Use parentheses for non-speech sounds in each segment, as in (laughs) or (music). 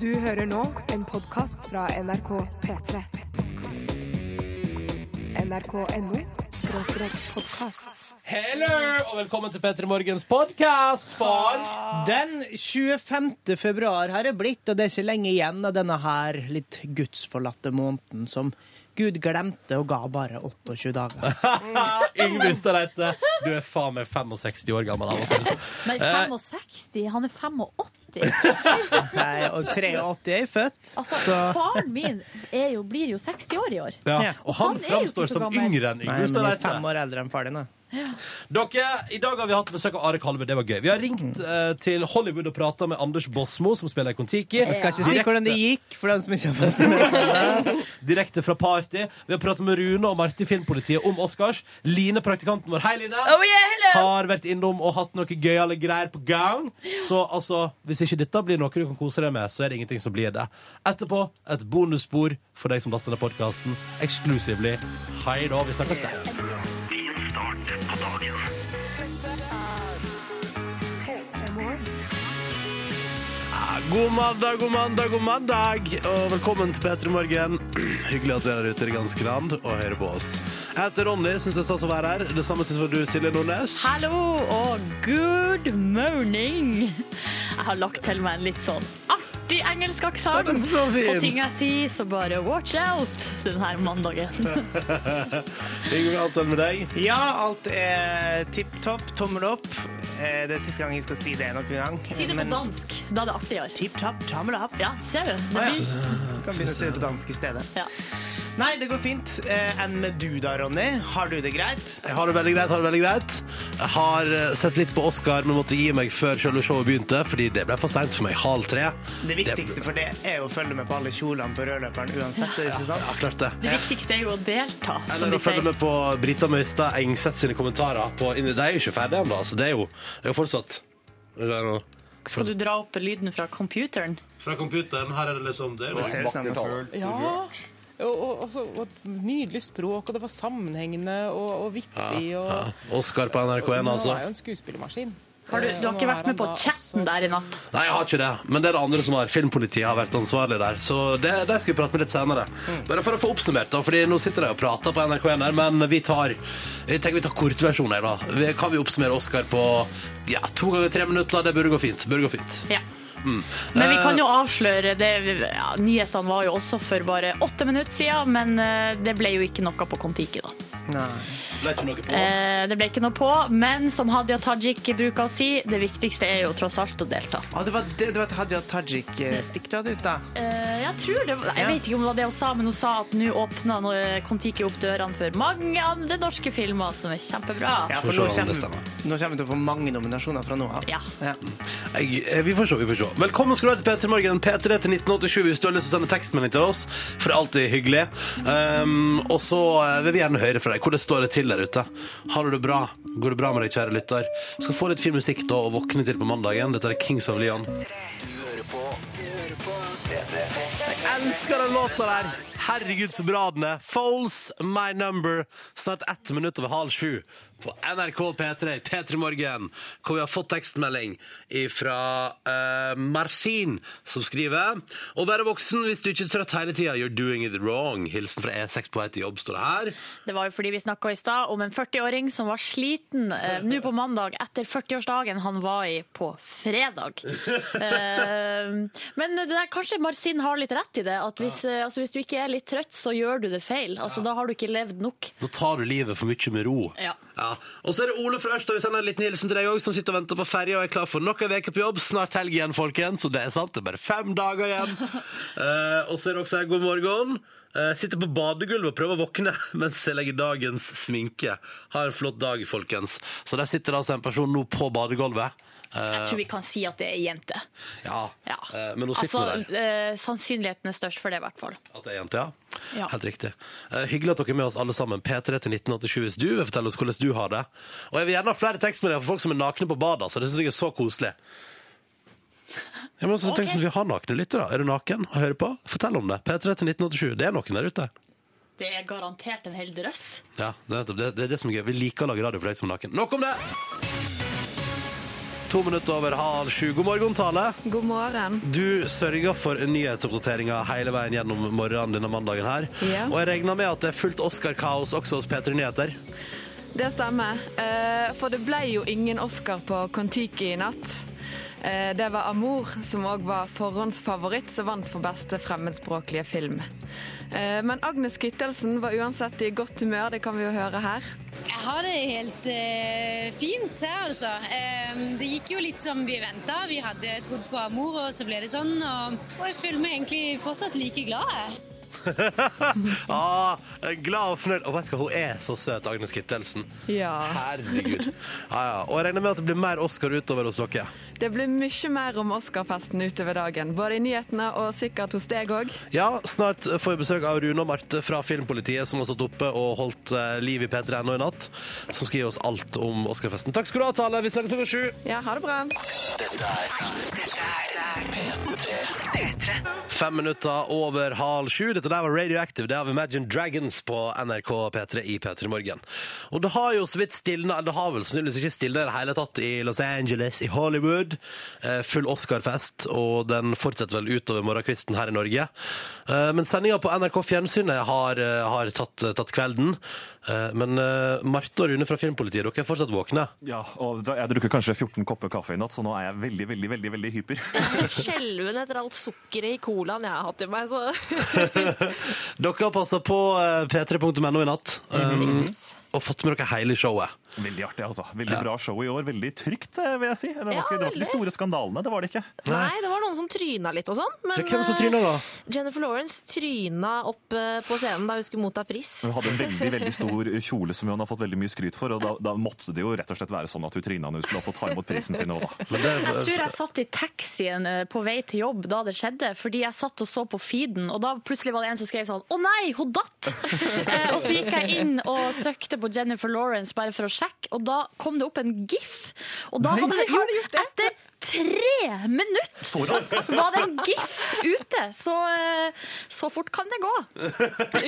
Du hører nå en podkast fra NRK P3. NRK.no skråstrek podkast. Hello, og velkommen til P3 Morgens podkast for Den 25. februar har det blitt, og det er ikke lenge igjen av denne her litt gudsforlatte måneden som Gud glemte og ga bare 28 dager. (laughs) Yngve Ustadreite. Du er faen meg 65 år gammel av og til. Men 65? Han er (laughs) 85. Nei, og 83 er jeg født. Altså, Så- faren min er jo, blir jo 60 år i år. Ja. Og han, Han er jo ikke framstår så som gammel. yngre enn Nei, Yngve men jeg er Ustadreite. fem år eldre enn far (laughs) din. da. Dere, I dag har vi hatt besøk av Are Kalve. Det var gøy. Vi har ringt Mm. eh, til Hollywood og prata med Anders Båsmo, som spiller Kon-Tiki. Jeg skal ikke si hvordan det gikk, for dem som ikke har fått det med seg. (laughs) Direkte fra party. Vi har pratet med Rune og Marti Filmpolitiet om Oscars. Line, praktikanten vår, hei Line, Oh, har vært innom og hatt noe gøyale greier på gang. Så altså, hvis ikke dette blir noe du kan kose deg med, så er det ingenting som blir det. Etterpå et bonusspor for deg som laster ned podkasten, eksklusively. Hei da, vi snakkes der. Ah, God mandag, god mandag, god mandag, og velkommen til P3 Morgen. (clears throat) Hyggelig at du er der ute i det ganske land og hører på oss. Jeg heter Ronny, syns jeg stas å være her. Det samme syns vel du, Silje Nordnes. Hallo og good morning. Jeg har lagt til meg en litt sånn artig engelsk aksent. så På ting jeg sier, så bare watch out denne mandagen. Yngve, alt vel med deg? Ja, alt er tipp topp, tommel opp. Eh, Det er siste gang jeg skal si det noen gang. Si det på Men dansk. Da er det artigere. tipp topp, tommel opp. Ja, ser du? Det altså, blir, Kan begynne å si det på dansk i stedet. ja. Nei, det går fint. Eh, Enn med du da, Ronny? Har du det greit? Jeg har det veldig greit. har det veldig greit. Jeg har eh, sett litt på Oscar, men måtte gi meg før selve showet begynte, fordi det ble for seint for meg. Halv tre. Det viktigste for det er jo å følge med på alle kjolene på rødløperen uansett. er det ikke sant? Ja, klart det. Det viktigste er jo å delta, som Eller de å følge sier. med på Brita Møystad Engseth sine kommentarer. På, de er jo ikke ferdige ennå, altså. Det er jo, det er jo fortsatt det er noe. Skal du dra opp lyden fra computeren? Fra computeren, her er det liksom Det er jo Det ser ut som nærmest- Ja. Og, og, og så- og et nydelig språk, og det var sammenhengende og, og vittig. Og, Ja, Oscar på NRK1, Nå altså. er jo en skuespillermaskin. Har du, du har Nå ikke er vært han med på Eh, da chatten også- der i natt? Nei, jeg har ikke det, men det er det andre som har. Filmpolitiet har vært ansvarlig der. Så det, det skal vi prate med litt senere. Mm. Bare for å få oppsummert, da, Fordi nå sitter de og prater på NRK1 her, men vi tar jeg tenker vi tar kortversjonen her, da. Vi- Kan vi oppsummere Oscar på ja, to ganger tre minutter? Det burde gå fint. Burde gå fint. Mm. Ja. Men vi kan jo Eh. avsløre det, ja, Nyhetene var jo også for bare åtte minutter siden, men eh, det ble jo ikke noe på Kon-Tiki, da. Nei. Ble ikke noe på. Eh, Det ble ikke noe på, men som Hadia Tajik bruker å si, det viktigste er jo tross alt å delta. Å, det var, det, det var et Hadia Tajik-stikk du hadde i stad. Eh, Jeg tror det var, Ja. jeg vet ikke om det var det hun sa, men hun sa at nå åpna nå, eh, Kon-Tiki opp dørene for mange andre norske filmer, som er kjempebra. Ja, Skal vi for se nå om det kommer, stemmer. nå kommer vi til å få mange nominasjoner fra nå av. Ja. (laughs) Jeg, eh, vi får se, vi får se. Velkommen skal du være til P3 Morgen. P3 til 1987 hvis du har lyst til å sende tekstmelding til oss. For det er alltid hyggelig. Um, og så eh, vil vi gjerne høre fra deg hvordan står det til der ute. Har du det bra? Går det bra med deg, kjære lytter? Vi skal få litt fin musikk da og våkne til på mandagen. Dette er Kings of Leon. Eh, Jeg elsker (laughs) den låta der! Herregud, så bra den er. Foles My Number. Snart ett minutt over halv sju på NRK P3 P3 Morgen, hvor vi har fått tekstmelding fra Marcin, som skriver Å være voksen hvis du ikke er trøtt hele tida, you're doing it wrong. Hilsen fra E6 på vei til jobb, står det her. Det var jo fordi vi snakka i stad om en 40-åring som var sliten eh, nå på mandag etter 40-årsdagen han var i på fredag. Eh, men det der, kanskje Marcin har litt rett i det. At hvis, eh, altså, hvis du ikke er litt trøtt, så gjør du det feil. Altså, Da har du ikke levd nok. Da tar du livet for mye med ro. Ja. Og så er det Ole fra Ørsta. Vi sender en liten hilsen til deg òg, som sitter og venter på ferja og er klar for nok en uke på jobb. Snart helg igjen, folkens. Og det er sant, det er bare fem dager (laughs) igjen. Eh, og så er det også her, god morgen. Eh, sitter på badegulvet og prøver å våkne (laughs) mens jeg legger dagens sminke. Ha en flott dag, folkens. Så der sitter altså en person nå på badegulvet. Eh, Jeg tror vi kan si at det er ei jente. Ja. Ja. Eh, men hun sitter der. altså, eh, sannsynligheten er størst for det, i hvert fall. At det er jente, ja. Ja. Helt riktig. Eh, hyggelig at dere er med oss alle sammen. P3 til 1987 hvis du vil fortelle oss hvordan du har det. Og jeg vil gjerne ha flere tekstmeldinger for folk som er nakne på badet. Så det synes jeg er så koselig. Jeg må også Ok. tenke sånn, Vi har nakne lyttere. Er du naken og hører på? Fortell om det. P3 til 1987. Det er noen der ute. Det er garantert en hel drøss. Ja, det er nettopp det, det, er det som er gøy. Vi liker å lage radio for deg som er naken. Nok om det! To minutter over halv sju. God morgen, Tale. God morgen. Du sørger for nyhetsoppdateringa hele veien gjennom morgenen denne mandagen her. Ja. Og jeg regner med at det er fullt Oscar-kaos også hos P3 Nyheter. Det stemmer. Eh, For det ble jo ingen Oscar på Kon-Tiki i natt. Eh, Det var Amour, som òg var forhåndsfavoritt, som vant for beste fremmedspråklige film. Eh, Men Agnes Kittelsen var uansett i godt humør, det kan vi jo høre her. Jeg har det helt eh, fint her, altså. Ehm, det gikk jo litt som vi venta. Vi hadde trodd på Amor, og så ble det sånn. Og, og jeg føler meg egentlig fortsatt like glad. jeg. (laughs) Ah, jeg er glad og fornøyd. Og vet du hva, hun er så søt, Agnes Kittelsen. Ja. Herregud. Ja, ja. Og jeg regner med at det blir mer Oscar utover hos dere. Det blir mye mer om Oscarfesten utover dagen, både i nyhetene og sikkert hos deg òg. Ja, snart får jeg besøk av Rune og Marte fra Filmpolitiet, som har stått oppe og holdt eh, liv i P3NO i natt. Som skal gi oss alt om Oscarfesten. Takk skal du ha, Tale. Vi snakkes klokka sju. Ja, ha det bra. Fem minutter over halv sju. Dette der var Radioactive. Det er av Imagine Dragons på NRK P3 i P3 Morgen. Og det har jo så vidt stilna, eller det har vel sannsynligvis ikke stilna i det hele tatt i Los Angeles, i Hollywood. Eh, full Oscar-fest, og den fortsetter vel utover morgenkvisten her i Norge. Eh, men sendinga på NRK Fjernsynet har, eh, har tatt, tatt kvelden. Eh, men eh, Marte og Rune fra Filmpolitiet, dere er fortsatt våkne. Ja, og da, jeg drukker kanskje 14 kopper kaffe i natt, så nå er jeg veldig, veldig, veldig, veldig hyper. (laughs) Skjelven etter alt sukkeret i colaen jeg har hatt i meg. Så. Dere har passa på eh, p3.no i natt. Um, Og fått med dere hele showet. Veldig artig, altså. Veldig bra show i år. Veldig trygt, eh, vil jeg si. (laughs) Det var, Ja, ikke, det var ikke veldig. de store skandalene, det var det ikke. Nei, det var noen som tryna litt og sånn. Men Ja, hvem som tryna da? eh, Jennifer Lawrence tryna opp eh, på scenen da hun skulle motta pris. Hun hadde en veldig veldig (laughs) stor kjole som hun har fått veldig mye skryt for, og da, da måtte det jo rett og slett være sånn at hun tryna når hun skulle opp og ta imot prisen sin òg, da. Men det, Jeg tror jeg satt i taxien eh, på vei til jobb da det skjedde, fordi jeg satt og så på feeden, og da plutselig var det en som skrev sånn 'Å nei, hun datt!' Eh, og så gikk jeg inn og søkte på Jennifer Lawrence bare for å sjekke, og da kom det opp en gif. Og da hadde jo, etter tre minutter Så raskt! var det en gif ute, så eh, så fort kan det gå.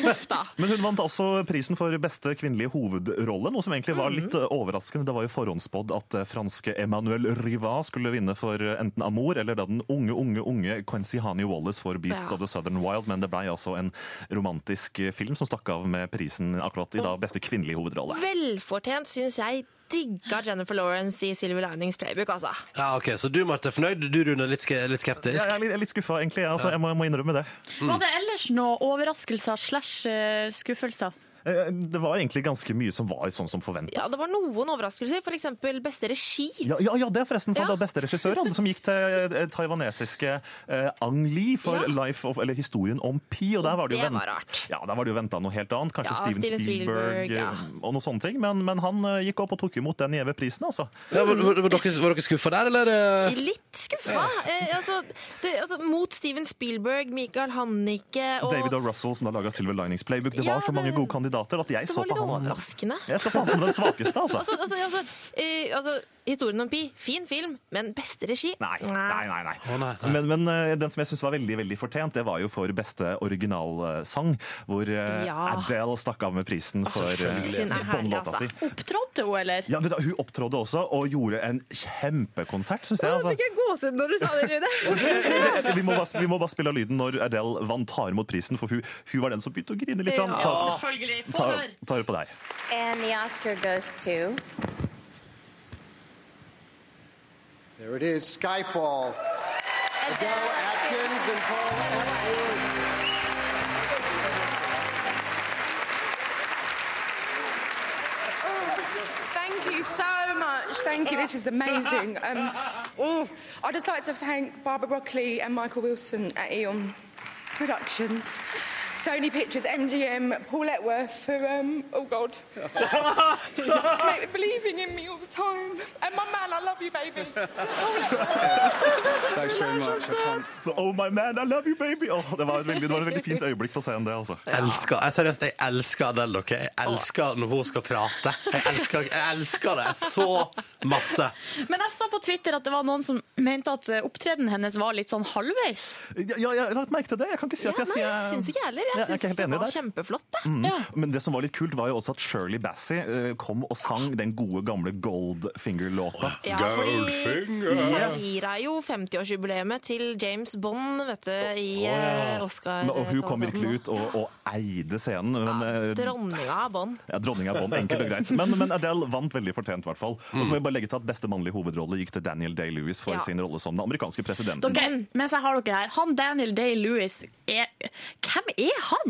Uff da. Men hun vant også prisen for beste kvinnelige hovedrolle, noe som egentlig Mhm. var litt eh, overraskende. Det var jo forhåndsspådd at eh, franske Emmanuel Riva skulle vinne for eh, enten Amour eller da den unge, unge, unge Quincy Hani Wallace for Beasts Ja. of the Southern Wild, men det ble altså en romantisk eh, film som stakk av med prisen akkurat i da beste kvinnelige hovedrolle. Velfortjent, syns jeg. Digga Jennifer Lawrence i Silver Linings Playbook, altså. (laughs) ja, ok, Så du, Marte, er fornøyd? Du, Rune, er litt, ske- litt skeptisk? Jeg er litt, jeg er litt skuffa, egentlig. Altså, jeg, må, jeg må innrømme det. Mm. Var det ellers noe overraskelser slash eh, skuffelser? Eh, Det var egentlig ganske mye som var sånn som forventa. Ja, det var noen overraskelser. For eksempel beste regi. Ja, ja, ja, det er forresten Ja. sant. Det var beste regissør han, som gikk til eh, taiwanesiske eh, Ang Lee for Ja. Life of, eller historien om Pi. Og der var det, jo Det vent- var rart. Ja, der var det jo venta noe helt annet. Kanskje Ja, Steven, Steven Spielberg, Spielberg, eh, ja. og noen sånne ting. Men, men han eh, gikk opp og tok imot den gjeve prisen, altså. Ja, var, var, var, dere, var dere skuffa der, eller? eh? Litt skuffa. Eh, altså, det, altså, mot Steven Spielberg, Michael Hannicke og David O. Russell, som da laga Silver Linings Playbook. Det Ja, var så mange det- gode kandidater at jeg Så så, var litt på han overraskende. Jeg så på han som den svakeste, altså. (laughs) Altså, altså, altså, eh, altså, historien om Pi, fin film, men beste regi? Nei, nei, nei. nei. Å, nei, nei. Men, men eh, den som jeg syns var veldig veldig fortjent, det var jo for beste originalsang. Hvor eh, Ja. Adele stakk av med prisen Altså, for selvfølgelig. Hun er eh, herlig, båndlåta altså. si. Opptrådte hun, eller? Ja, men da, Hun opptrådte også og gjorde en kjempekonsert, syns jeg. Altså. Eh, jeg gåsehud når du sa det, Rune. Vi, må bare, vi må bare spille av lyden når Adele vant tar imot prisen, for hun, hun var den som begynte å grine litt. grann. Ta, Selvfølgelig. Få ta, høre! ta høre på deg. And the Oscar goes to. There it is, Skyfall. Adele Atkins and Paul Atwood. Thank you so much. Thank you. This is amazing. Um, oh, I'd just like to thank Barbara Broccoli and Michael Wilson at Eon Productions, Sony Pictures, MGM, Paul Etworth for, um, oh (laughs) God, Make- believing in me all the time. And my man, I love you, baby. Thanks very much. I can't Oh my man, I love you baby! Åh, det, var et veldig, det var et veldig fint øyeblikk på scenen, det. altså. Elsker, jeg, seriøst, jeg elsker Adele, ok? Jeg elsker når hun skal prate. Jeg elsker, jeg elsker det så masse. Men jeg så på Twitter at det var noen som mente at eh, opptredenen hennes var litt sånn halvveis. Ja, ja, jeg har lagt merke til det. Jeg kan ikke si Ja, at jeg nei, sier jeg syns ikke jeg heller. heller. Jeg Ja, jeg er syns ikke helt det enig var der. kjempeflott. Det. Mm. Men det som var litt kult, var jo også at Shirley Bassey eh, kom og sang den gode, gamle Goldfinger-låta. Ja, fordi de feira jo 50-årsjubileet til James Bond vet du, i eh, Oscar. Men, og hun kom virkelig ut og, og eide scenen. Men, eh, Dronninga av Bond. ja, dronninga Bond, enkelt og greit. Men, men Adele vant veldig fortjent, i hvert fall. Og så må jeg bare legge til at beste mannlige hovedrolle gikk til Daniel Day-Lewis for Ja. sin rolle som den amerikanske presidenten. Dere, mens jeg har dere her, han Daniel Day-Lewis er Hvem er han?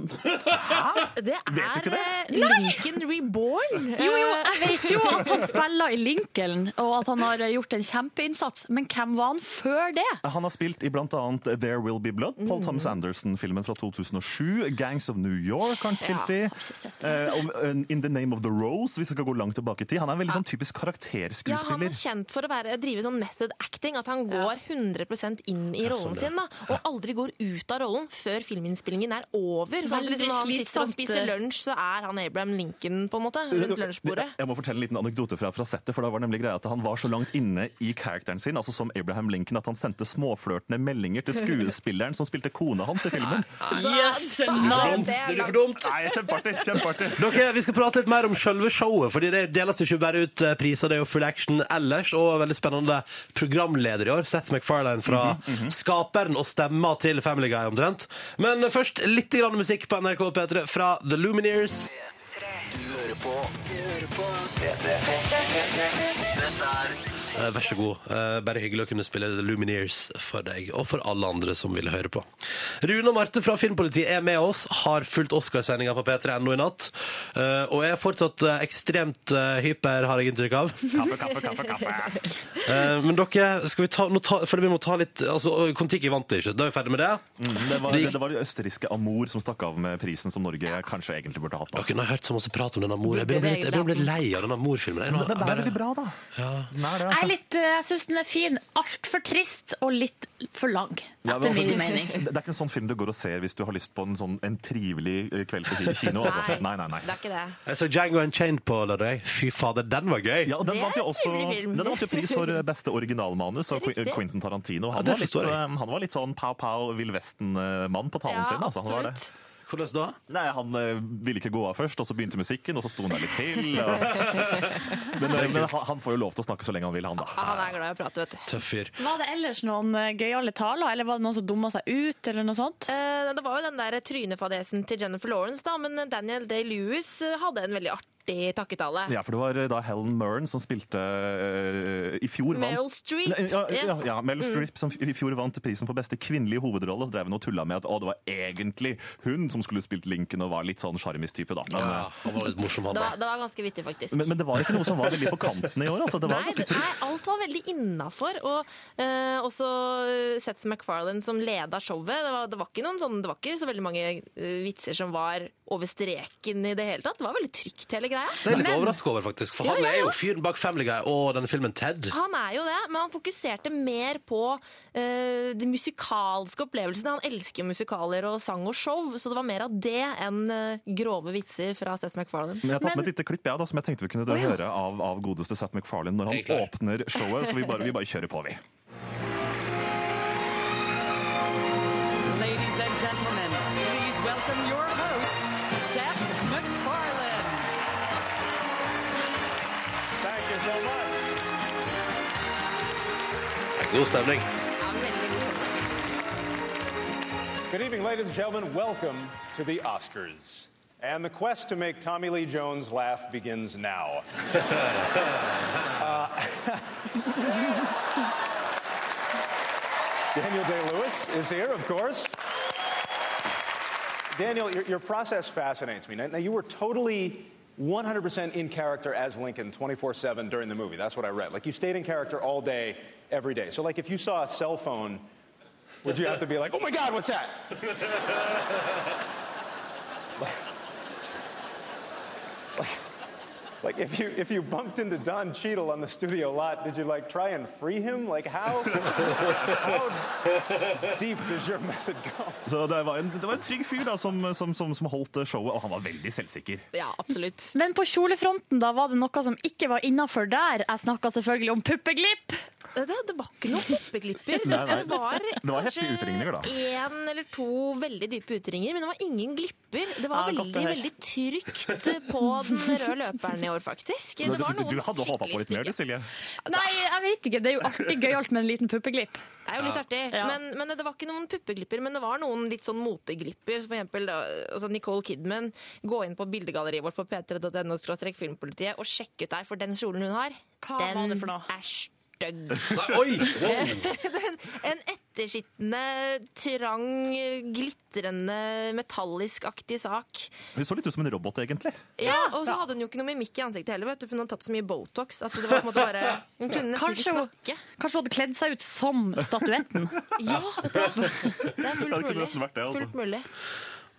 Det Vet du ikke det? er eh, Lincoln Reborn. Jo, jo, Eh. jeg vet jo at han spiller i Lincoln, og at han har gjort en kjempeinnsats, men hvem var han før det? Han har spilt i bl.a. There Will Be Blood, Paul Mm. Thomas Anderson-filmen fra 2007. Gangs of New York har han spilt Ja, i. har ikke sett det. Eh, om- en- In The Name of the Rose, hvis vi skal gå langt tilbake i tid. Han er en veldig sånn typisk Ja, han er karakterskuespiller. kjent for å være, drive sånn method acting, at han går 100 inn i Ja, rollen sånn, ja. sin, da, og aldri går ut av rollen før filminnspillingen er over. Så at Veldig liksom, når han sitter og slitsomt, spiser eh. lunsj, så er han Abraham Lincoln, på en måte, rundt lunsjbordet. Jeg må fortelle en liten anekdote fra, fra settet, for da var det nemlig greia at han var så langt inne i karakteren sin, altså som Abraham Lincoln, at han sendte småflørtende (laughs) meldinger til skuespilleren som spilte kona hans i filmen. Jøss, navn. Det blir for dumt. Nei, kjempeartig, kjempeartig. Dere, Vi skal prate litt mer om selve showet, fordi det deles jo ikke bare ut eh, priser. Det er jo full action ellers, og veldig spennende programleder i år. Seth MacFarlane fra Skaperen og stemma til Family Guy, omtrent. Men eh, først litt grann musikk på NRK P3 fra The Lumineers. Eh, Vær så god. Eh, Bare hyggelig å kunne spille The Lumineers for deg, og for alle andre som ville høre på. Rune og Marte fra Filmpolitiet er med oss, har fulgt Oscarsendinga på p3.no i natt, eh, og er fortsatt eh, ekstremt eh, hyper, har jeg inntrykk av. Kaffe, kaffe, kaffe, kaffe. Eh, Men dere, skal vi ta, nå ta For vi må ta litt Altså, Kon-Tiki vant det ikke. Da er vi ferdig med det. Mm, Mm, Det var Det- det, var det østerrikske Amour som stakk av med prisen som Norge kanskje egentlig burde hatt. Da. Dere har hørt så masse prat om denne mor. Jeg begynner å bli litt- jeg begynner å bli lei av denne morfilmen. Jeg nå- Den er bare- veldig bra, da. Den er det, Jeg, er altså. litt, eh, jeg syns den er fin. Altfor trist og litt for lang, Ja, men etter min altså, mening. (laughs) Det er ikke en sånn film du går og ser hvis du har lyst på en, sånn, en trivelig eh, kveld på ki- kino. Altså. Nei, nei, nei. Det er ikke det. Jeg Eh, så Django Unchained på lørdag. Fy fader, den var gøy! Ja, og den Det er vant jo en også trivelig film. den vant jo pris for eh, beste originalmanus av Qu- Riktig. Quentin Tarantino. Ja, Han, det var litt, forstår jeg. eh, han var litt sånn pow-pow Vill Vesten-mann på talen Ja, sin. Altså. Han, var det. absolutt. Hvordan da? Nei, han eh, ville ikke gå av først, og så begynte musikken, og så sto han der litt til. (laughs) Og... Men, eh, men han, han får jo lov til å snakke så lenge han vil, han da. Ja, Han er glad i å prate, vet du. Tøff fyr. Var det ellers noen eh, gøyale taler, eller var det noen som dumma seg ut, eller noe sånt? Eh, Det var jo den der trynefadesen til Jennifer Lawrence, da, men Daniel Day-Lewis eh, hadde en veldig artig takketale. Ja, for det var eh, da Helen Mirren som spilte eh, i fjor vant- Meryl Streep, Nei, Ja, ja, yes. ja, Meryl Mm. Streep som f- i fjor vant prisen for beste kvinnelige hovedrolle. Så drev hun og tulla med at å, det var egentlig hun som skulle spilt Lincoln og var litt sånn sjarmistype, da. Men, Ja, han var litt morsom, han Det da. var, det var ganske vittig, faktisk. men, men det var ikke noe som var veldig på kanten i år. Altså. Det var Nei, ganske det, nei, alt var veldig innafor. Og eh, også eh, Seth MacFarlane som leda showet. Det var, det, var ikke noen sånn, det var ikke så veldig mange eh, vitser som var over streken i det hele tatt. Det var veldig trygt, hele greia. Det er jeg litt overraska over, faktisk. For Ja, han ja, er jo ja. Ah. fyren bak Family Guy og denne filmen Ted. Han er jo det, men han fokuserte mer på eh, de musikalske opplevelsene. Han elsker jo musikaler og sang og show, så det var mer av det enn eh, grove vitser fra Seth MacFarlane. Men jeg har tatt Men- med et lite klipp jeg, da, som jeg tenkte vi kunne høre av, av godeste Seth MacFarlane når Jeg er klar. han åpner showet. Så vi bare, vi bare kjører på, vi. Ladies and gentlemen, please welcome your host, Seth MacFarlane. Thank you so much. Det er god stemning. Good evening, ladies and gentlemen. Welcome to the Oscars. And the quest to make Tommy Lee Jones laugh begins now. Uh, (laughs) Daniel Day Lewis is here, of course. Daniel, your, your process fascinates me. Now, now, you were totally 100% in character as Lincoln 24 7 during the movie. That's what I read. Like, you stayed in character all day, every day. So, like, if you saw a cell phone, would you have to be like, oh my God, what's that? Like if you if you bumped into Don Cheadle on the studio lot, did you like try and free him? Like how how deep does your method go? Så det var en, det var en trygg fyr da, som, som, som, som holdt showet, og han var veldig selvsikker. Ja, absolutt. Men på kjolefronten da var det noe som ikke var innafor der. Jeg snakka selvfølgelig om puppeglipp. det, det var ikke noen hoppeklipper. Det, Nei, nei. det var, (laughs) Det var heftige kanskje utringninger, da. Én eller to veldig dype utringer, men det var ingen glipper. Det var Ja, godt å veldig, høre. veldig trygt på den røde løperen i år, faktisk. Men Det var (laughs) du, noen du hadde håpa på skikkelig litt mer, du, stygge. Silje. Altså, Nei, jeg vet ikke. Det er jo alltid gøyalt med en liten puppeglipp. Det er jo litt Ja. artig. Ja. Men, men det var ikke noen puppeglipper, men det var noen litt sånn moteglipper. For eksempel da, altså Nicole Kidman. Gå inn på bildegalleriet vårt på p3.no filmpolitiet og sjekk ut der, for den kjolen hun har, Hva var den det for noe? er stygg. Nei, oi, wow. den, en ettersittende, trang, glitrende, metallisk-aktig sak. Hun så litt ut som en robot, egentlig. Ja, Og så hadde hun jo ikke noe mimikk i ansiktet heller, vet du, for hun hadde tatt så mye Botox at det var på en måte bare (laughs) Hun kunne nesten Kanskje ikke hun, snakke. kanskje hun hadde kledd seg ut som (laughs) statuetten. Ja, vet du. (laughs) Det er fullt Det kunne mulig. nesten vært det, altså. Fullt mulig.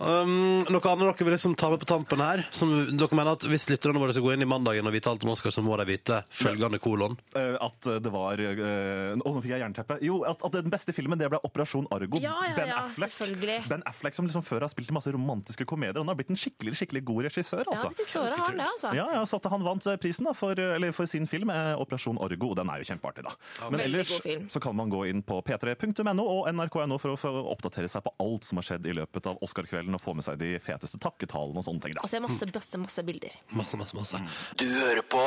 Um, noe annet dere vil liksom ta med på tampen her? Som dere mener at Hvis lytterne våre skal gå inn i mandagen og vite alt om Oscar, så må de vite følgende kolon. Eh, At eh, det var eh, Å, nå fikk jeg jernteppe. Jo, at, at den beste filmen det ble Operasjon Argo. Ja, ja, ben, ja, Affleck, selvfølgelig. ben Affleck som liksom før har spilt i masse romantiske komedier. Han har blitt en skikkelig skikkelig god regissør. Ja, altså. de siste årene har han det, altså. Ja, ja, så at Han vant eh, prisen da, for, eh, eller for sin film eh, 'Operasjon Argo', og den er jo kjempeartig. da. Men Veldig ellers god film. så kan man gå inn på p3.no og nrk.no for å få oppdatere seg på alt som har skjedd i løpet av Oscar-kvelden, og få med seg de feteste takketalene og sånne ting. da. Mm. Og så er Altså, det masse, masse, masse bilder. Mm. Masse, masse, masse. Du hører på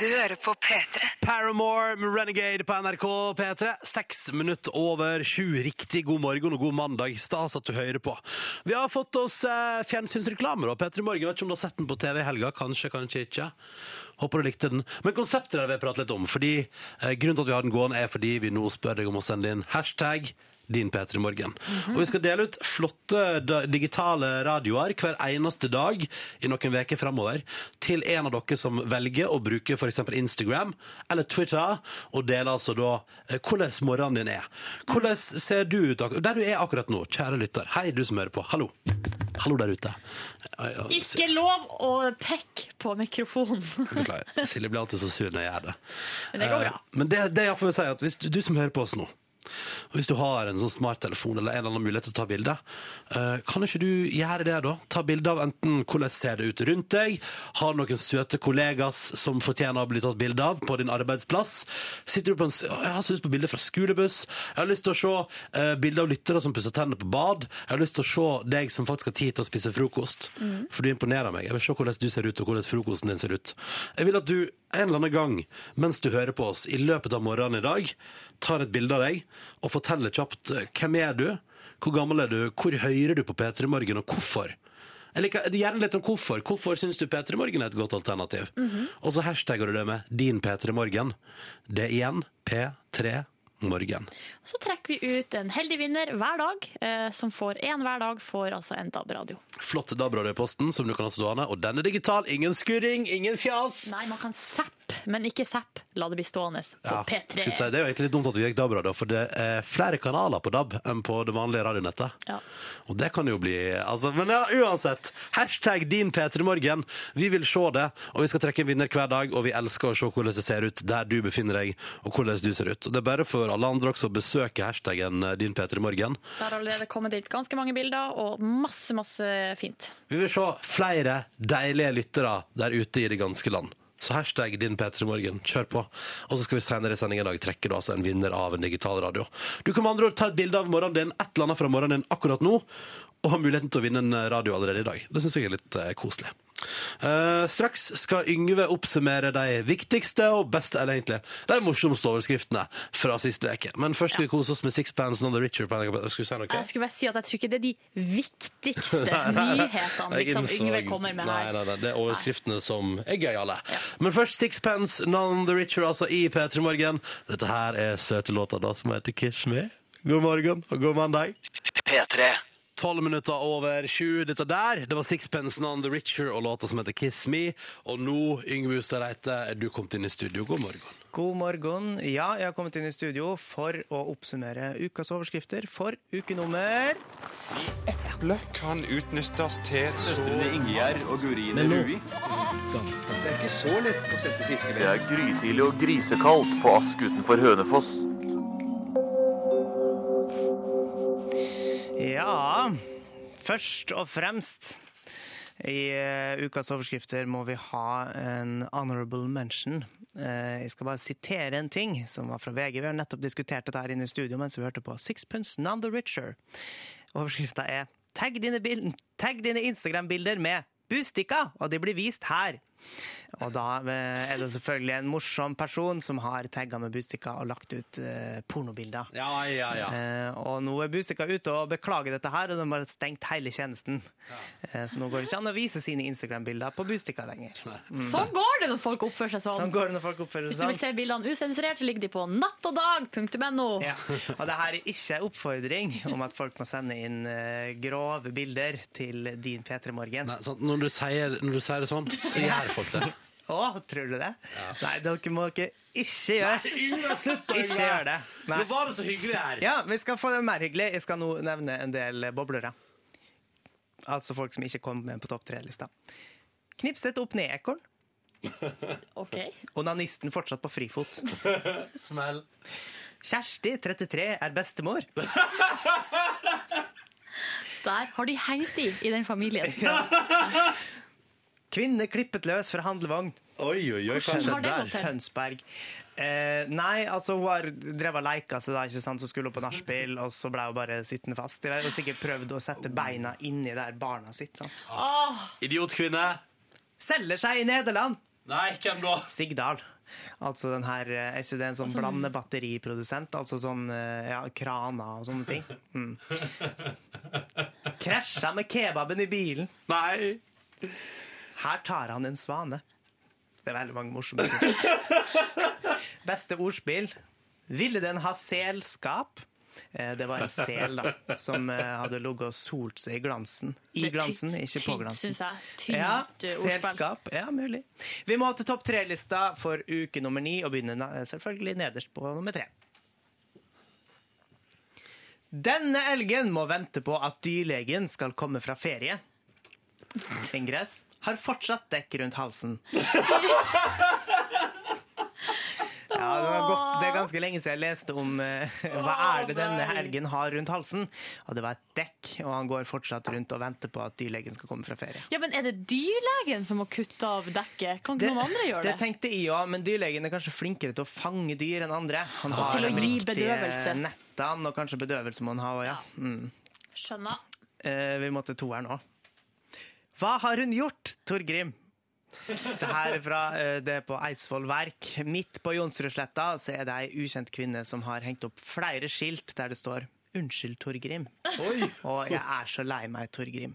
Du hører på P3. Paramore med Renegade på NRK P3. Seks minutter over sju. Riktig god morgen og god mandag. Stas at du hører på. Vi har fått oss eh, fjernsynsreklame, da. P3 Morgen. Vet ikke om du har sett den på TV i helga. Kanskje, kanskje ikke. Håper du likte den. Men konseptet der vil jeg prate litt om. Fordi eh, Grunnen til at vi har den gående, er fordi vi nå spør deg om å sende inn hashtag din P3 Morgen. Og vi skal dele ut flotte da- digitale radioer hver eneste dag i noen veker fremover til en av dere som velger å bruke for eksempel Instagram eller Twitter og dele altså da eh, hvordan morgenen din er. Hvordan ser du ut ak- der du er akkurat nå, kjære lytter? Hei, du som hører på. Hallo. Hallo der ute. Ai, ai, Ikke lov å pekke på mikrofonen. Beklager. Silje blir alltid så sur når jeg gjør det. Men det går bra. Eh, Men det, det jeg får si er at hvis du, du som hører på oss nå, og hvis du har en sånn smarttelefon eller en eller annen mulighet til å ta bilde, eh, kan ikke du gjøre det da? Ta bilde av enten hvordan ser det ut rundt deg, har du noen søte kollegas som fortjener å bli tatt bilde av på din arbeidsplass, sitter du på en, s- «Å, jeg har så lyst på bilder fra skolebuss, jeg har lyst til å se eh, bilder av lyttere som pusser tenner på bad, jeg har lyst til å se deg som faktisk har tid til å spise frokost, Mm. for du imponerer meg, jeg vil se hvordan du ser ut og hvordan frokosten din ser ut. Jeg vil at du en eller annen gang, mens du hører på oss i løpet av morgenen i dag, tar et bilde av deg og forteller kjapt eh, hvem er du, hvor gammel er du, hvor hører du på P3 Morgen, og hvorfor? Jeg liker gjerne litt om hvorfor. Hvorfor syns du P3 Morgen er et godt alternativ? Mhm. Og så hashtagger du det med din P3 Morgen. Det er igjen P3 Morgen. (laughs) Så trekker vi ut en heldig vinner hver dag, eh, som får én hver dag, får altså en DAB-radio. Flott DAB-radio i posten, som du kan ha stående. Og den er digital. Ingen skurring, ingen fjas. Nei, man kan zappe, men ikke zapp. La det bli stående på Ja, P3. skulle si, det er jo egentlig litt dumt at vi gikk DAB-radio, for det er flere kanaler på DAB enn på det vanlige radionettet. Ja. Og det kan jo bli altså, Men ja, uansett, hashtag din P3morgen. Vi vil se det, og vi skal trekke en vinner hver dag, og vi elsker å se hvordan det ser ut der du befinner deg, og hvordan du ser ut. Og det er bare for alle andre også å besøke hashtaggen din P3morgen. Det har allerede kommet dit ganske mange bilder, og masse, masse fint. Vi vil se flere deilige lyttere der ute i det ganske land. Så hashtag din P3morgen, kjør på. Og så skal vi senere i sendingen i dag trekke du altså en vinner av en digital radio. Du kan med andre ord ta et bilde av morgenen din, et eller annet fra morgenen din akkurat nå, og ha muligheten til å vinne en eh, radio allerede i dag. Det syns jeg er litt eh, koselig. Eh, straks skal Yngve oppsummere de viktigste og beste, eller egentlig de morsomste overskriftene fra siste uke. Men først skal vi kose oss med Sixpence and the Richer på NRK. Skal vi si noe? Jeg skulle bare si at jeg tror ikke det er de viktigste (laughs) Nei, nei, nei. nyhetene Jeg liksom, innså- Yngve kommer med nei, her. Nei, nei, det er overskriftene som er gøyale. Men først Sixpence, None the Richer, altså i P3 Morgen. Dette her er søte låta da som heter Kiss Me. God morgen og god mandag. P3. Tolv minutter over sju. Dette der, det var Sixpence, None the Richer og låta som heter Kiss Me. Og nå, Yngve Hustad Reite, er du kommet inn i studio. God morgen. God morgen. Ja, jeg har kommet inn i studio for å oppsummere ukas overskrifter for uke nummer Eple kan utnyttes til så Ingjerd og Gurine Men nå- Rui. Det er ikke så lett å sette fiskevær. Det er grytidlig og grisekaldt på Ask utenfor Hønefoss. Ja, først og fremst I eh, ukas overskrifter må vi ha en honorable mention. Eh, jeg skal bare sitere en ting som var fra VG. Vi har nettopp diskutert dette her inne i studio mens vi hørte på Sixpence None the Richer. Overskrifta er 'Tagg dine, bil- tagg dine Instagram-bilder med Bustika, og de blir vist her'. Og da eh, er det selvfølgelig en morsom person som har tagga med Bustika og lagt ut eh, pornobilder. Ja, ja, ja. Eh, og nå er Bustika ute og beklager dette her, og de har stengt hele tjenesten. Eh, så nå går det ikke an å vise sine Instagram-bilder på Bustika lenger. Mm. Sånn går det når folk oppfører seg sånn. Sånn går det når folk oppfører Hvis seg du vil sånn. se bildene usensurert, så ligger de på nattogdag.no. Ja. Og det her er ikke en oppfordring om at folk må sende inn eh, grove bilder til din P3 Morgen. Nei, sant? Når, du sier, når du sier det sånn, så gjør folk det. Å, tror du det? Nei, dere må ikke ikke gjøre Nei, Yngve, slutt å Ikke gjøre gjør det. Nå var det så hyggelig her. Ja, vi skal få det mer hyggelig. Jeg skal nå nevne en del boblere. Altså folk som ikke kom med på topp tre-lista. Knipset opp nedekorn. Ok. Onanisten fortsatt på frifot. (laughs) Smell. Kjersti, 33, er (laughs) bestemor. Der har de hengt i i den (laughs) familien. Kvinne klippet løs fra handlevogn. Oi, oi, oi, hva Hvordan skjedde har det der? gått til? Tønsberg. Eh, nei, altså hun har drevet og leika seg, da, ikke sant? så skulle hun på nachspiel, og så ble hun bare sittende fast. De har jo sikkert prøvd å sette beina inni der barna sitt. Sant? Idiotkvinne. Selger seg i Nederland! Nei, hvem da? Sigdal. Altså den her, eh, Er ikke det en sånn Altså- blandende batteriprodusent? Altså sånn eh, ja, kraner og sånne ting. Mm. (laughs) Krasja med kebaben i bilen. Nei! Her tar han en svane. Det er veldig mange morsomme ting. (laughs) Beste ordspill. Ville den ha selskap? Eh, Det var en sel da, som eh, hadde ligget og solt seg i glansen. I Det er ty- glansen, ikke på tynt, glansen. synes jeg. Tynt, ja, eh, ordspill. Selskap, ja, mulig. Vi må til topp tre-lista for uke nummer ni, og begynner na- selvfølgelig nederst på nummer tre. Denne elgen må vente på at dyrlegen skal komme fra ferie. Ingress har fortsatt dekk rundt halsen. Ja, det, var godt. det er ganske lenge siden jeg leste om eh, hva er det denne elgen har rundt halsen. Og det var et dekk, og han går fortsatt rundt og venter på at dyrlegen skal komme fra ferie. Ja, men Er det dyrlegen som må kutte av dekket? Kan ikke noen andre gjøre det? det tenkte jeg òg, men dyrlegen er kanskje flinkere til å fange dyr enn andre. Han har Til å de gi riktige bedøvelse. Nettene, og kanskje bedøvelse må han ha òg, ja. Mm. Skjønner. Eh, vi må til toeren òg. Hva har hun gjort, Torgrim? Det her er fra eh, det er på Eidsvoll Verk. Midt på Jonsrudsletta så er det ei ukjent kvinne som har hengt opp flere skilt der det står 'Unnskyld, Torgrim'. Og 'Jeg er så lei meg, Torgrim'.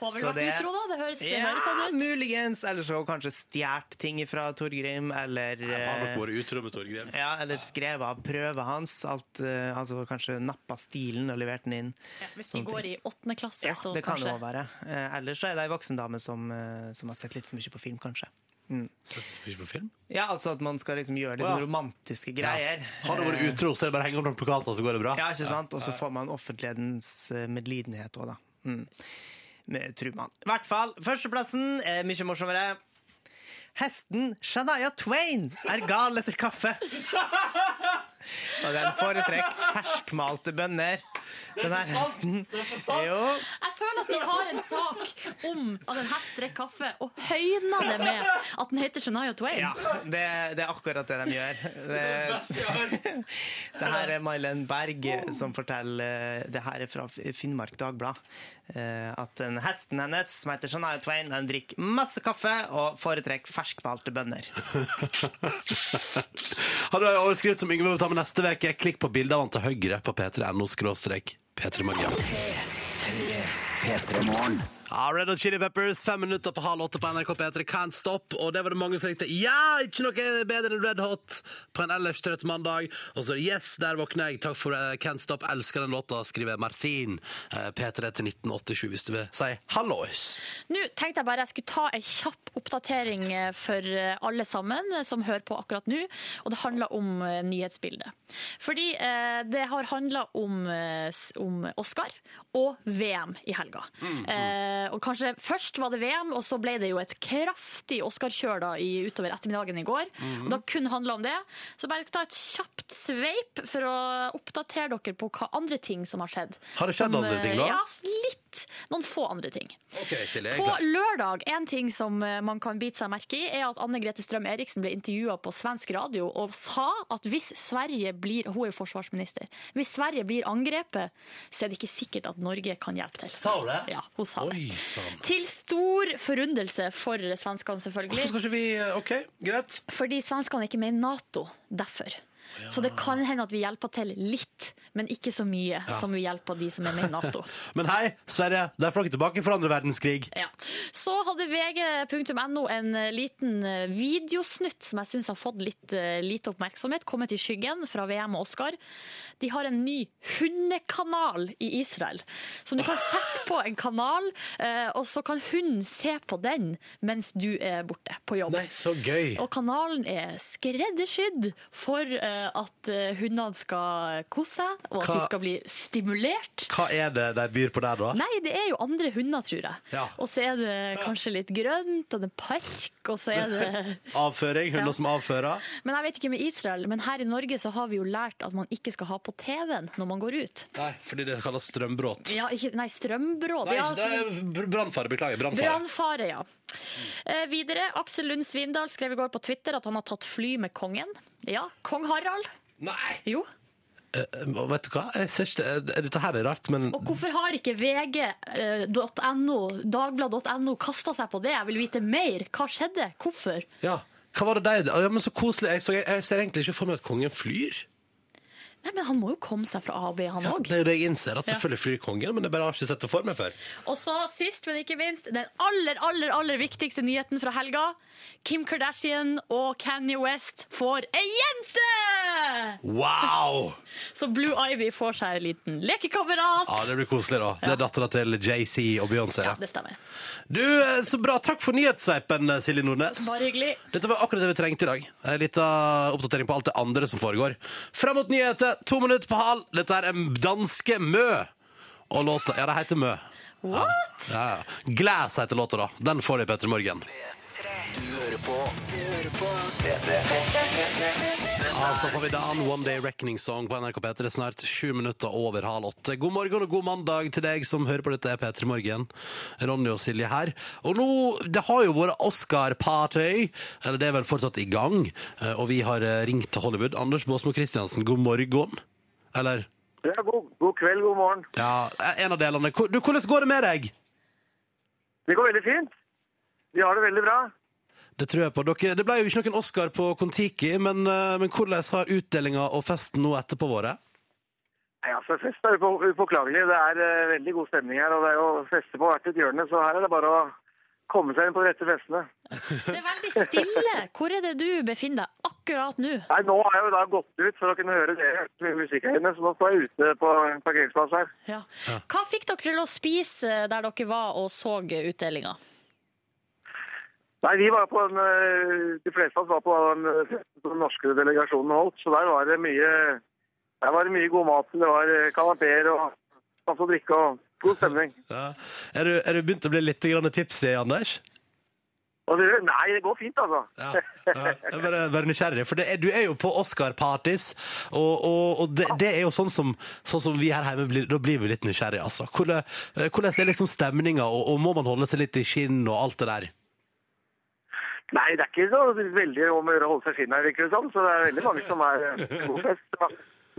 Hun har vel Så vært utro, da? Det høres, ja, høres sånn ut. Muligens. Eller så har hun kanskje stjålet ting fra Torgrim, eller Jeg har nok eh, vært utro med Torgrim. ja, eller skrevet av prøva hans. Alt, eh, altså kanskje nappa stilen og levert den inn. Hvis Sånne de går Sånn ting. i åttende klasse, så Det kan det kanskje. også være. Eh, Ellers så er det ei voksen dame som, eh, som har sett litt for mye på film, kanskje. Mm. Ikke på film? Ja, altså at man skal liksom gjøre litt Å, ja. sånn romantiske greier. Har du vært Eh, utro, så er det bare å henge opp noen plakater, så går det bra. Ja, ikke sant? Og så får man offentlighetens eh, medlidenhet òg, da. Mm. Med- Tror man. I hvert fall, førsteplassen er mye morsommere. Hesten Shania Twain er gal etter kaffe. Og den foretrekker ferskmalte bønner. Den her hesten. Jo. Jeg føler at de har en sak om at en hest drikker kaffe, og høyner det med at den heter Shania Twain. Ja, det, det er akkurat (laughs) det de gjør. Det, (laughs) det her er Mailen Berg eh, som forteller eh, Det her er fra Finnmark Dagblad. eh, At den hesten hennes, som heter Shania Twain, den drikker masse kaffe og foretrekker ferskbalte bønner. (laughs) Har du en overskrift som Yngve vil ta med neste uke? Klikk på bildet av han til høyre på p3.no skråstrek p3morgen. Ja, Red Hot Chili Peppers, fem minutter på halv åtte på NRK P3, Can't Stop. Og det var det mange som tenkte ja, ikke noe bedre enn Red Hot på en ellers trøtt mandag. Og så yes, der våkner jeg. Takk for eh, Can't Stop. Elsker den låta, skriver Marcin. Eh, P3 til 1987 hvis du vil si hallois. Nå tenkte jeg bare jeg skulle ta en kjapp oppdatering eh, for eh, alle sammen eh, som hører på akkurat nå, og det handler om eh, nyhetsbildet. Fordi eh, det har handla om, eh, s- om Oscar og VM i helga. Mm, Eh, og kanskje først var det VM, og så ble det jo et kraftig Oscar-kjør da i- utover ettermiddagen i går. Mm. Mhm. Og da kun handla om det. Så bare ta et kjapt sveip for å oppdatere dere på hva andre ting som har skjedd. Har det skjedd Som, andre ting eh, da? Ja, s- litt litt noen få andre ting. OK, Silje. jeg er På klar. lørdag, en ting som eh, man kan bite seg merke i, er at Anne Grete Strøm Eriksen ble intervjua på svensk radio og sa at hvis Sverige blir Hun er jo forsvarsminister. Hvis Sverige blir angrepet, så er det ikke sikkert at Norge kan hjelpe til. Sa hun det? Ja, hun sa Oi, det. sann. Til stor forundelse for svenskene, selvfølgelig. Hvorfor skal ikke vi eh, OK, greit. Fordi svenskene er ikke med i Nato, derfor. Så det kan hende at vi hjelper til litt, men ikke så mye Ja. som vi hjelper de som er med i Nato. (laughs) Men hei, Sverige, der fløy dere tilbake fra andre verdenskrig. Ja. Så hadde vg.no en eh, liten eh, videosnutt som jeg syns har fått litt eh, lite oppmerksomhet, kommet i skyggen fra VM og Oscar. De har en ny hundekanal i Israel, som du kan sette på en kanal, eh, og så kan hunden se på den mens du er borte på jobb. Nei, så gøy. Og kanalen er skreddersydd for eh, at eh, hundene skal kose seg, og at Hva- de skal bli stimulert. Hva er det de byr på der, da? Nei, det er jo andre hunder, tror jeg. Ja. Og så er det kanskje litt grønt, og det er park, og så er det Avføring? Hunder Ja. som avfører? Men jeg vet ikke med Israel, men her i Norge så har vi jo lært at man ikke skal ha på TV-en når man går ut. Nei, fordi det kalles strømbråt. Ja, ikke, nei, strømbråd. Nei, ja, ikke- det så- er br- brannfare. Beklager. Brannfare. Brannfare, ja. Eh, videre, Aksel Lund Svindal skrev i går på Twitter at han har tatt fly med kongen. Ja, kong Harald. Nei! Jo. Eh, eh, vet du hva? Jeg ser ikke, eh, det- dette her er rart, men Og hvorfor har ikke eh, vg.no, dagblad.no kasta seg på det? Jeg vil vite mer. Hva skjedde? Hvorfor? ja. Hva var det de ja, men Så koselig. Jeg, så jeg, jeg ser egentlig ikke for meg at kongen flyr. Nei, men han må jo komme seg fra A og B, han Ja, òg. det er jo det jeg innser, at Ja. selvfølgelig flyr kongen, men jeg bare har ikke sett det for meg før. Og så sist, men ikke minst, den aller, aller, aller viktigste nyheten fra helga. Kim Kardashian og Kanye West får ei jente! Wow! Så Blue Ivy får seg en liten lekekamerat. Ja, Det blir koselig, da. Det er dattera til JC og Beyoncé. Ja, Ja. det stemmer. Du, eh, Så bra. Takk for nyhetssveipen, eh, Silje Nordnes. Bare hyggelig. Dette var akkurat det vi trengte i dag. En liten eh, oppdatering på alt det andre som foregår. Fram mot nyheter, to minutter på halv. Dette er en danske Mø. Og låta Ja, det heter Mø. What? Ja, ja. Glass heter låta, da. Den får du i Petter Morgen. Du hører på. Du hører på. Altså får vi da en One Day Reckoning Song på NRK P3 snart sju minutter over halv åtte. God morgen og god mandag til deg som hører på dette er P3 Morgen. Ronny og Silje her. Og nå, det har jo vært Oscar-party, eller det er vel fortsatt i gang, eh, og vi har eh, ringt til Hollywood. Anders Båsmo Christiansen, god morgen. Eller? Ja, god, god kveld, god morgen. Ja, eh, en av delene. Hvor- Du, hvordan går det med deg? Det går veldig fint. Vi har det veldig bra. Det tror jeg på. Dere, det ble jo ikke noen Oscar på Kon-Tiki, men, eh, men hvordan har utdelinga og festen nå etterpå vært? Nei, altså, Fest er upo- upåklagelig. Det er eh, veldig god stemning her. Og det er jo fester på hvert et hjørne, så her er det bare å komme seg inn på de rette festene. Det er veldig stille. Hvor er det du befinner deg akkurat nå? Nei, Nå har jeg jo da gått ut for å kunne høre dere med musikken hennes, så nå står jeg ute på en parkeringsplass her. Ja. Hva fikk dere til å spise der dere var og så utdelinga? Nei, vi var på en, eh, De fleste av oss var på den eh, festen som den norske delegasjonen holdt, så der var det mye, der var det mye god mat. Det var eh, kanapeer og masse å drikke og god stemning. Ja. Er, du, er du begynt å bli litt grann tipsy, Anders? Og det, nei, det går fint, altså. Ja, jeg er bare, bare nysgjerrig, for det er, du er jo på Oscar-parties, og, og, og det, det er jo sånn som, sånn som vi her hjemme blir, da blir vi litt nysgjerrige, altså. Hvordan, eh, hvordan er liksom stemninga, og, og må man holde seg litt i skinn og alt det der? (laughs) Nei, det er ikke så veldig om å gjøre å holde seg skinn her, virker det som. Så det er veldig mange som er eh, god fest. Ja.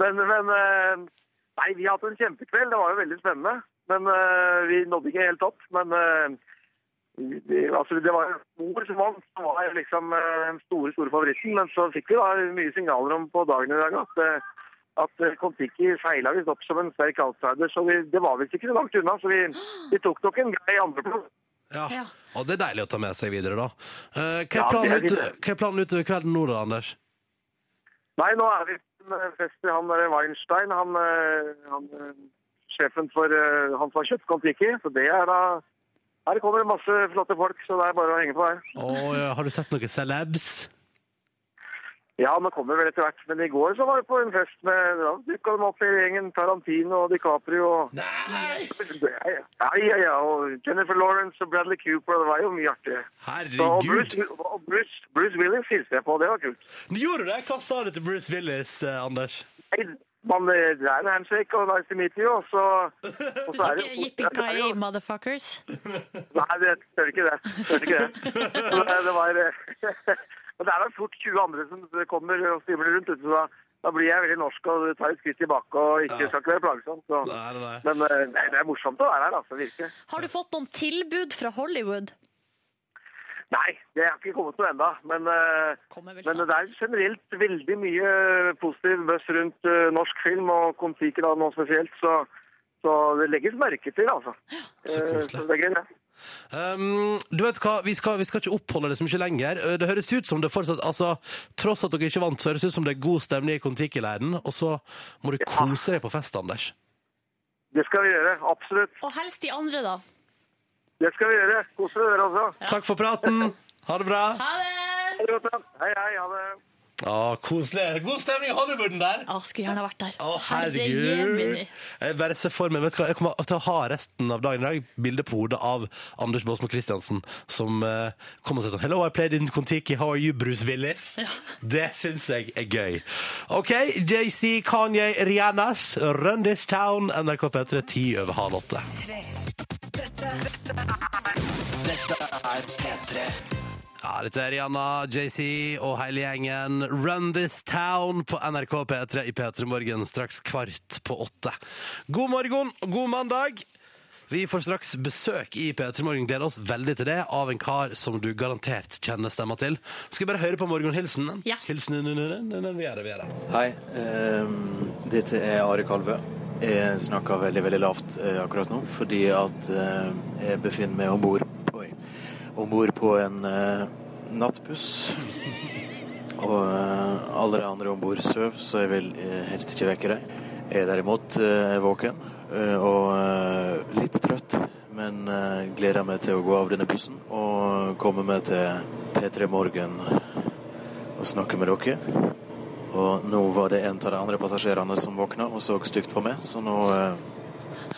Men, men eh, Nei, vi har hatt en kjempekveld. Det var jo veldig spennende. Men eh, vi nådde ikke helt opp. Men eh, vi- vi- altså, det var mor som vant, som var liksom eh, den store, store favoritten. Men så fikk vi da mye signaler om på dagen i dag at eh, at eh, Kon-Tiki feila visst opp som en sterk outsider, så vi, det var visst ikke så langt unna. Så vi, vi tok nok en grei andreplass. Ja. Og det er deilig å ta med seg videre, da. Eh, Hva Ja, er planen, det er ut, det. hva er planen utover kvelden nå, da, Anders? Nei, nå er vi på en eh, fest til han der Weinstein, han, eh, han eh, sjefen for eh, han som har kjøpt Kon-Tiki. Så det er da Her kommer det masse flotte folk, så det er bare å henge på her. Og, eh, har du sett noen celebs? Ja, men kommer vel etter hvert. Men i går så var det på en fest med Da dukka de opp hele gjengen. Tarantino og DiCaprio og Ja, ja, ja. Og Jennifer Lawrence og Bradley Cooper. og Det var jo mye artig. Herregud. Så, og Bruce, og Bruce, Bruce Willis hilste jeg på. Det var kult. Gjorde du det? Hva sa du til Bruce Willis, eh, Anders? Nei, man eh, det er en handshake og nice to meet you, og så, og Du så sa er det ikke yippee-ki-yay, motherfuckers? Nei, det tør ikke det. Tør ikke det. Men det, det var (laughs) eh, Men det er da fort 20 andre som kommer og stimler rundt, vet du, så da, da blir jeg veldig norsk og tar et skritt tilbake og ikke skal ikke være plagsom. Så. Men eh, nei, det er morsomt å være her, altså, virkelig. Har du fått noen tilbud fra Hollywood? Nei, det har ikke kommet noe ennå. Men, eh, men det er generelt veldig mye positiv buzz rundt eh, norsk film, og Kon-Tiki da nå spesielt. Så, så det legges merke til, altså. Så Eh, koselig. så det er greit, det. Um, du vet hva, vi skal, vi skal ikke oppholde det så mye lenger. Uh, Det høres ut som det fortsatt altså, Tross at dere ikke vant, så høres det ut som det er god stemning i Kon-Tiki-leiren. Og så må du kose deg på fest, Anders. Det skal vi gjøre, absolutt. Og helst de andre, da. Det skal vi gjøre. Kos dere også. Takk for praten. Ha det bra. Ha det! Hei, hei. Ha det. Ja, koselig. God stemning i Hollywooden der. Ja, skulle gjerne vært der. Å, Herre herregud. Jeg bare ser for meg, vet du hva, jeg kommer til å ha resten av dagen i dag bilde på hodet av Anders Båsmo Christiansen som eh, kommer og sier sånn Hello, I played in Kon-Tiki, how are you, Bruce Willis? Det syns jeg er gøy. OK, JC, Kanye, Rihannas, Run This Town, NRK P3, ti over halv åtte. Dette er P3. Ja, dette er Rihanna, JC og hele gjengen. Run This Town på NRK P3 i P3 Morgen straks kvart på åtte. God morgen og god mandag! Vi får straks besøk i P3 Morgen. Gleder oss veldig til det av en kar som du garantert kjenner stemma til. Skal vi bare høre på morgenhilsen? Ja. Hilsen, vi er det, vi er det. Hei, ehm, dette er Are Kalve. Jeg snakker veldig, veldig lavt eh, akkurat nå, fordi at eh, jeg befinner meg ombord oi, ombord på en eh, nattbuss. Og eh, alle de andre ombord søv, så jeg vil eh, helst ikke vekke deg. Jeg er derimot eh, våken eh, og eh, litt trøtt, men eh, gleder meg til å gå av denne bussen og komme meg til P3 Morgen og snakke med dere. Og nå var det en av de andre passasjerene som våkna og så stygt på meg, så nå eh,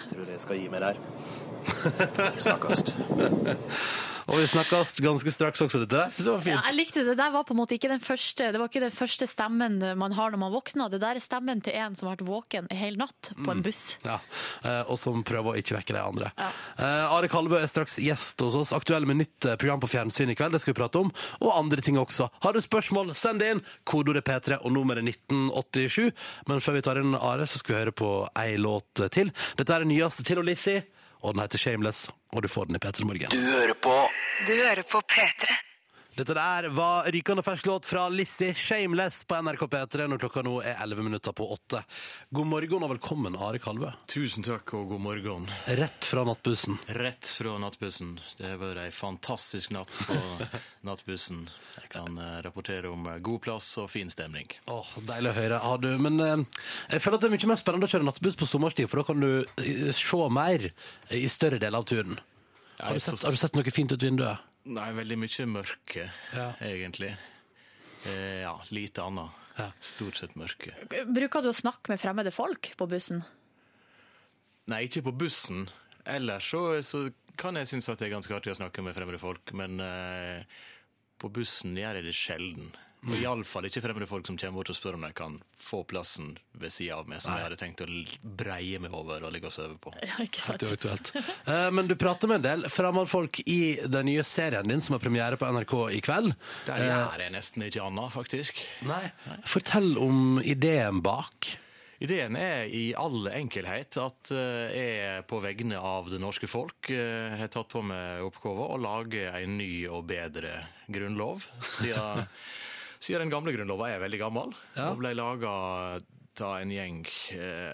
tror jeg jeg skal gi meg der. Snakkes. (laughs) Og vi snakkes ganske straks også. Dette der synes jeg var Ja, fint. jeg likte det. Det der var på en måte ikke den første Det var ikke den første stemmen man har når man våkner. Det der er stemmen til en som har vært våken en hel natt på en Mm. buss. Ja, eh, Og som prøver å ikke vekke de andre. Eh, Are Kalvø er straks gjest hos oss. Aktuell med nytt eh, program på fjernsyn i kveld. Det skal vi prate om. Og andre ting også. Har du spørsmål, send det inn. Kodeordet P3 og nummeret 1987. Men før vi tar inn Are, så skal vi høre på ei låt til. Dette er den nyeste til Lissi, og den heter Shameless. Og du får den i P3 Morgen. Du hører på Du hører på P3. Dette der var rykende fersk låt fra Lissi Shameless på NRK P3 når klokka nå er 11 minutter på åtte. God morgen og velkommen, Are Kalvø. Tusen takk og god morgen. Rett fra nattbussen. Rett fra nattbussen. Det har vært ei fantastisk natt (laughs) på nattbussen. Jeg kan eh, rapportere om eh, god plass og fin stemning. Åh, Deilig å høre. Har du, men eh, jeg føler at det er mye mer spennende å kjøre nattbuss på sommerstid, for da kan du eh, se mer eh, i større deler av turen. Har du, så- sett, har du sett noe fint ut vinduet? Nei, veldig mye mørke, egentlig. Eh, ja, lite annet. Stort sett mørke. Bruker du å snakke med fremmede folk på bussen? Nei, ikke på bussen. Ellers så, så kan jeg synes at det er ganske artig å snakke med fremmede folk, men eh, på bussen gjør jeg det sjelden. Og Mm. Iallfall ikke fremmede folk som kommer bort og spør om de kan få plassen ved sida av meg, som jeg hadde tenkt å l- breie meg over og ligge og sove på. Helt uaktuelt. Eh, men du prater med en del fremmedfolk i den nye serien din som har premiere på NRK i kveld. Der gjør jeg nesten ikke annet, faktisk. Eh. Nei. Eh, Fortell om ideen bak. Ideen er i all enkelhet at eh, jeg på vegne av det norske folk eh, har tatt på meg oppgaven å lage en ny og bedre grunnlov. Siden, (laughs) siden den gamle grunnloven er veldig gammel og ble laga av en gjeng eh,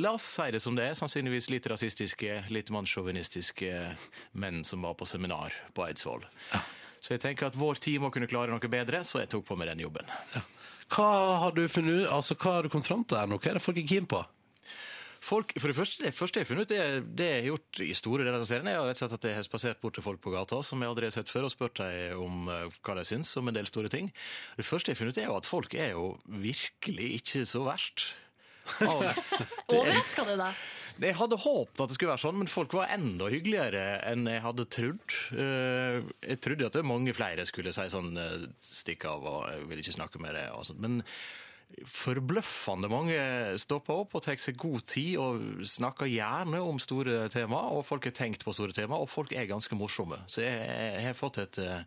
La oss si det som det er, sannsynligvis litt rasistiske, litt mannssjåvinistiske menn som var på seminar på Eidsvoll. Så jeg tenker at vår tid må kunne klare noe bedre, så jeg tok på meg den jobben. Hva har du funnet ut? Altså, hva har du kommet fram til her nå? Hva er det folk er keen på? Folk, for det første, det første jeg har funnet ut, det, det jeg har gjort i store deler av serien, er jo rett og slett at jeg har spasert bort til folk på gata som jeg aldri har sett før, og spurt dem om eh, hva de syns om en del store ting. Det første jeg har funnet ut, er jo at folk er jo virkelig ikke så verst. Av- Overraska det deg? jeg hadde håpet at det skulle være sånn, men folk var enda hyggeligere enn jeg hadde trodd. Eh, Jeg trodde at det var mange flere skulle si sånn eh, 'stikk av' og 'jeg vil ikke snakke med deg' og sånt. Men Forbløffende mange stopper opp og tar seg god tid og snakker gjerne om store tema, og folk har tenkt på store tema, og folk er ganske morsomme. Så jeg, jeg har fått et eh,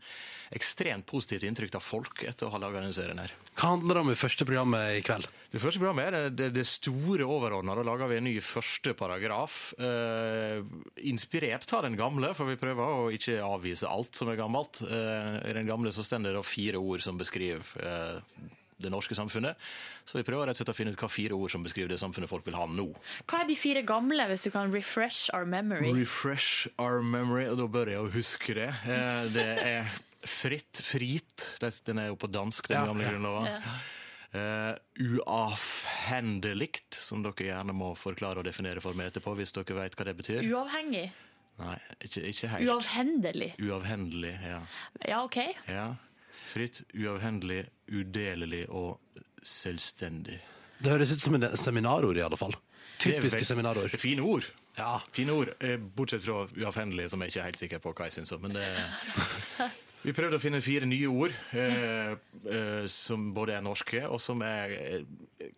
ekstremt positivt inntrykk av folk etter å ha laga denne serien her. Hva handler det om i første programmet i kveld? Det første programmet er det, det store overordna. Da lager vi en ny første paragraf. Eh, inspirert av den gamle, for vi prøver å ikke avvise alt som er gammelt. Eh, I den gamle så står det da fire ord som beskriver eh, det norske samfunnet. Så vi prøver rett og slett å finne ut hva fire ord som beskriver det samfunnet folk vil ha nå. Hva er de fire gamle, hvis du kan refresh our memory? Refresh our memory, og da bør jeg jo huske det. Eh, Det er fritt, frit. Det- Den er jo på dansk, den Ja, gamle ja. grunnloven. Eh, uavhendelikt, som dere gjerne må forklare og definere for meg etterpå, hvis dere vet hva det betyr. Uavhengig? Nei, ikke, ikke helt. Uavhendelig? Uavhendelig, ja. Ja, OK. ja. Fritt, uavhendelig, udelelig og selvstendig. Det høres ut som en seminarord, i alle fall. Det er Typiske vel- seminarord. det er Fine ord. Fine ord. eh, Bortsett fra uavhendelig, som jeg ikke er helt sikker på hva jeg syns om. Men det (laughs) Vi prøvde å finne fire nye ord eh, eh, som både er norske, og som er eh,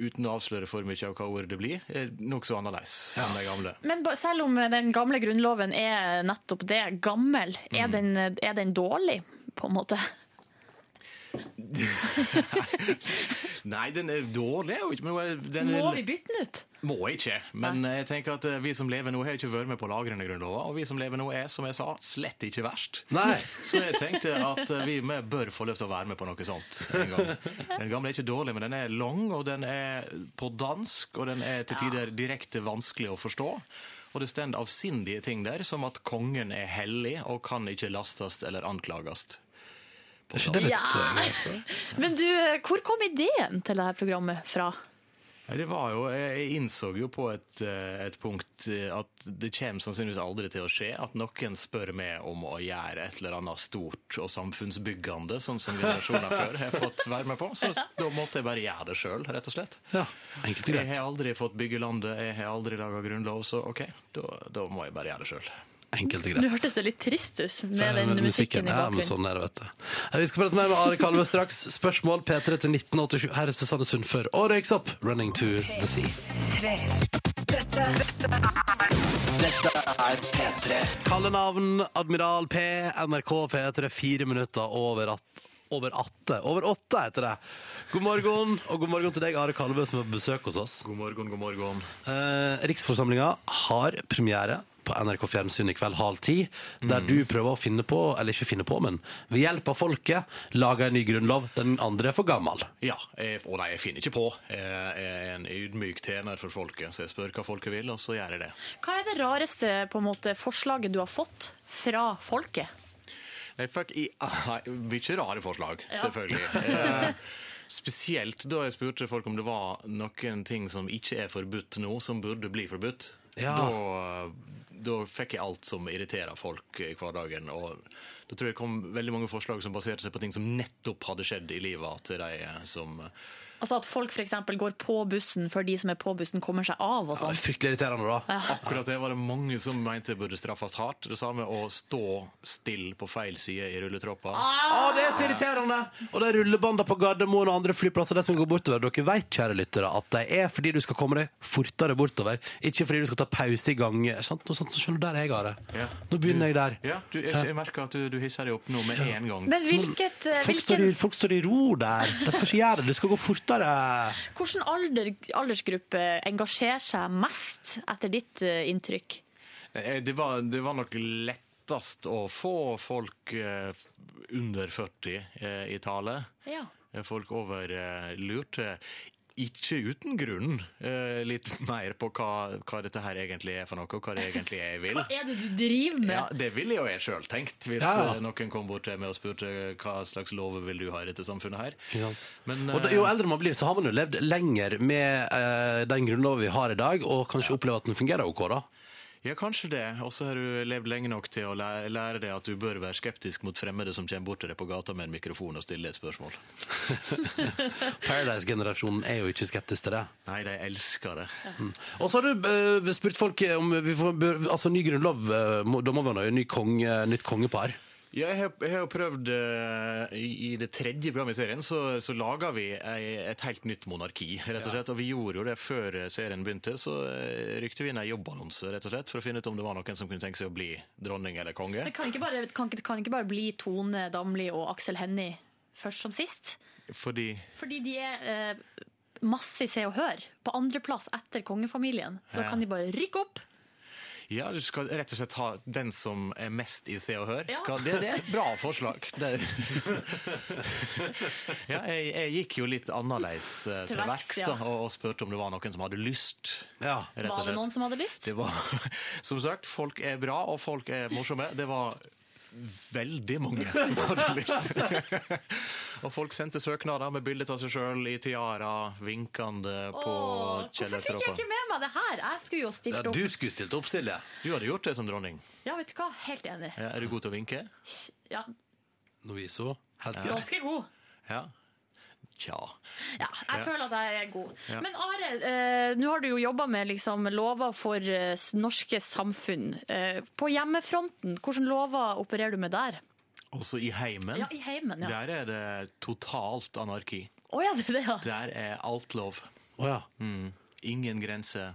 Uten å avsløre for mye av hva ordet det blir, eh, nokså annerledes enn de gamle. Men ba- selv om eh, den gamle grunnloven er nettopp det, gammel, er, den, eh, er den dårlig, på en måte? Nei, den er dårlig, er jo ikke, men eh, den er Må vi bytte den ut? Må ikke, men jeg tenker at eh, vi som lever nå, har ikke vært med på å lagre denne grunnloven. Og vi som lever nå, er, som jeg sa, slett ikke verst. Nei. (laughs) Så jeg tenkte at eh, vi med bør få lov til å være med på noe sånt en gang. Den gamle er ikke dårlig, men den er lang, og den er på dansk, og den er til tider direkte vanskelig å forstå. Og det står avsindige ting der, som at kongen er hellig og kan ikke lastes eller anklages. Er det litt, Ja. Men du, eh, hvor kom ideen til dette programmet fra? Nei, Det var jo, jeg innså jo på et, eh, et punkt eh, at det kommer sannsynligvis aldri til å skje at noen spør meg om å gjøre et eller annet stort og samfunnsbyggende, sånn som (laughs) generasjoner før har fått være med på. Så da måtte jeg bare gjøre det sjøl, rett og slett. Enkelt og Jeg greit. har aldri fått bygge landet, jeg har aldri laga grunnlov, så OK, da, da må jeg bare gjøre det sjøl. Enkelt og greit. Nå hørtes det litt trist ut med den Med musikken i Ja, men bakgrunnen. sånn er det, vet du. Eh, Vi skal prate mer med Are Kalve straks. Spørsmål P3 til 1987. Her er Susanne Sundfør og Røyks opp, 'Running to the Sea'. Tre. Dette, dette er Dette er P3. Kalle navn Admiral P, NRK P3, fire minutter over at over atte. Over åtte heter det. God morgen, og god morgen til deg, Are Kalve, som er på besøk hos oss. God morgen, god morgen. Eh, Riksforsamlinga har premiere på NRK Fjernsyn i kveld halv ti, der du prøver å finne på, eller ikke finne på, men ved hjelp av folket lager en ny grunnlov. Den andre er for gammel. Ja, jeg, og nei, jeg finner ikke på. Jeg er en ydmyk tjener for folket, så jeg spør hva folket vil, og så gjør jeg det. Hva er det rareste på en måte, forslaget du har fått fra folket? Jeg fikk i, (laughs) nei, mye rare forslag, Ja. selvfølgelig. Eh, spesielt da jeg spurte folk om det var noen ting som ikke er forbudt nå, som burde bli forbudt. Ja. Da, da fikk jeg alt som irriterer folk i hverdagen. Og da tror jeg kom veldig mange forslag som baserte seg på ting som nettopp hadde skjedd i livet til de som Altså At folk f.eks. går på bussen før de som er på bussen, kommer seg av og Ja, det er sånn. fryktelig irriterende, da. Akkurat det var det mange som mente burde straffes hardt. Det samme å stå still på feil side i Å, rulletrappa. Ah, det er så irriterende! Og de rullebanda på Gardermoen og andre flyplasser de som går bortover, dere vet, kjære lyttere, at de er fordi du skal komme deg fortere bortover, ikke fordi du skal ta pause i gange. Sant? Nå, sant? Nå skjønner du der jeg har det. Ja. Nå begynner jeg der. Ja, du, jeg, jeg merker at du, du hisser deg opp nå med en gang. Men hvilket, eh, Folk står, i, hvilken, folk står i ro der. De skal ikke gjøre det. Det skal gå fortere. hvilken alder, aldersgruppe engasjerer seg mest, etter ditt eh, inntrykk? Eh, Det var, det var nok lettest å få folk eh, under 40 eh, i tale. Ja. Eh, Folk over eh, lurte. Ikke uten grunn eh, litt (laughs) mer på hva, hva dette her egentlig er for noe, og hva det egentlig er jeg vil. Hva er det du driver med? Ja, Det ville jo jeg sjøl tenkt, hvis Ja. eh, noen kom bort til meg og spurte hva slags lover vil du ha i dette samfunnet her. Men, Og da, eh, jo eldre man blir, så har man jo levd lenger med eh, den grunnloven vi har i dag, og kanskje opplever at den fungerer OK, da. Ja, kanskje det. Og så har du levd lenge nok til å læ- lære deg at du bør være skeptisk mot fremmede som kommer bort til deg på gata med en mikrofon og stiller et spørsmål. (laughs) Paradise-generasjonen er jo ikke skeptisk til det. Nei, de elsker det. Mm. Og så har du eh, spurt folk om vi får, bør, altså, ny grunnlov. eh, må, da må vi ha noe ny konge, nytt kongepar. Ja, jeg har, jeg har jo prøvd eh, i, I det tredje programmet i serien så, så laga vi ei, et helt nytt monarki, rett og slett. Og vi gjorde jo det før serien begynte. Så eh, rykte vi inn ei jobbannonse rett og slett, for å finne ut om det var noen som kunne tenke seg å bli dronning eller konge. Det kan ikke bare, kan, ikke- kan ikke bare bli Tone Damli og Aksel Hennie først som sist. Fordi Fordi de er eh, masse i Se og Hør. På andreplass etter kongefamilien. Så Ja. da kan de bare rykke opp. Ja, du skal rett og slett ha den som er mest i Se og Hør. Ja. Skal, det, det er et bra forslag. Det. (laughs) Ja, jeg, jeg gikk jo litt annerledes eh, Til til verks, verks ja. da, og, og spurte om det var noen som hadde lyst. rett og Var det slett. noen som hadde lyst? Det var, (laughs) som sagt, folk er bra, og folk er morsomme. Det var veldig mange som hadde lyst. (laughs) og folk sendte søknader med bilde av seg sjøl i tiara, vinkende på Åh, Kjell hvorfor fikk jeg ikke med meg det her? Jeg skulle jo stilt opp. skulle stilt opp, Silje. Du hadde gjort det som dronning. Ja, vet du hva? Helt enig. Ja, er du god til å vinke? Ja, Nå viser hun. Helt Ganske god. Ja. Tja. Ja, jeg Ja. føler at jeg er god. Ja. Men Are, eh, nå har du jo jobba med liksom, lover for eh, s- norske samfunn. Eh, på hjemmefronten, hvilke lover opererer du med der? Også i heimen. Ja, i heimen, ja. Der er det totalt anarki. Å ja, det er det, ja. Der er alt lov. Mm. Ingen grenser.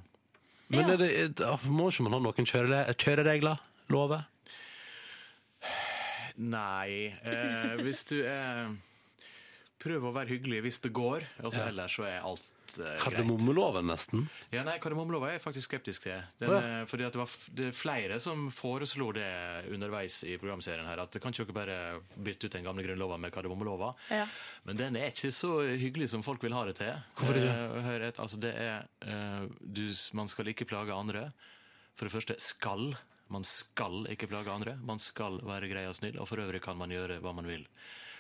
Men er det, er, Eh, da må ikke man ha noen kjørele- eh, kjøreregler? Lover? Nei. Eh, hvis du er Prøv å være hyggelig hvis det går, og så ellers så er alt eh, greit. Kardemommeloven, nesten. Ja, nei, Kardemommelova er jeg faktisk skeptisk til. Den, Å, eh, Fordi at det var f det er flere som foreslo det underveis i programserien her, at kan ikke dere bare bytte ut den gamle grunnlova med kardemommelova? Ja. Men den er ikke så hyggelig som folk vil ha det til. Hvorfor ikke? Eh, hør et, altså det er, eh, du, man skal ikke plage andre. For det første skal. Man skal ikke plage andre. Man skal være grei og snill, og for øvrig kan man gjøre hva man vil.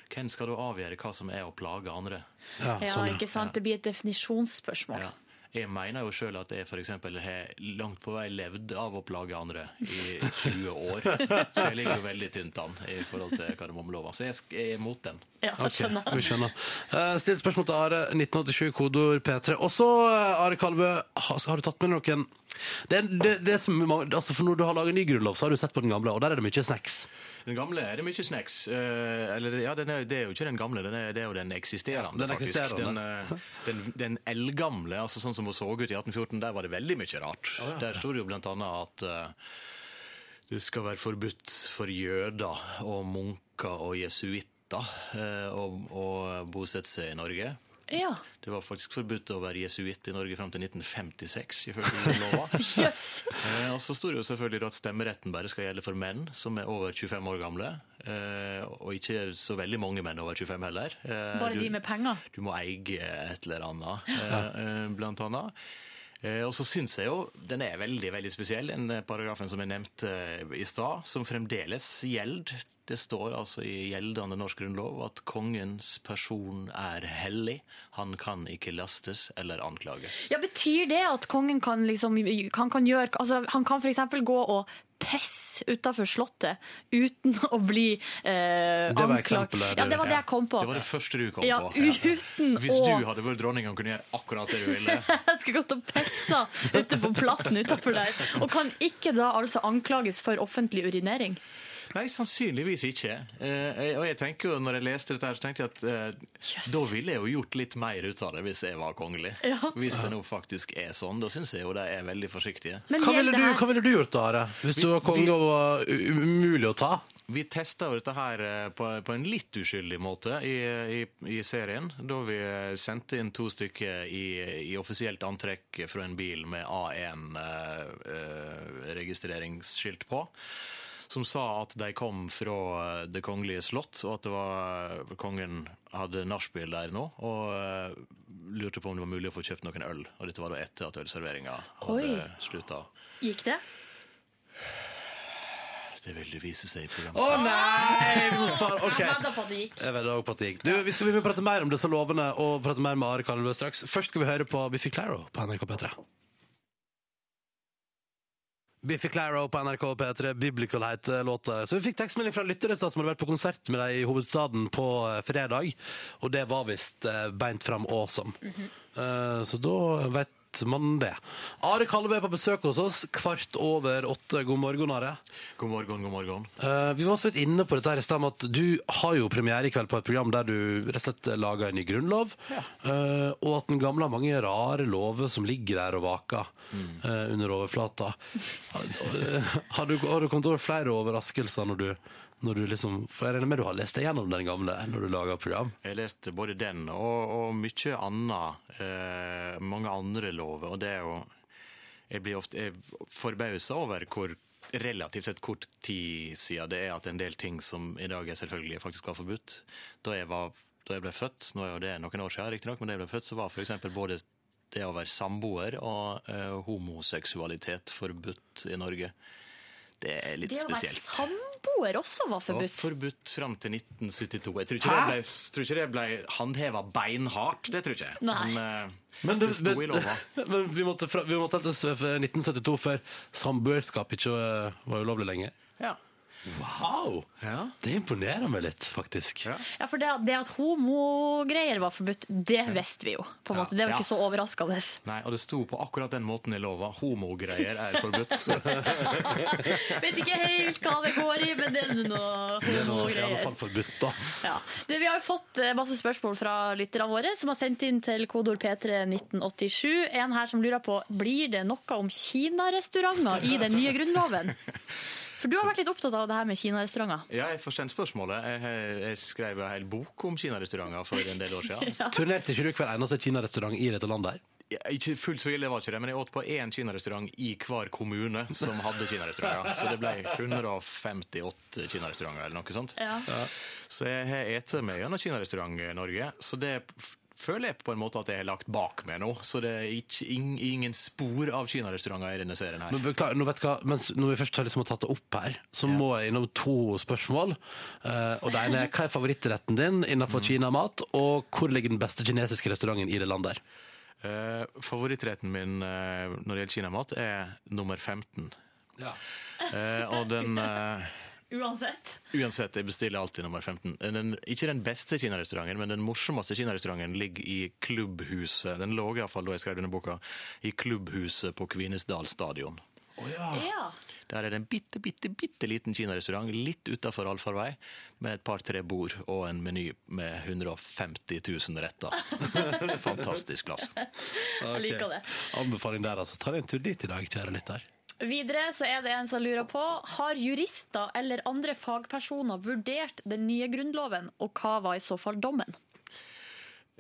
Hvem skal da avgjøre hva som er å plage andre? Ja, ikke sant? Det blir et definisjonsspørsmål. sånn, Ja. Jeg mener jo sjøl at jeg for eksempel har langt på vei levd av å plage andre i 20 år. Så jeg ligger jo veldig tynt an i forhold til kardemommelova. Så jeg sk- jeg er mot den. Ok, vi skjønner. Eh, Still spørsmål til Are. 1987, kodeord P3. Og så, eh, Are Kalvø, har, har du tatt med noen det, er- det, det er som, mange- altså for Når du har laget ny grunnlov, så har du sett på den gamle, og der er det mye snacks. Den gamle er det mye snacks. Eh, eller, ja, den er, det er jo ikke den gamle, den er, det er jo den eksisterende. Ja, den faktisk. eksisterende. Den, eh, den, den eldgamle, altså sånn som hun så ut i 1814, der var det veldig mye rart. ja. Der sto det jo blant annet at eh, det skal være forbudt for jøder og munker og jesuitter eh, å å bosette seg i Norge. Ja. Det var faktisk forbudt å være jesuitt i Norge fram til 1956, ifølge (laughs) lova. Eh, Og så sto det jo selvfølgelig da at stemmeretten bare skal gjelde for menn som er over 25 år gamle. eh, Og ikke så veldig mange menn over 25 heller. Eh, Bare du- de med penger. du må eie et eller annet, eh, eh, blant annet. Eh, Og så syns jeg jo den er veldig veldig spesiell, den eh, paragrafen som jeg nevnte eh, i stad, som fremdeles gjelder. Det står altså i gjeldende norsk grunnlov at kongens person er hellig. Han kan ikke lastes eller anklages. Ja, Betyr det at kongen kan, liksom, han kan gjøre altså, Han kan f.eks. gå og pisse utafor Slottet uten (laughs) å bli eh, Det var anklagd? eksempelet. Ja, det var det jeg kom på. Det var det første du kom Ja, på. uten Hvis å- du hadde vært dronning og kunne gjøre akkurat det du ville. (laughs) Jeg skulle gått og pissa ute på plassen utafor der. Og kan ikke da altså anklages for offentlig urinering. Nei, sannsynligvis ikke. Eh, jeg- og jeg tenker jo, når jeg leste dette, her, så tenkte jeg at eh, da ville jeg jo gjort litt mer ut av det hvis jeg var kongelig. Ja. Hvis det nå faktisk er sånn. Da syns jeg jo de er veldig forsiktige. Men Hva ville, gjelder du, det hva ville du gjort, Are? Hvis du var konge og var u- umulig å ta? Vi testa dette her eh, på, på en litt uskyldig måte i, i, i serien, da vi eh, sendte inn to stykker i, i offisielt antrekk fra en bil med A1-registreringsskilt på. Som sa at de kom fra eh, Det kongelige slott, og at det var, eh, kongen hadde nachspiel der nå. Og eh, lurte på om det var mulig å få kjøpt noen øl. Og dette var da etter at ølserveringa Oi. hadde slutta. Gikk det? Det vil det vise seg i programmet. Å nei! Vi må spare. Ok. Jeg vedder på at det gikk. Jeg vet også på at det gikk. Du, vi skal begynne å prate mer om disse lovene og prate mer med Are Kalvø straks. Først skal vi høre på Biffy Claro på NRK P3. Biffy Claro på NRK P3, Biblical heter låta. Så vi fikk tekstmelding fra lyttere som hadde vært på konsert med deg i hovedstaden på eh, fredag, og det var visst eh, beint fram awesome. Eh, Så da vet vet man det. Are Kalve er på besøk hos oss kvart over åtte. God morgen, Are. God morgen, god morgen. Eh, vi var så vidt inne på dette her i sted med at du har jo premiere i kveld på et program der du rett og slett lager en ny grunnlov, eh, og at den gamle har mange rare lover som ligger der og vaker eh, under overflata. (laughs) har, du, har du kommet over flere overraskelser når du, når du liksom For jeg regner med du har lest deg gjennom den gamle når du lager program? Jeg leste både den og, og mye annet. Eh, mange andre lover. Og det er jo Jeg blir ofte forbausa over hvor relativt sett kort tid siden det er at en del ting som i dag er selvfølgelig faktisk var forbudt. Da jeg, var, da jeg ble født, nå er jo det noen år siden riktignok, men da jeg ble født, så var f.eks. både det å være samboer og eh, homoseksualitet forbudt i Norge. Det er litt Det å være spesielt. samboer også var Det var forbudt. forbudt fram til 1972. Jeg tror ikke, Hæ? det ble, tror ikke det ble håndheva beinhardt, det tror jeg ikke. Nei. Men, eh, Men, du, det sto i men, lova. (laughs) men vi måtte, fra, vi måtte hentes fra 1972 før samboerskap ikke eh, var ulovlig lenger. Ja. Wow! Det imponerer meg litt, faktisk. Ja, for det, det at homogreier var forbudt, det visste vi jo. på en måte. Det var Ja. ikke så overraskende. Nei, og det sto på akkurat den måten i lova. Homogreier (laughs) er forbudt. Vet ikke helt hva det går i, men det er noe Det er nå i alle homogreier. fall forbudt, da. Ja. Du, vi har jo fått eh, masse spørsmål fra lytterne våre, som har sendt inn til kodeord P31987. En her som lurer på blir det noe om kinarestauranter i den nye grunnloven. For du har vært litt opptatt av det her med kinarestauranter. Ja, jeg forstår spørsmålet. Jeg, jeg- jeg skrev en hel bok om kinarestauranter for en del år siden. Turnerte ikke du hver eneste kinarestaurant i dette landet? her? Ja, Ikke fullt så ille var ikke det, men jeg åt på én kinarestaurant i hver kommune som hadde kinarestauranter. Så det ble 158 kinarestauranter eller noe sånt. Ja. Ja. Så jeg har spist meg gjennom kinarestaurant i Norge. Så det f- føler jeg på en måte at jeg har lagt bak meg nå. Så det er ikke, ing- ingen spor av kinarestauranter i denne serien her. Men beklager, nå vet du hva, mens, når vi først har liksom tatt det opp her, så må jeg innom to spørsmål. Eh, og det ene er, Hva er favorittretten din innenfor kinamat, og hvor ligger den beste kinesiske restauranten i det landet? der? Eh, favorittretten min eh, når det gjelder kinamat, er nummer 15. Eh, og den eh, Uansett. Uansett, jeg bestiller alltid nummer 15. Den, ikke den beste kinarestauranten, men den morsomste kinarestauranten ligger i klubbhuset. Den lå iallfall da jeg skrev denne boka, i klubbhuset på Kvinesdal stadion. Ja. Der er det en bitte, bitte, bitte liten kinarestaurant litt utafor allfarvei, med et par-tre bord og en meny med 150 000 retter. (laughs) Fantastisk, altså. Jeg liker det. Anbefaling der, altså. Ta deg en tur dit i dag, kjære lytter. Videre så er det en som lurer på Har jurister eller andre fagpersoner vurdert den nye grunnloven, og hva var i så fall dommen?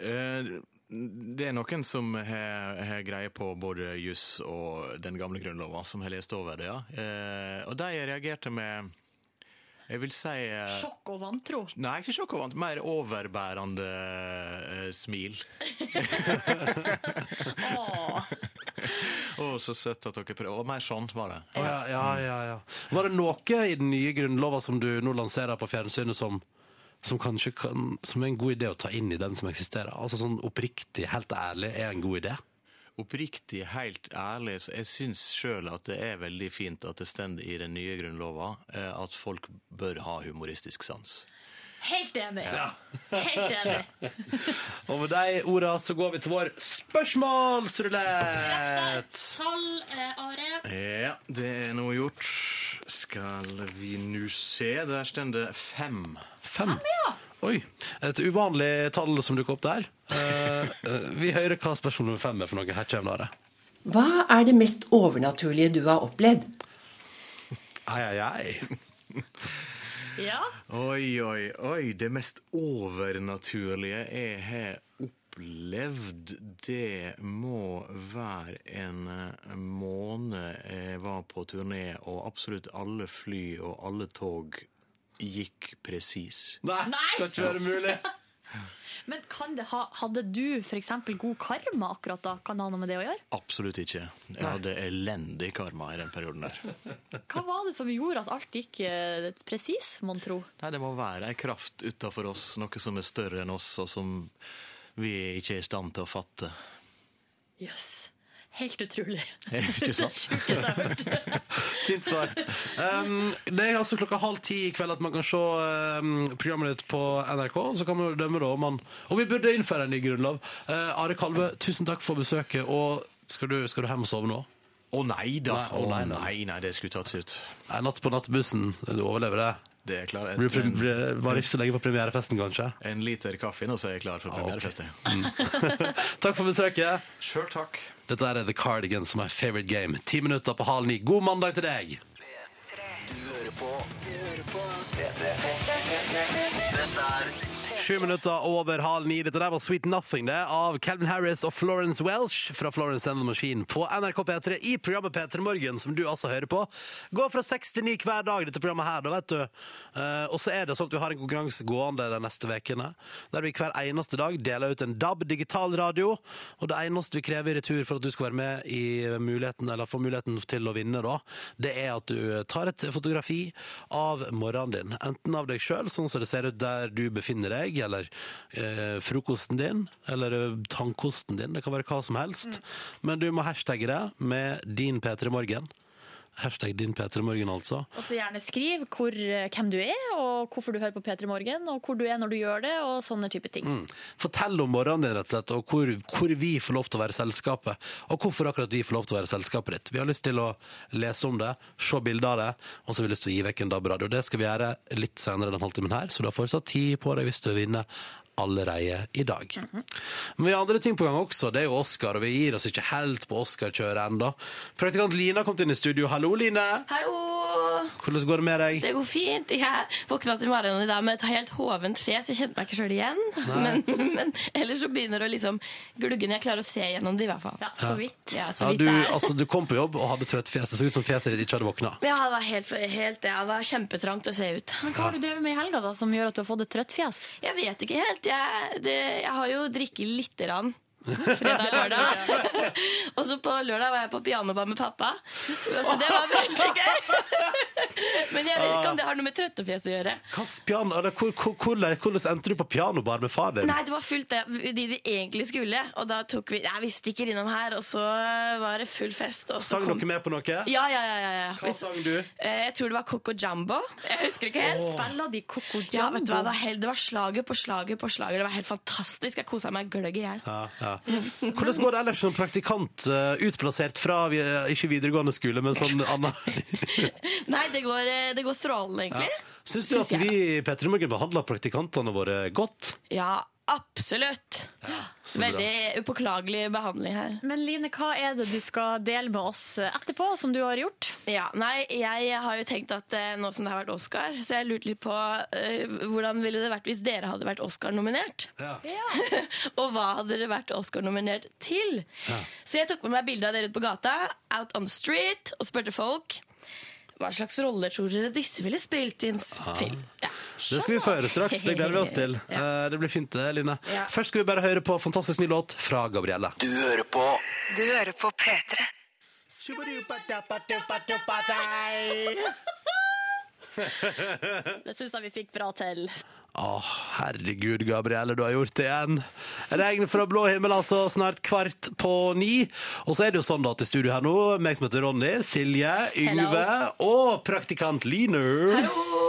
Eh, Det er noen som har har greie på både juss og den gamle grunnlova, som har lest over det, ja. Eh, Og de reagerte med Eh, Jeg vil si eh, Sjokk og vantro. Nei, ikke sjokk og vant. Mer overbærende eh, smil. Å, så søtt at dere prøver. Og mer sånn var det. Å, ja, ja, ja, ja. Var det noe i den nye grunnlova som du nå lanserer på fjernsynet som, som kanskje kan, som er en god idé å ta inn i den som eksisterer? Altså sånn oppriktig, helt ærlig, er en god idé? Oppriktig, helt ærlig, så jeg syns sjøl at det er veldig fint at det står i den nye grunnlova eh, at folk bør ha humoristisk sans. Helt enig. Ja. Helt (laughs) enig. Og med de orda så går vi til vår spørsmålsrulett. Tall, eh, Are. Ja, det er nå gjort. Skal vi nå se. Der står det fem. Fem. Oi. Et uvanlig tall som dukker opp der. Eh, eh, vi hører hva spørsmål nummer fem er for noe. Her kommer det. Hva er det mest overnaturlige du har opplevd? Ai, ai, ai. Ja. Oi, oi, oi. Det mest overnaturlige jeg har opplevd, det må være en eh, måned jeg var på turné, og absolutt alle fly og alle tog gikk presis. Nei, skal ikke være mulig. Men kan det ha, hadde du f.eks. god karma akkurat da? Kan det ha noe med det å gjøre? Absolutt ikke. Jeg hadde elendig karma i den perioden der. Hva var det som gjorde at alt gikk eh, presis, mon tro? Nei, det må være ei kraft utafor oss, noe som er større enn oss, og som vi ikke er i stand til å (laughs) fatte. Jøss. Helt utrolig. Ikke (laughs) sant? Det altså. sjukeste jeg har hørt. Sint svart. Um, det er altså klokka halv ti i kveld at man kan se um, programmet ditt på NRK. Så kan man jo dømme da om man Og vi burde innføre en ny grunnlov. Eh, Are Kalve, tusen takk for besøket, og Skal du, skal du hjem og sove nå? Å nei da. Nei, Å å nei, nei, nei, det skulle tatt seg ut. Nei, natt på nattbussen. Du overlever det. Det er klart. Blir, blir, blir, var ikke så lenge på premierefesten, kanskje? En liter kaffe nå, så er jeg klar for Ah, premierefest. Mm. (laughs) Takk for besøket. Sjøl takk. Dette er The Cardigans, my favorite game. Ti minutter på halv ni. God mandag til deg! Sju minutter over halv ni. Dette der var Sweet Nothing det, av Calvin Harris og Florence Welsh fra Florence and the Machine på NRK P3 i programmet P3 Morgen, som du altså hører på. Går fra seks til ni hver dag, dette programmet her, da, vet du. Eh, og så er det sånn at vi har en konkurranse gående de neste ukene, der vi hver eneste dag deler ut en DAB digital radio. Og det eneste vi krever i retur for at du skal være med i muligheten, eller få muligheten til å vinne, da, det er at du tar et fotografi av morgenen din. Enten av deg sjøl, sånn som det ser ut der du befinner deg, eller eh, frokosten din, eller eh, tannkosten din. Det kan være hva som helst. Men du må hashtagge det med din P3 Morgen. Hashtag din P3 Morgen, altså. Og så gjerne skriv hvor, eh, hvem du er, og hvorfor du hører på P3 Morgen, og hvor du er når du gjør det, og sånne type ting. Mm. Fortell om morgenen din, rett og slett, og hvor, hvor vi får lov til å være selskapet. Og hvorfor akkurat vi får lov til å være selskapet ditt. Vi har lyst til å lese om det, se bilder av det, og så har vi lyst til å gi vekk en DAB-radio. Det skal vi gjøre litt senere den halvtimen her, så du har fortsatt tid på deg hvis du vil vinne allerede i dag. Men vi har andre ting på gang også. Det er jo Oscar, og vi gir oss ikke helt på Oscar-kjøret ennå. Praktikant Lina har kommet inn i studio. Hallo, Line! Hallo! Hvordan går det med deg? Det går fint. Jeg våkna til morgenen i dag med et helt hovent fjes. Jeg kjente meg ikke sjøl igjen. Men, Nei. men ellers så begynner det å liksom glugge når jeg klarer å se gjennom det, i hvert fall. Ja, så vidt. Ja, Ja, du, altså, du kom på jobb og hadde trøtt fjes. Det så ut som fjeset ditt ikke hadde våkna. det var helt, helt ja, det var kjempetrangt å se ut. Men hva har du drevet med i helga da, som gjør at du har fått et trøtt fjes? Jeg vet ikke helt. Jeg, det, jeg har jo drikket lite grann. Fredag og lørdag. (laughs) og så på lørdag var jeg på pianobar med pappa. Så det var veldig gøy. Men jeg vet ikke om det har noe med trøttefjes å gjøre. Hvilken piano- eller hvor- hvor- Hvordan hvordan endte du på pianobar med far din? Nei, det var fullt det de vi egentlig skulle. Og da tok vi Nei, vi stikker innom her, og så var det full fest. Og så Sang altså, dere kom- med på noe? Ja, ja, ja. ja, ja. Hva sang du? Eh, Jeg tror det var Coco Jumbo. Jeg husker ikke helt. Åh. Spiller de Coco Jumbo? Ja, vet du hva, det, var helt, det var slager på slager på slager. Det var helt fantastisk. Jeg kosa meg gløgg i hjel. Ja, ja. (laughs) Mm. Hvordan går det ellers som praktikant, eh, utplassert fra vi- eh, ikke videregående skole, men (laughs) sånn anna? (laughs) Nei, det går, eh, det går Ja. strålende, egentlig. Syns du at jeg. vi i Petter i Morgen behandler praktikantene våre godt? Ja, absolutt. så bra. Veldig upåklagelig behandling her. Men Line, hva er det du skal dele med oss eh, etterpå, som du har gjort? Ja, nei, jeg har jo tenkt at eh, nå som det har vært Oscar, så jeg lurte litt på eh, hvordan ville det vært hvis dere hadde vært Oscar-nominert? (laughs) og hva hadde dere vært Oscar-nominert til? Så jeg tok med meg bilde av dere ute på gata, out on the street, og spurte folk hva slags roller tror dere disse ville spilt i en s- Ah. film? Det skal vi få høre straks. Det gleder vi oss (laughs) til. Eh, Det blir fint, det, Line. Ja. Først skal vi bare høre på fantastisk ny låt fra Gabrielle. Du hører på Du hører på P3. (laughs) Det syns jeg vi fikk bra til. Å, herregud, Gabrielle, du har gjort det igjen. Regn fra blå himmel, altså. Snart kvart på ni. Og så er det jo sånn da at i studio her nå, meg som heter Ronny, Silje, Yngve og praktikant Line. Hallo!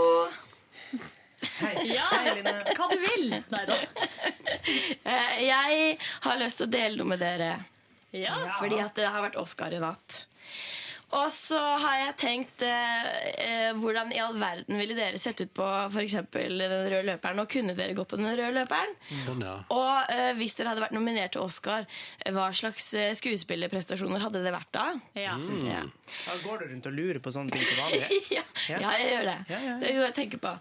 Ja, hva du vil. Nei da. (laughs) Eh, Jeg har lyst til å dele noe med dere. Ja. Fordi at det har vært Oscar i natt. Og så har jeg tenkt eh, eh, hvordan i all verden ville dere sett ut på f.eks. den røde løperen? Og kunne dere gå på den røde løperen? Sånn, ja. Og eh, hvis dere hadde vært nominert til Oscar, eh, hva slags eh, skuespillerprestasjoner hadde det vært da? Mm. Ja. Da går du rundt og lurer på sånne ting til vanlig. (laughs) ja, ja, jeg gjør det. Det er jo det jeg tenker på.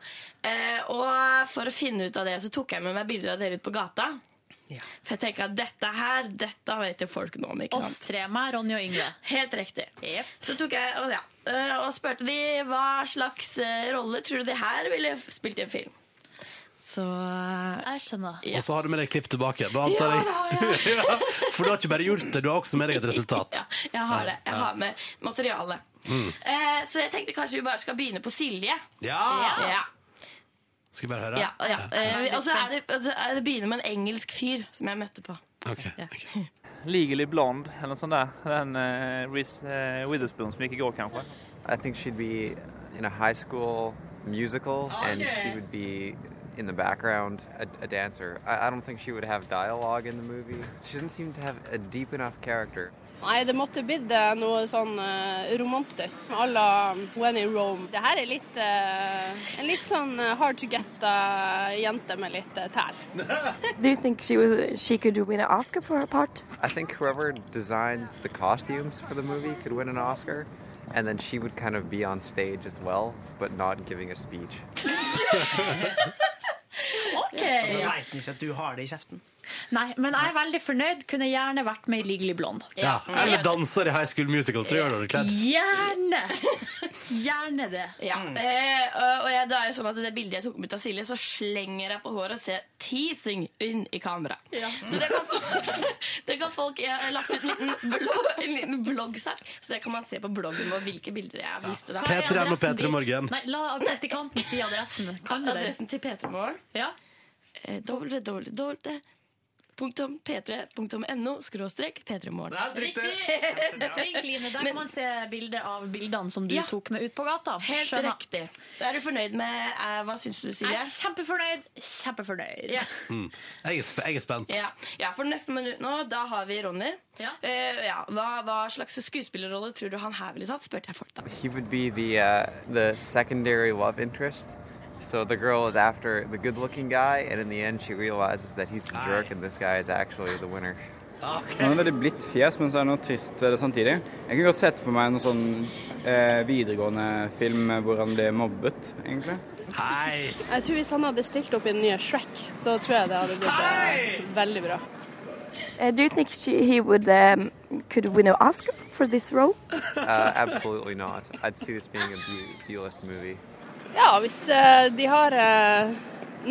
Eh, og for å finne ut av det, så tok jeg med meg bilder av dere ute på gata. For jeg tenker at dette her, dette vet jo folk noe om. ikke Oss sant? tre, meg, Ronny og Yngve. Helt riktig. Så tok jeg og, ja, eh, og spurte de hva slags eh, rolle tror du de her ville f- spilt i en film. Så eh, Jeg skjønner. Og så har du med deg klipp tilbake. Da antar jeg. (laughs) Ja, For du har ikke bare gjort det, du har også med deg et resultat. Jeg har det. Jeg Ja. har med materiale. Mm. Eh, så jeg tenkte kanskje vi bare skal begynne på Silje. Ja! ja. Skal vi bare høre? Ja, ja. Eh, og så er det, og så er det begynner med en engelsk fyr som jeg møtte på. Ok. Ja. Legally Blonde eller noe sånt der. Den eh, Reese eh, Witherspoon som gikk i går, kanskje. I think she'd be in a high school musical and she yeah. would be in the background a, a dancer. I, I don't think she would have dialogue in the movie. She doesn't seem to have a deep enough character. Nei, det måtte blitt eh, noe sånn eh, romantisk à la When in Rome. Det her er litt eh, en litt sånn eh, hard to get eh, jente med litt eh, tær. Do you think she was she could win an Oscar for her part? I think whoever designs the costumes for the movie could win an Oscar, and then she would kind of be on stage as well, but not giving a speech. OK! Altså, jeg vet ikke at du har det i kjeften. Nei, men jeg er veldig fornøyd. Kunne gjerne vært med i Legally Blonde. Ja. Eller danser i High School Musical. Tror jeg det hadde kledd. Gjerne! Gjerne det. Ja. Eh, og og jeg, det er jo sånn at det bildet jeg tok med av Silje, så slenger jeg på håret og ser teasing inn i kamera. Så det kan, det kan folk Jeg har lagt ut en liten, blogg, en liten bloggsak, så det kan man se på bloggen vår hvilke bilder jeg viste der. Peter M og Peter Morgen. Nei, la praktikanten si adressen. Kan du det? Adressen til Peter Morgen? Eh, Ja. www.p3.no skråstrek P3morgen. Riktig! Flink, Line. Der kan man se bilde av bildene som du Ja. tok med ut på gata. Helt Skjønner. riktig. Da er du fornøyd med eh, Hva syns du, Silje? Jeg er kjempefornøyd. Kjempefornøyd. Mm. Jeg, er sp jeg er spent. Ja. ja, for nesten minutt nå, da har vi Ronny. Eh, ja. Hva, hva slags skuespillerrolle tror du han her ville tatt? spurte jeg folk da. He would be the uh, the secondary love interest. So the girl is after the good-looking guy, and in the end, she realizes that he's a jerk, and this guy is actually the winner. Han (laughs) har veldig blidt fjes, men så er det noe trist ved det samtidig. Jeg kunne godt sett for meg en sånn eh, videregående film hvor han blir mobbet, egentlig. Hei! Jeg tror Hvis han hadde stilt opp i den nye Shrek, så tror jeg det hadde blitt eh, veldig bra. Uh, do you think she, he would um, could win an Oscar for this role? Uh, absolutely not. I'd see this being a B- B-list movie. Ja, hvis eh, de har eh,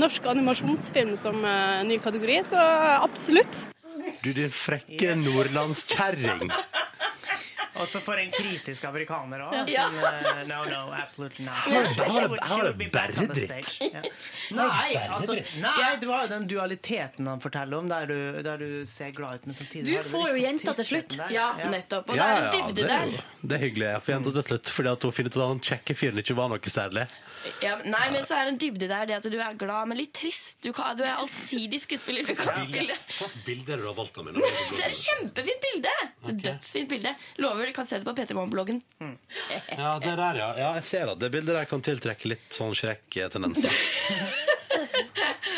norsk animasjonsfilm som eh, ny kategori, så absolutt. Du, din frekke nordlandskjerring. Og så for en kritisk amerikaner òg. Ja. no, no, absolutely not. Her var det- her var det- her var det She would be back on the bæredritt. stage. Ja. Nei, altså, bæredritt. nei, det var jo den dualiteten han forteller om, der du, der du ser glad ut, men samtidig Du har får jo litt jenta til tristheten slutt. der. Ja, nettopp. Og Ja, det er ja, en det, dybde er der. jo- det er hyggelig. Jeg får gjenta til slutt fordi at hun finner ut at han kjekke fyren ikke var noe særlig. Ja, nei, men så er det en dybde der det at du er glad, men litt trist. Du, kan, du er allsidig skuespiller. Du kan spille Hvilket bilde er det du har valgt av meg? Det er et kjempefint bilde! Dødsfint bilde. Lover, du kan se det på Peter Moen-bloggen. (laughs) Mm. Ja, det der, ja. ja. Jeg ser at det bildet der kan tiltrekke litt sånn Shrek-tendenser.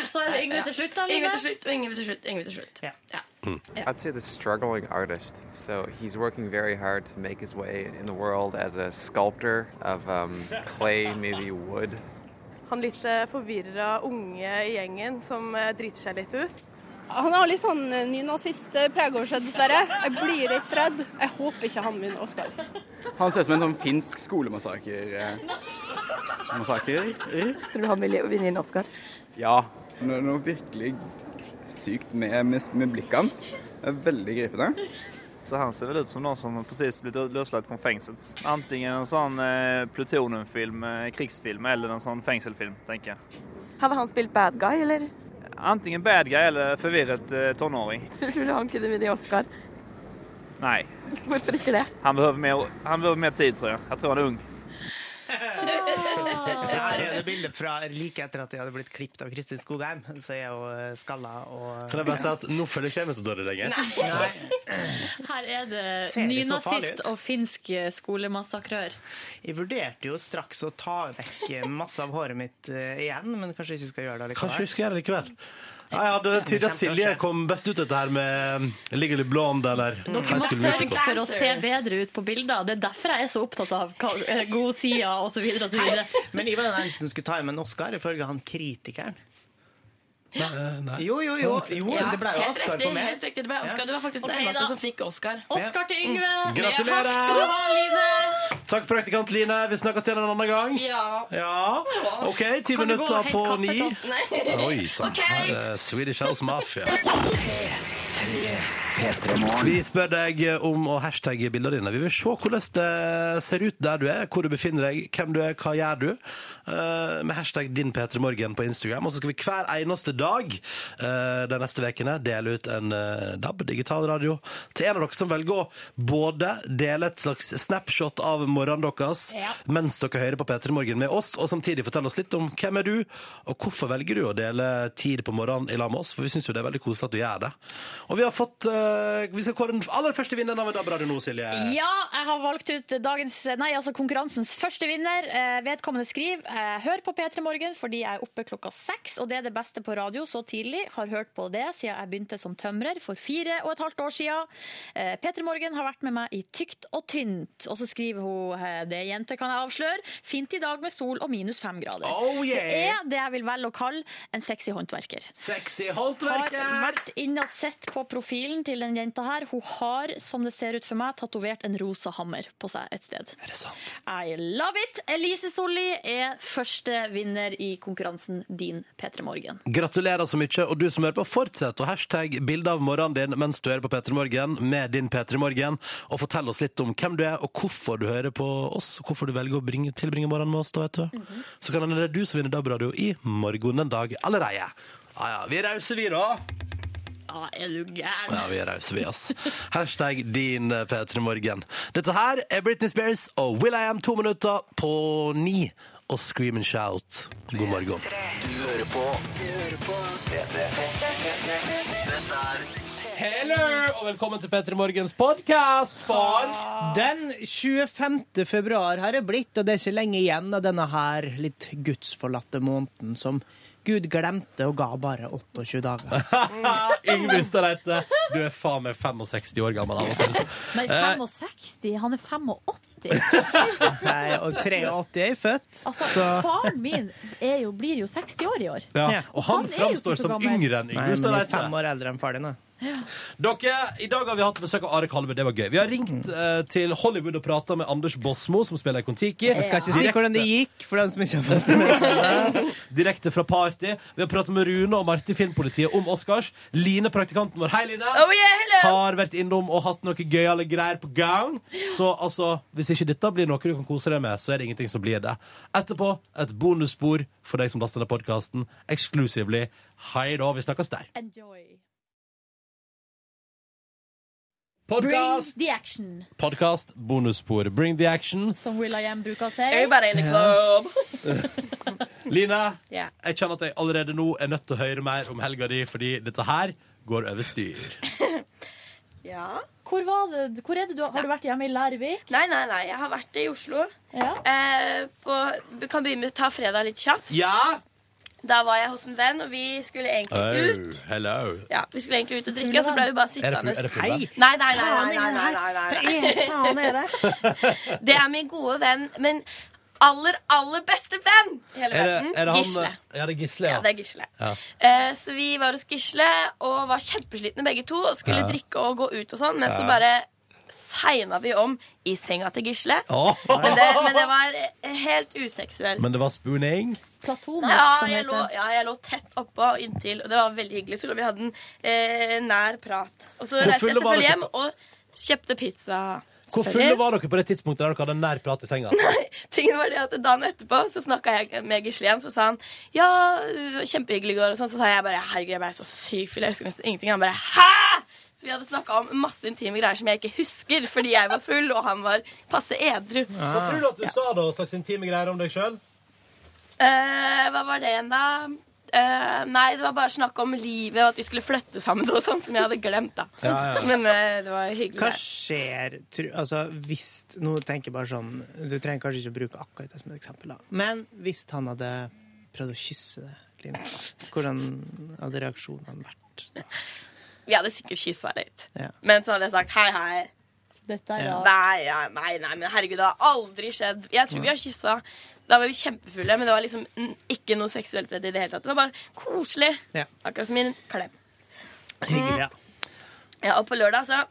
Så er det Yngve til slutt, da, Line? Yngve til slutt, og Yngve til slutt. Yngve til slutt. Ja. I'd say the struggling artist. So he's working very hard to make his way in the world as a sculptor of um, clay, maybe wood. Han litt eh, forvirra unge i gjengen som eh, driter seg litt ut. Han har litt sånn eh, nynazistpreg over seg, dessverre. Jeg blir litt redd. Jeg håper ikke han vinner Oscar. Han ser ut som en sånn finsk skolemassaker. Eh, massaker? Tror du han ville vinne en Oscar? Ja. Noe, noe virkelig sykt med, med, med blikket hans. Det er veldig gripende. Så han ser väl ut som någon som precis blivit löslagen från fängelset. Antingen en sån eh, Plutonen-film, eh, krigsfilm eller en sånn sån fängelselfilm, tänker jag. Hadde han spilt bad guy, (laughs) eller? Antingen bad guy eller förvirrat eh, tonåring. Tror du han kunne vinne (laughs) Oscar? Nej, Hvorfor ikke det? han behöver mer, han behöver mer tid tror jag. Jag tror han är ung. Det her er det bildet fra like etter at jeg hadde blitt klippet av Kristin Skogheim. Så er jeg jo eh, skalla og Kan jeg bare si at nå føler jeg ikke meg så dårlig lenger. Her er det Ser det så farlig nynazist ut? og finsk eh, skolemassakrør. (laughs) Jeg vurderte jo straks å ta vekk masse av håret mitt eh, igjen, men kanskje ikke skal gjøre det Kanskje vi likevel. skal gjøre det likevel. Ja, ja, det er tydelig at Silje kom best ut av dette her med Ligger det blond, eller Dere må sørge for å se bedre ut på bilder. Det er derfor jeg er så opptatt av hva- eh, godsida osv. (laughs) Men jeg var den eneste som skulle ta hjem en Oscar, ifølge han kritikeren. eh, Nei. Jo, jo, jo. jo Ja, det ble jo helt Oscar riktig, på meg. Helt riktig, det ble Oscar. Du var faktisk Ok, den eneste da. som fikk Oscar. Oscar til Yngve! Mm. Gratulerer! Takk skal du ha, Line! Takk, praktikant Line. Vi snakkes igjen en annen gang. Ja. Ja. OK, ti Kan du gå og minutter hente på kaffe ni. til oss? Nei. Oi sann. Ok. Her er Swedish House Mafia. Vi spør deg om å hashtagge bildene dine. Vi vil se hvordan det ser ut der du er, hvor du befinner deg, hvem du er, hva gjør du. Eh, Med hashtag din P3morgen på Instagram. Og så skal vi hver eneste dag eh, de neste ukene dele ut en eh, DAB, digital radio, til en av dere som velger å både dele et slags snapshot av morgenen deres Ja. mens dere hører på P3 Morgen med oss, og samtidig fortelle oss litt om hvem er du, og hvorfor velger du å dele tid på morgenen i lag med oss, for vi syns jo det er veldig koselig at du gjør det. Og vi har fått eh, eh, vi skal kåre den aller første vinneren av en DAB-radio nå, Silje. Ja, jeg har valgt ut dagens, nei, altså konkurransens første vinner. Eh, vedkommende skriver eh, Hør på P3 Morgen fordi jeg er oppe klokka seks, og det er det beste på radio så tidlig. Har hørt på det siden jeg begynte som tømrer for fire og et halvt år siden. Eh, P3 Morgen har vært med meg i tykt og tynt. Og så skriver hun eh, det jente kan jeg avsløre. Fint i dag med sol og minus fem grader. Oh, yeah. Det er det jeg vil velge å kalle en sexy håndverker. Sexy Har håndverker! vært inn og sett på profilen til den jenta her. Hun har, som det ser ut for meg, tatovert en rosa hammer på seg et sted. Er det sant? I love it! Elise Solli er første vinner i konkurransen Din P3 Morgen. Gratulerer så mye, og du som hører på, fortsett å hashtag bilde av morgenen din mens du hører på P3 Morgen med din P3 Morgen, og fortell oss litt om hvem du er, og hvorfor du hører på oss, og hvorfor du velger å bringe, tilbringe morgenen med oss, da, vet du. Så kan det være du som vinner DAB-radio i morgen en dag allerede. Ah, Ja, ja, vi er rause, vi, da. Ja, er du gæren? Ja, vi er rause, vi, ass. Hashtag din eh, P3 Morgen. Dette her er Britney Spears og Will I Am to minutter på ni. Og Scream and Shout. God Du morgen. hører på Du hører på P3. Dette er Hello, og velkommen til P3 Morgens podkast Den 25. februar har det blitt, og det er ikke lenge igjen av denne her litt gudsforlatte måneden som Gud glemte og ga bare 28 dager. (laughs) Yngve Ustadreite, du er faen meg 65 år gammel av og til. Nei, Eh, 65. Han er 85. Nei, og 83 er jeg født. Altså, så- faren min er jo, blir jo 60 år i år. Ja, og han er jo ikke framstår så som gammel. yngre enn Nei, Yngve men jeg er fem Ustadreite. år eldre enn far din, da. Dere, I dag har vi hatt besøk av Are Kalve. Det var gøy. Vi har ringt eh, til Hollywood og prata med Anders Bosmo, som spiller i Kon-Tiki. Jeg skal ikke si Direkte- hvordan det gikk, for dem som ikke har fått det med seg. Direkte fra party. Vi har pratet med Rune og Marte i Filmpolitiet om Oscars. Line, praktikanten vår, hei Line, Oh, yeah, hello! har vært innom og hatt noe gøyale greier på gang. Så altså, hvis ikke dette blir noe du kan kose deg med, så er det ingenting som blir det. Etterpå et bonusspor for deg som laster ned podkasten, eksklusivlig. Hei da, vi snakkes der. Enjoy. Podcast. Bring the action, Podkast, bonusspor, bring the action. som Will I Am bruker å si. Everybody in the club. Line, Ja. jeg kjenner at jeg allerede nå er nødt til å høre mer om helga di, fordi dette her går over styr. (laughs) Hvor, var det, hvor er det du har du vært hjemme i Lærvik? Nei, nei, nei. Jeg har vært i Oslo. Ja. Eh, på, vi kan begynne med å ta fredag litt kjapt. Ja! Da var jeg hos en venn, og vi skulle egentlig ut. hello. Ja, Vi skulle egentlig ut og drikke, og så ble vi Er bare det sittende. pul- er det pulver? Nei, nei, nei. nei, nei, nei, nei, nei. Hva faen er det? (laughs) Det er min gode venn, men aller, aller beste venn i Er hele det, verden. er det han, eh, Gisle. Ja, det er Gisle, ja. Ja, det er Gisle. Ja. Eh, så vi var hos Gisle og var kjempeslitne begge to og skulle Ja. drikke og gå ut og sånn, men så Ja. bare segna vi om i senga til Gisle. Åh. Men, det, men det var helt useksuelt. (laughs) Men det var spooning. Platonisk, Ja, som jeg heter. lå, ja, jeg lå tett oppå og inntil, og det var veldig hyggelig. Så vi hadde en eh, nær prat. Og så Hvor reiste fulle jeg var selvfølgelig dere? hjem og kjøpte pizza. Hvor fulle var dere på det tidspunktet der dere hadde en nær prat i (laughs) senga? Tingen var det at Dagen etterpå så snakka jeg med Gisle igjen, så sa han ja, det var kjempehyggelig i går. Og sånn, så sa jeg bare herregud, jeg ble så sykt full, jeg husker nesten ingenting. Han bare hæ?! Så vi hadde snakka om masse intime greier som jeg ikke husker, fordi jeg var full og han var passe edru. Hva tror du at du sa da, slags intime greier om deg sjøl? Eh, hva var det igjen, da? Eh, nei, det var bare snakk om livet og at vi skulle flytte sammen og sånt, som jeg hadde glemt, da. Ja, ja. Men eh, det var hyggelig. Hva skjer tru- Altså, hvis Nå tenker jeg bare sånn Du trenger kanskje ikke å bruke akkurat det som et eksempel, da. Men hvis han hadde prøvd å kysse deg, Line, hvordan hadde reaksjonen vært? Vi hadde sikkert kyssa litt. Ja. Men så hadde jeg sagt hei, hei. Dette er Ja. rart. Nei, ja, nei, nei, men herregud, det har aldri skjedd. Jeg tror vi har kyssa. Da var vi kjempefulle, men det var liksom mm, ikke noe seksuelt ved det i det hele tatt. Det var bare koselig. Ja. Akkurat som i en klem. Mm. Hyggelig, ja. Ja, og på lørdag, så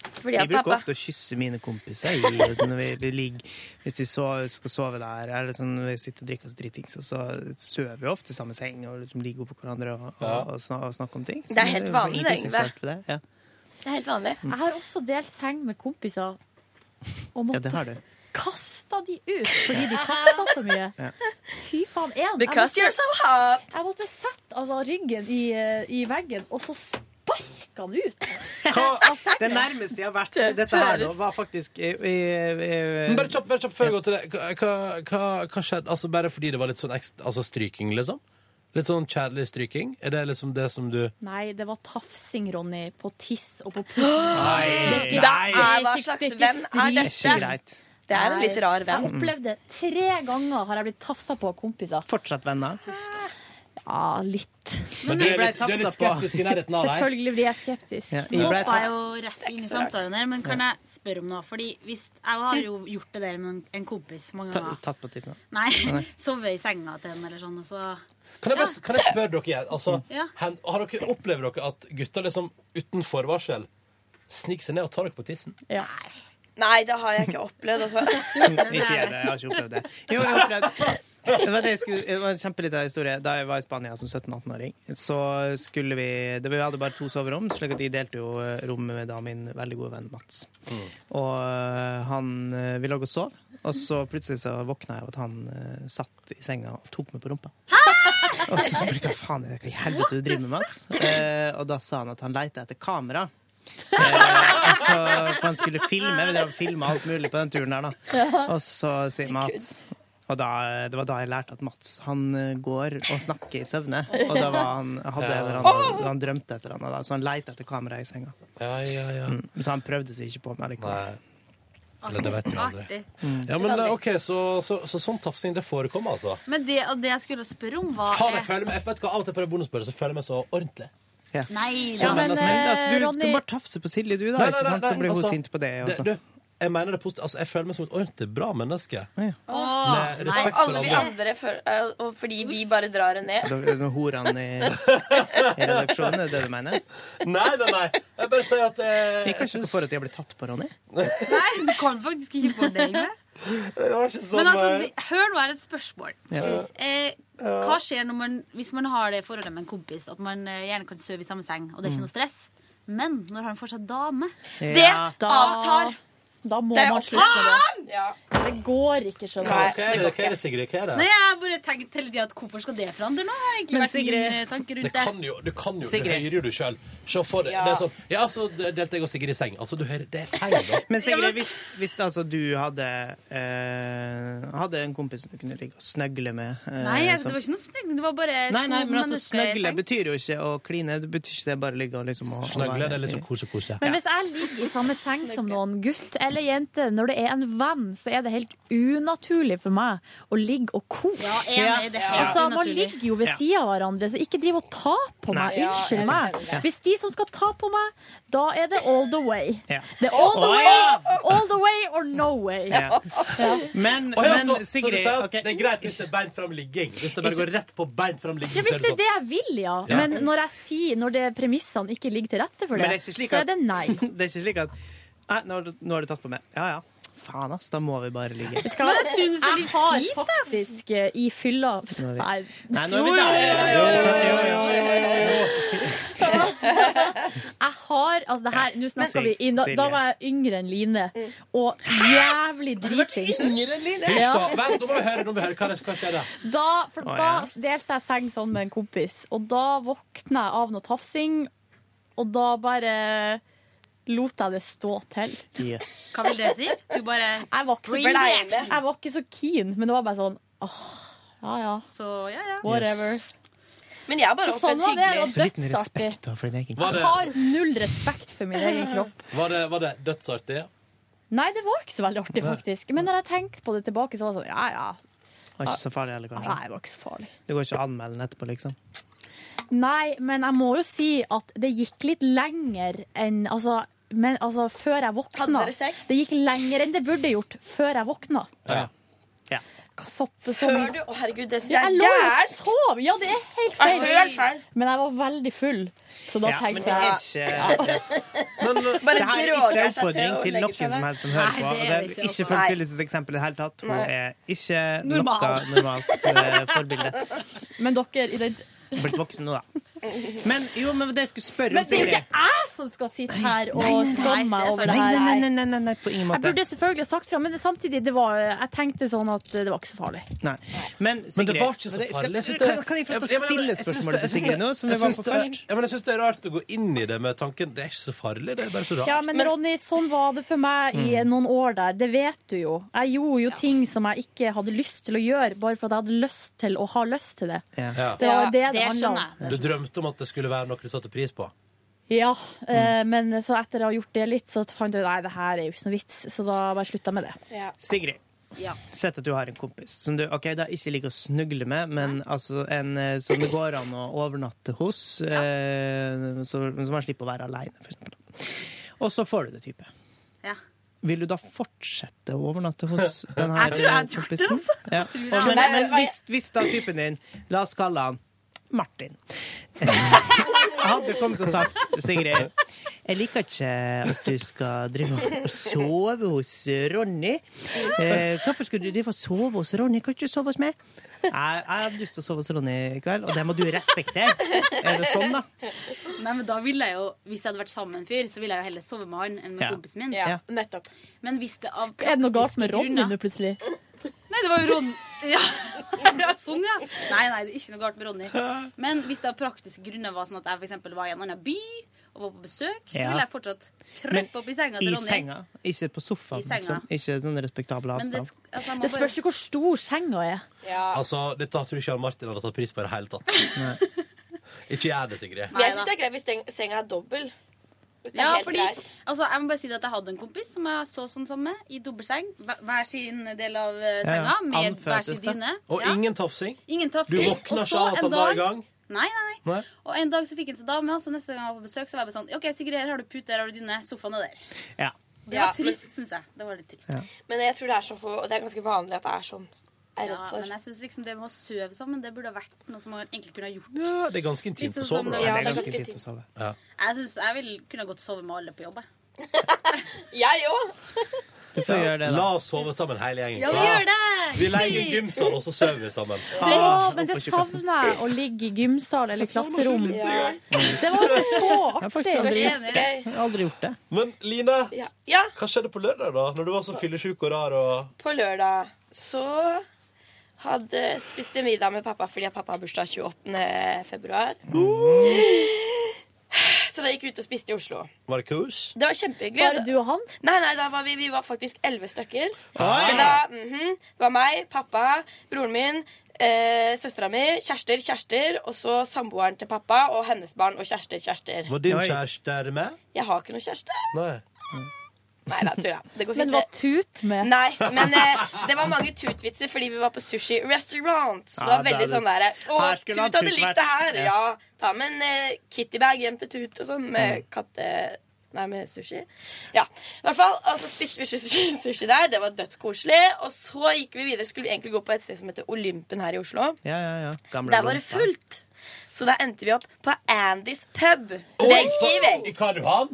Fordi Jeg at bruker pappa ofte å kysse mine kompiser jeg, altså, når vi de ligger, hvis de sover, skal sove der, eller sånn, når vi sitter og drikker oss dritings, og så sover vi ofte i samme seng og liksom ligger oppå hverandre og, og, og, snak, og snakker om ting. Det er helt jo vanlig, ingenting egentlig. seksuelt ved det. Ja. Det er helt vanlig. Jeg har også delt seng med kompiser og Mm. ja, måtte det har du. kasta de ut fordi de kasta så mye. (laughs) Ja. Fy faen. En, jeg Because måtte- you're so hot. Jeg måtte sette altså, ryggen i, eh, i veggen, og så sparka han ut. Det nærmeste jeg har vært dette her nå, var faktisk eh, eh, eh, Men bare kjapt, bare kjapt før jeg går til det. Hva, hva, hva skjedde? Altså Bare fordi det var litt sånn ekstra, altså stryking, liksom? Litt sånn kjærlig stryking? Er det liksom det som du Nei, det var tafsing, Ronny, på tiss og på pupp. Nei, Det er ikke- Da er- det er ikke- hva slags det er ikke venn er stryk. dette? Det er ikke greit. Det er en Nei. litt rar venn. Jeg opplevde tre ganger har jeg blitt tafsa på av kompiser. Fortsatt venner? Ja, litt. Men du er litt- du er litt skeptisk i nærheten av deg. Selvfølgelig blir jeg skeptisk. Ja, Nå jeg ble hoppa tatt- jeg jo rett inn i så rart. samtalen her, men kan jeg spørre om noe? Fordi hvis, Jeg har jo gjort det der med en- en kompis mange Ta- ganger. Tatt på tissen? (laughs) Nei, sovet i senga til en eller sånn, og så Kan jeg, bare, kan jeg spørre dere igjen? Altså, Mm. Ja. hen, har dere, opplever dere at gutter liksom uten forvarsel sniker seg ned og tar dere på tissen? Nei, det har jeg ikke opplevd. Altså. (laughs) Ikke jeg, det. jeg har ikke opplevd det. Jo, jeg har opplevd det var, det, jeg skulle, det var en kjempeliten historie. Da jeg var i Spania som 17-18-åring, så skulle vi det, Vi hadde bare to soverom, slik at jeg delte jo eh, rom med da min veldig gode venn Mats. Og øh, han øh, Vi lå og sov, og så plutselig så våkna jeg av at han øh, satt i senga og tok meg på rumpa. Og så tenkte jeg, hva faen er det, hva i helvete du driver med, Mats? Eh, og da sa han at han leita etter kamera. Eh, og så, for han skulle filme, vi drev og filma alt mulig på den turen der, da. Ja. Og så sier Mats og da, Det var da jeg lærte at Mats han eh, går og snakker i søvne. Og da var han, hadde Ja. en eller annen, han drømte et eller annet, da, så han leita etter kameraet i senga. Eh, Ja, ja, ja. Mm, Så han prøvde seg ikke på meg likevel. Eller det vet jo aldri. Artig. Ja, men eh, OK, så, så, så sånn tafsing, det forekommer, altså. Men det, og det jeg skulle spørre om, var Faen, jeg føler meg, jeg vet hva, Av og til på det bonusspøret så føler jeg meg så ordentlig. Nei Ja, da. men, eh, altså, Du Ronny- skulle bare tafse på Silje, du, da. ikke sant? så blir hun altså, sint på det også. du, jeg mener det positivt. Altså, jeg føler meg som et ordentlig bra menneske. Åh, Med nei, respekt for alle vi andre. andre, for, eh, og fordi vi bare drar det ned. Da er det Horene i, i redaksjonen, er det det du mener? Nei, nei, nei. Jeg bare sier at eh, Jeg kan ikke for at jeg ble tatt på, Ronny. Nei, du kan faktisk ikke få det engang. Men altså, det, hør nå her et spørsmål. Ja. Eh, hva skjer når man, hvis man har det forholdet med en kompis at man eh, gjerne kan sove i samme seng, og det er Mm. ikke noe stress? Men når han får seg dame Ja. Det avtar! Da må Det er man jo slutte med faen! det. Det går ikke, skjønner Hva du. hva er det, hva er det Sigrid? Hva er Nei, det? jeg har bare tenkt hele tiden at Hvorfor skal det forandre noe? Har egentlig Men vært min Sigrid- eh, tanke rundt Det det. kan jo, du kan jo, du Sigrid. hører jo du sjøl. Se for deg. Ja. Det er sånn Ja, så delte jeg og Sigrid i seng. Altså, du hører Det er feil, da. Men Sigrid, hvis, hvis altså du hadde eh, Hadde en kompis som du kunne ligge og snøgle med eh, Nei, sånn. jeg, som- det var ikke noe snygg. Det var bare Nei, nei, to men altså mennesker i Snøgle seng. betyr jo ikke å kline. Det betyr ikke det bare å ligge og liksom og- og Snøgle, være- det er litt sånn kose-kose. Men hvis jeg ligger i samme seng som noen gutt eller jente, når det er en venn, så er det helt unaturlig for meg å ligge og kose. Ja, jeg er enig, det er helt altså, man unaturlig. ligger jo ved Ja. sida av hverandre, så ikke driv og ta på Nei. meg. Ja, Unnskyld jeg er meg. enig i det. Hvis de som skal ta på meg, da er det all the way. Ja. Det er all the Å, way, ja! all the way or no way. Ja. Ja. Men, Å ja, så, men så du Sigrid sier at ok. det er greit hvis det er beint fram ligging? Hvis det bare går rett på beint fram ligging? Ja, så hvis er det er sånn. det jeg vil, ja. Ja. Men når jeg sier, når det premissene ikke ligger til rette for Men det, det er ikke slik så at- er det nei. (laughs) Det er ikke slik at Nei, nå har du, nå har du tatt på meg. Ja ja. Faen, ass. Da må vi bare ligge. Skal Men jeg synes det er litt har kjipt, faktisk eh, i fylla Nei. Nei, nå er vi der. Jeg har Altså, det her Nå snakker vi i, da, da var jeg yngre enn Line. Og jævlig dritings. Hysj, Ja. sånn- da. Vent, nå må vi høre, nå må vi høre. Hva, er det- hva skjer da? Da, for Å, da delte jeg seng sånn med en kompis, og da våkna jeg av noe tafsing, og da bare lot jeg det stå til. Hva vil det si? Du bare Jeg var ikke så, Ble jeg det? var ikke så keen, men det var bare sånn åh, ja ja. Whatever. Men jeg har bare Så sånn opplevd var det, og hyggelig. Så liten dødsartig. respekt du har for din egen Var Jeg det, har null respekt for min egen kropp. var det, var det dødsartig? Nei, det var ikke så veldig artig, faktisk. Men når jeg tenkte på det tilbake, så var det sånn ja ja. Det var ikke så farlig heller, kanskje. Nei, det var ikke så farlig. Det går ikke å anmelde den etterpå, liksom. Nei, men jeg må jo si at det gikk litt lenger enn Altså, men, altså før jeg våkna. Hadde dere sex? Det gikk lenger enn det burde gjort før jeg våkna. Ja. Sopp, sånn. Hør du? Å, herregud, det syns Ja, jeg jeg er lå jo og gærent. sov! Ja, det er helt Ja, det er feil. helt feil. Men jeg var veldig full, så da Ja, men tenkte det er jeg ikke- Bare det her er ikke droger en seg til oppfordring å til legge noen seg som ned. helst som hører på. Nei, Og det det liksom er er det ikke ikke. følg Nei. Siljes eksempel i det hele tatt. Hun Nei. er ikke Normal. noe normalt eh, forbilde. Men dere i den Blitt voksen nå, da. Men jo, men det jeg skulle spørre Men det er jo ikke jeg som skal sitte her og skamme meg over det her. Nei, nei, nei, nei, nei, på ingen måte. Jeg burde selvfølgelig ha sagt fra, men det- samtidig det var, jeg tenkte sånn at det var ikke så farlig. Nei. Men, Men det Sigrid, var ikke så skal- farlig. Jeg synes Kan, det- kan jeg få lov Ja, men- ja, til å men- stille jeg synes spørsmålet det- til Sigrid nå, som vi jeg var synes på det er- først? Ja, men jeg syns det er rart å gå inn i det med tanken Det er ikke så farlig, det er bare så rart. Ja, men, Ronny, sånn var det for meg i Mm. noen år der. Det vet du jo. Jeg gjorde jo ting som jeg ikke hadde lyst til å gjøre, bare for at jeg hadde lyst til å ha lyst til det. Ja. Det var det det, det handla om. Du drømte om at det skulle være noe du satte pris på. Ja, eh, men så etter å ha gjort det litt, så fant jeg ut nei, det her er jo ikke noe vits, så da bare slutta jeg med det. Sigrid. Ja. Sett at du har en kompis som du ok, da ikke liker å snugle med, men altså en eh, som det går an å overnatte hos, eh, så, men som man slipper å være aleine, for eksempel. Og så får du det type. Ja. Vil du da fortsette å overnatte hos den her Jeg tror jeg hadde eh, gjort det, kompisen? altså. Ja. Jeg tror Og, jeg- men men hvis, hvis da typen din, la oss kalle han Martin. Jeg hadde kommet og sagt Sigrid, jeg liker ikke at du skal drive og sove hos Ronny. Eh, hvorfor skal du drive og sove hos Ronny? Kan du ikke sove hos meg? Jeg, jeg hadde lyst til å sove hos Ronny i kveld, og det må du respektere. Er det sånn, da? (laughs) Nei, men da ville jeg jo, Hvis jeg hadde vært sammen med en fyr, så ville jeg jo heller sove med han enn med Ja. kompisen min. Ja, Ja. Men hvis det av Er det noe galt med praktiske Ronny nå, grunner- plutselig? Nei, det var jo Ronny. Ja. (laughs) Det var sånn, ja. Nei, nei, det er ikke noe galt med Ronny. Men hvis det av praktiske grunner var sånn at jeg for eksempel var i en annen by og var på besøk, så Ja. ville jeg fortsatt krøpe opp i senga til I Ronny. senga, ikke på sofaen. I senga. Liksom. Ikke sånn respektabel Men det, avstand. sk- altså, man Det bare- spørs jo hvor stor senga er. Altså, Dette tror jeg ikke han Martin hadde tatt pris på i det hele tatt. Ikke gjør det, Sigrid. Men jeg syns det er greit hvis den- senga er dobbel. Hvis det er Ja, helt fordi, greit. altså, jeg må bare si det at jeg hadde en kompis som jeg så sånn sammen med, i dobbeltseng. hver- Hver sin del av eh, senga, med hver Anføtes sin det. dyne. Og Ja. ingen tafsing. Ingen Du tafsing. våkner Og ikke så av at en han var i dag- gang. Nei, nei, nei. Nei. Og en dag så fikk han seg dame, og så neste gang jeg var på besøk, så var jeg bare sånn OK, Sigrid, her har du pute, her har du dyne, sofaen er der. Ja. Det Ja, var trist, syns jeg. Det var litt trist. Ja. Men jeg tror det er, så for, det er ganske vanlig at det er sånn. Jeg er Ja, redd for. men jeg syns liksom det med å sove sammen, det burde ha vært noe som man egentlig kunne ha gjort. Ja, det er ganske intimt Litt å sånn som sove. det- da. Ja, det er ganske intimt. å sove. Ja. Jeg synes jeg vil kunne ha godt sove med alle på jobb. jeg. (laughs) Jeg òg! Du får gjøre det, da. La oss sove sammen, hele gjengen. Ah. Ja, vi gjør det! Vi leier gymsal, og så sover vi sammen. Å, men det savner jeg, å ligge i gymsal eller klasserom. Det var så Jeg har artig! faktisk aldri gjort det. Jeg har aldri gjort det. Men Line, Ja, hva skjedde på lørdag, da? Når du var så fyllesyk og rar og på lørdag så hadde, spiste jeg middag med pappa fordi at pappa har bursdag 28. februar. Mm. Så da gikk vi ut og spiste i Oslo. Var det kos? Det var kjempehyggelig. Bare du og han? Nei, nei, da var vi, vi var faktisk elleve stykker. Oi. Så da, mhm, Det var meg, pappa, broren min, eh, søstera mi, kjærester, kjærester, og så samboeren til pappa og hennes barn og kjærester, kjærester. Var din kjæreste der med? Jeg har ikke noen kjæreste. Nei. Nei da, tulla. Det går fint. Men var Tut med? Nei, men eh, det var mange tutvitser fordi vi var på sushi restaurant. Så det Ja, var veldig det er sånn litt- der Å, Her Tut skulle han hadde Tut likt vært. det her! Ja. Ja. Ta med en eh, kittybag hjem til Tut og sånn Mm. med katte... Nei, med sushi. Ja. I hvert fall, og så spiste vi sushi, (laughs) sushi der. Det var dødskoselig. Og så gikk vi videre. Skulle vi egentlig gå på et sted som heter Olympen her i Oslo. Ja, ja, ja. Gamle Der var det lompa. fullt. Så da endte vi opp på Andys pub. Oi, Vegg på- i vegg. I Karduhan?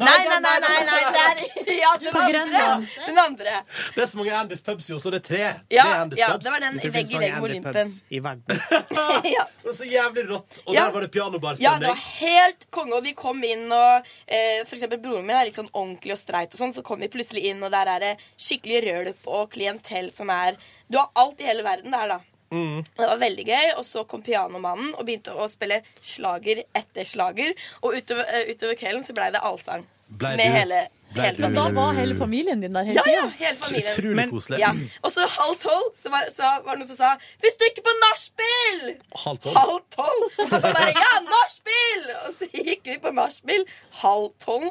Nei, nei, nei. nei, nei, Der. (laughs) Ja, den På andre. Grønland. Den andre. Det er så mange Andys pubs i Oslo. Det er tre. Ja, Tre Andys ja, pubs. det var den finnes vegg i mange vegg med Andy Olympen. pubs. I (laughs) verden. ja. Men så jævlig rått. Og Ja. der var det Ja, det pianobarstemning. var helt konge, og vi kom inn og eh, For eksempel broren min er litt sånn ordentlig og streit og sånn, så kom vi plutselig inn, og der er det skikkelig rølp og klientell som er Du har alt i hele verden der, da. Mm. Og Det var veldig gøy, og så kom pianomannen og begynte å spille slager etter slager. Og utover, eh, utover kvelden så blei det allsang. Blei med du- hele, blei hele du- Men da var hele familien din der hele Ja, ja, tiden? hele familien. utrolig Men- koselig. Ja. Og så halv tolv så var, så var det noen som sa 'Vi stikker på nachspiel!' Halv tolv? Halv tolv. Og pappa bare 'Ja, nachspiel!' Og så gikk vi på nachspiel halv tolv.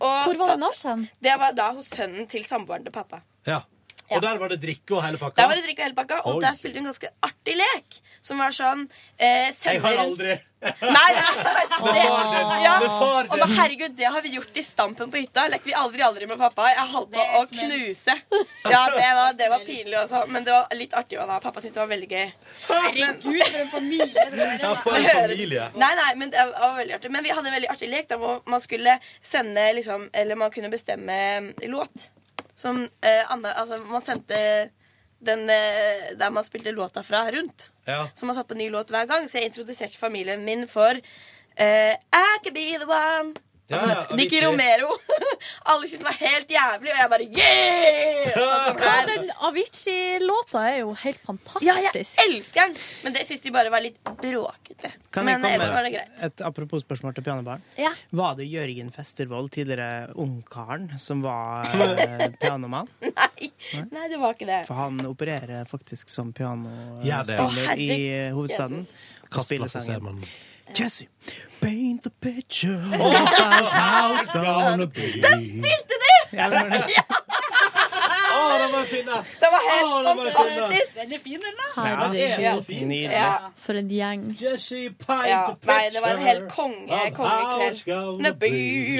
Hvor var det nach hen? Det var da hos sønnen til samboeren til pappa. Ja. Og der var det drikke og hele pakka. Der var det drikk og hele pakka, og Oi. der spilte vi en ganske artig lek. Som var sånn eh, Jeg har sender- aldri Nei, nei, Med far din. Ja. Med far Og din. men herregud, det har vi gjort i Stampen på hytta. Lekte vi aldri, aldri med pappa. Jeg holdt på å knuse. Ja, det var, det var pinlig også, men det var litt artig òg, da. Pappa syntes det var veldig gøy. Herregud, for en familie! Ja, for en familie. Nei, nei, men det var veldig artig. Men vi hadde en veldig artig lek der hvor man skulle sende liksom Eller man kunne bestemme låt. Som eh, andre Altså, man sendte den eh, der man spilte låta fra rundt. Ja. Som har satt på en ny låt hver gang. Så jeg introduserte familien min for eh, I could be the one. Ja, Altså, ja, og Nicky virkelig. Romero. (laughs) Alle syntes den var helt jævlig, og jeg bare yeah! Sånn som Ja, her. den Avicii-låta er jo helt fantastisk. Ja, jeg elsker den! Men det syns de bare var litt bråkete. Kan jeg Men komme ellers var det med greit. et, et apropos-spørsmål til pianobaren? Ja. Var det Jørgen Festervold, tidligere ungkaren, som var eh, pianomann? Nei, det var ikke det. For han opererer faktisk som Ja, det er. Å, pianospiller herregud. i eh, hovedstaden. Jesus. Og Kasper spiller Lasse sangen. Seemann. Jesse, paint the picture of Oh, our how house gonna be. Den spilte du! Ja, det var det. den var fin, da! Den var helt Å, den var fin, da. fantastisk! Den er fin, den, da. Nydelig. Ja. For en gjeng. Ja, nei, det var en hel konge, kongekveld. Nebby.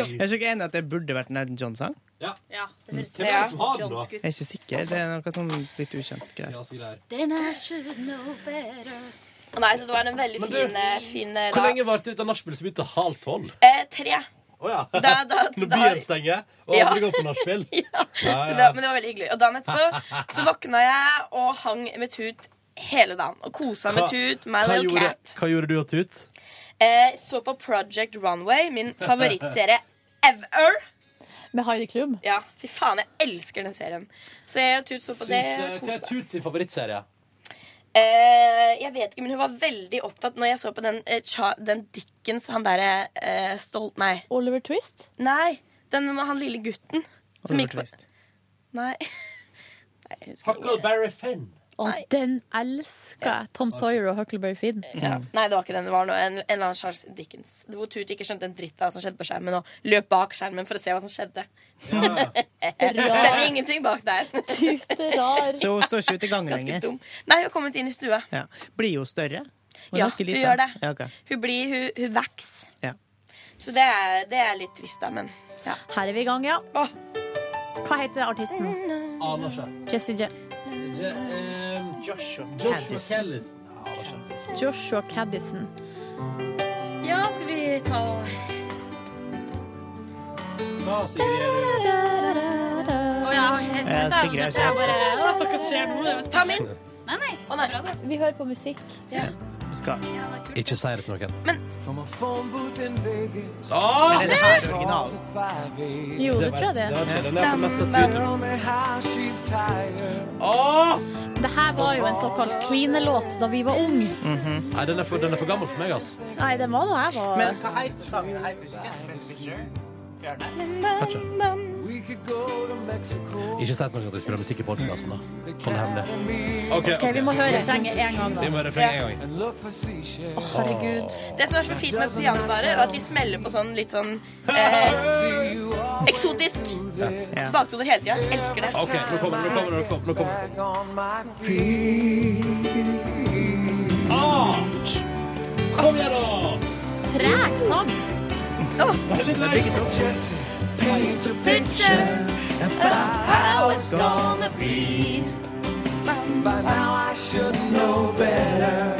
Jeg er ikke enig at det burde vært en Elton John-sang. Ja, det høres Hvem er det som har den, da? Jeg er ikke sikker. Det er noe sånn litt ukjent greier. Then I should know better. Nei, så det var en veldig Men du, fin, eh, fin eh, Hvor dag. lenge varte det ut av nachspiel som begynte halv tolv? Eh, tre. Å (laughs) ja. Da- da- Når da- byen stenger, og Ja. alle går på nachspiel? (laughs) ja. Ja, Så ja. det, men det var veldig hyggelig. Og dagen (laughs) etterpå så våkna jeg og hang med Tut hele dagen. Og kosa med Hva- Tut, my hva little gjorde- cat. Hva gjorde du og Tut? Eh, så på Project Runway, min favorittserie ever. Med Heidi Klum? Ja, fy faen, jeg elsker den serien. Så jeg og Tut så på Syns, det. eh, hva er kosa. Tuts sin favorittserie? Eh, jeg vet ikke, men hun var veldig opptatt når jeg så på den, eh, cha, den Dickens, han derre eh, stolt... Nei. Oliver Twist? Nei. Den med han lille gutten. som gikk på- Nei. Nei, jeg husker ikke. Huckleberry Finn. Og den elsker jeg. Tom Sawyer og Huckleberry Finn. Ja. Nei, det var ikke den. Det var noe, en, en eller annen Charles Dickens. Hvor Tut ikke skjønte en dritt av hva som skjedde på skjermen, og løp bak skjermen for å se hva som skjedde. Eh, skjedde ingenting bak (laughs) der. Tut er (laughs) rar. Så hun står ikke ute i gangen Ganske lenger. dum. Nei, hun har kommet inn i stua. Ja. Blir hun større? Hun er Ja, ganske hun liten. gjør det. Ja, ok. Hun blir Hun, hun vaks. Ja. Så det er, det er litt trist, da, men ja. Her er vi i gang, ja. Hva heter artisten? Aner ikke. Jessie J. Ja, ehm, Joshua Joshua Caddis. Kellis. Ja, det var kjent. Joshua Caddison. Ja, skal vi ta og Da, Sigrid. Å, jeg har ikke helt sett det. Sigrid er Dette er bare- Å, hva skjer nå? Det var- Ta min! Å, nei. Vi hører på musikk. Skal. Ikke si det til noen. From a phone booth in Vegas. Åh! Men det Men det er er det original. Jo, det, Det var- tror jeg det. det var ikke det. Den er for mest av tiden. Åh! Det her var jo en såkalt klinelåt da vi var ung Nei, den er, for, den er for gammel for meg, ass. Nei, den var da jeg var Men hva heter sangen? Den heter ikke Just Paint the Picture. Gjør den det? Ikke si til noen at jeg spiller musikk i podkasten, da. Hold det hemmelig. OK, vi må høre refrenget en gang, da. Vi må høre refrenget en gang. Herregud. Det som er så fint med pianobarer, er at de smeller på sånn litt sånn eh, eksotisk Ja. baktoner hele tida. Elsker det. OK, nå kommer det, nå kommer det, nå kommer det. Nå kommer det. Art! Kom igjen, da! Treg sang. By now I should know better.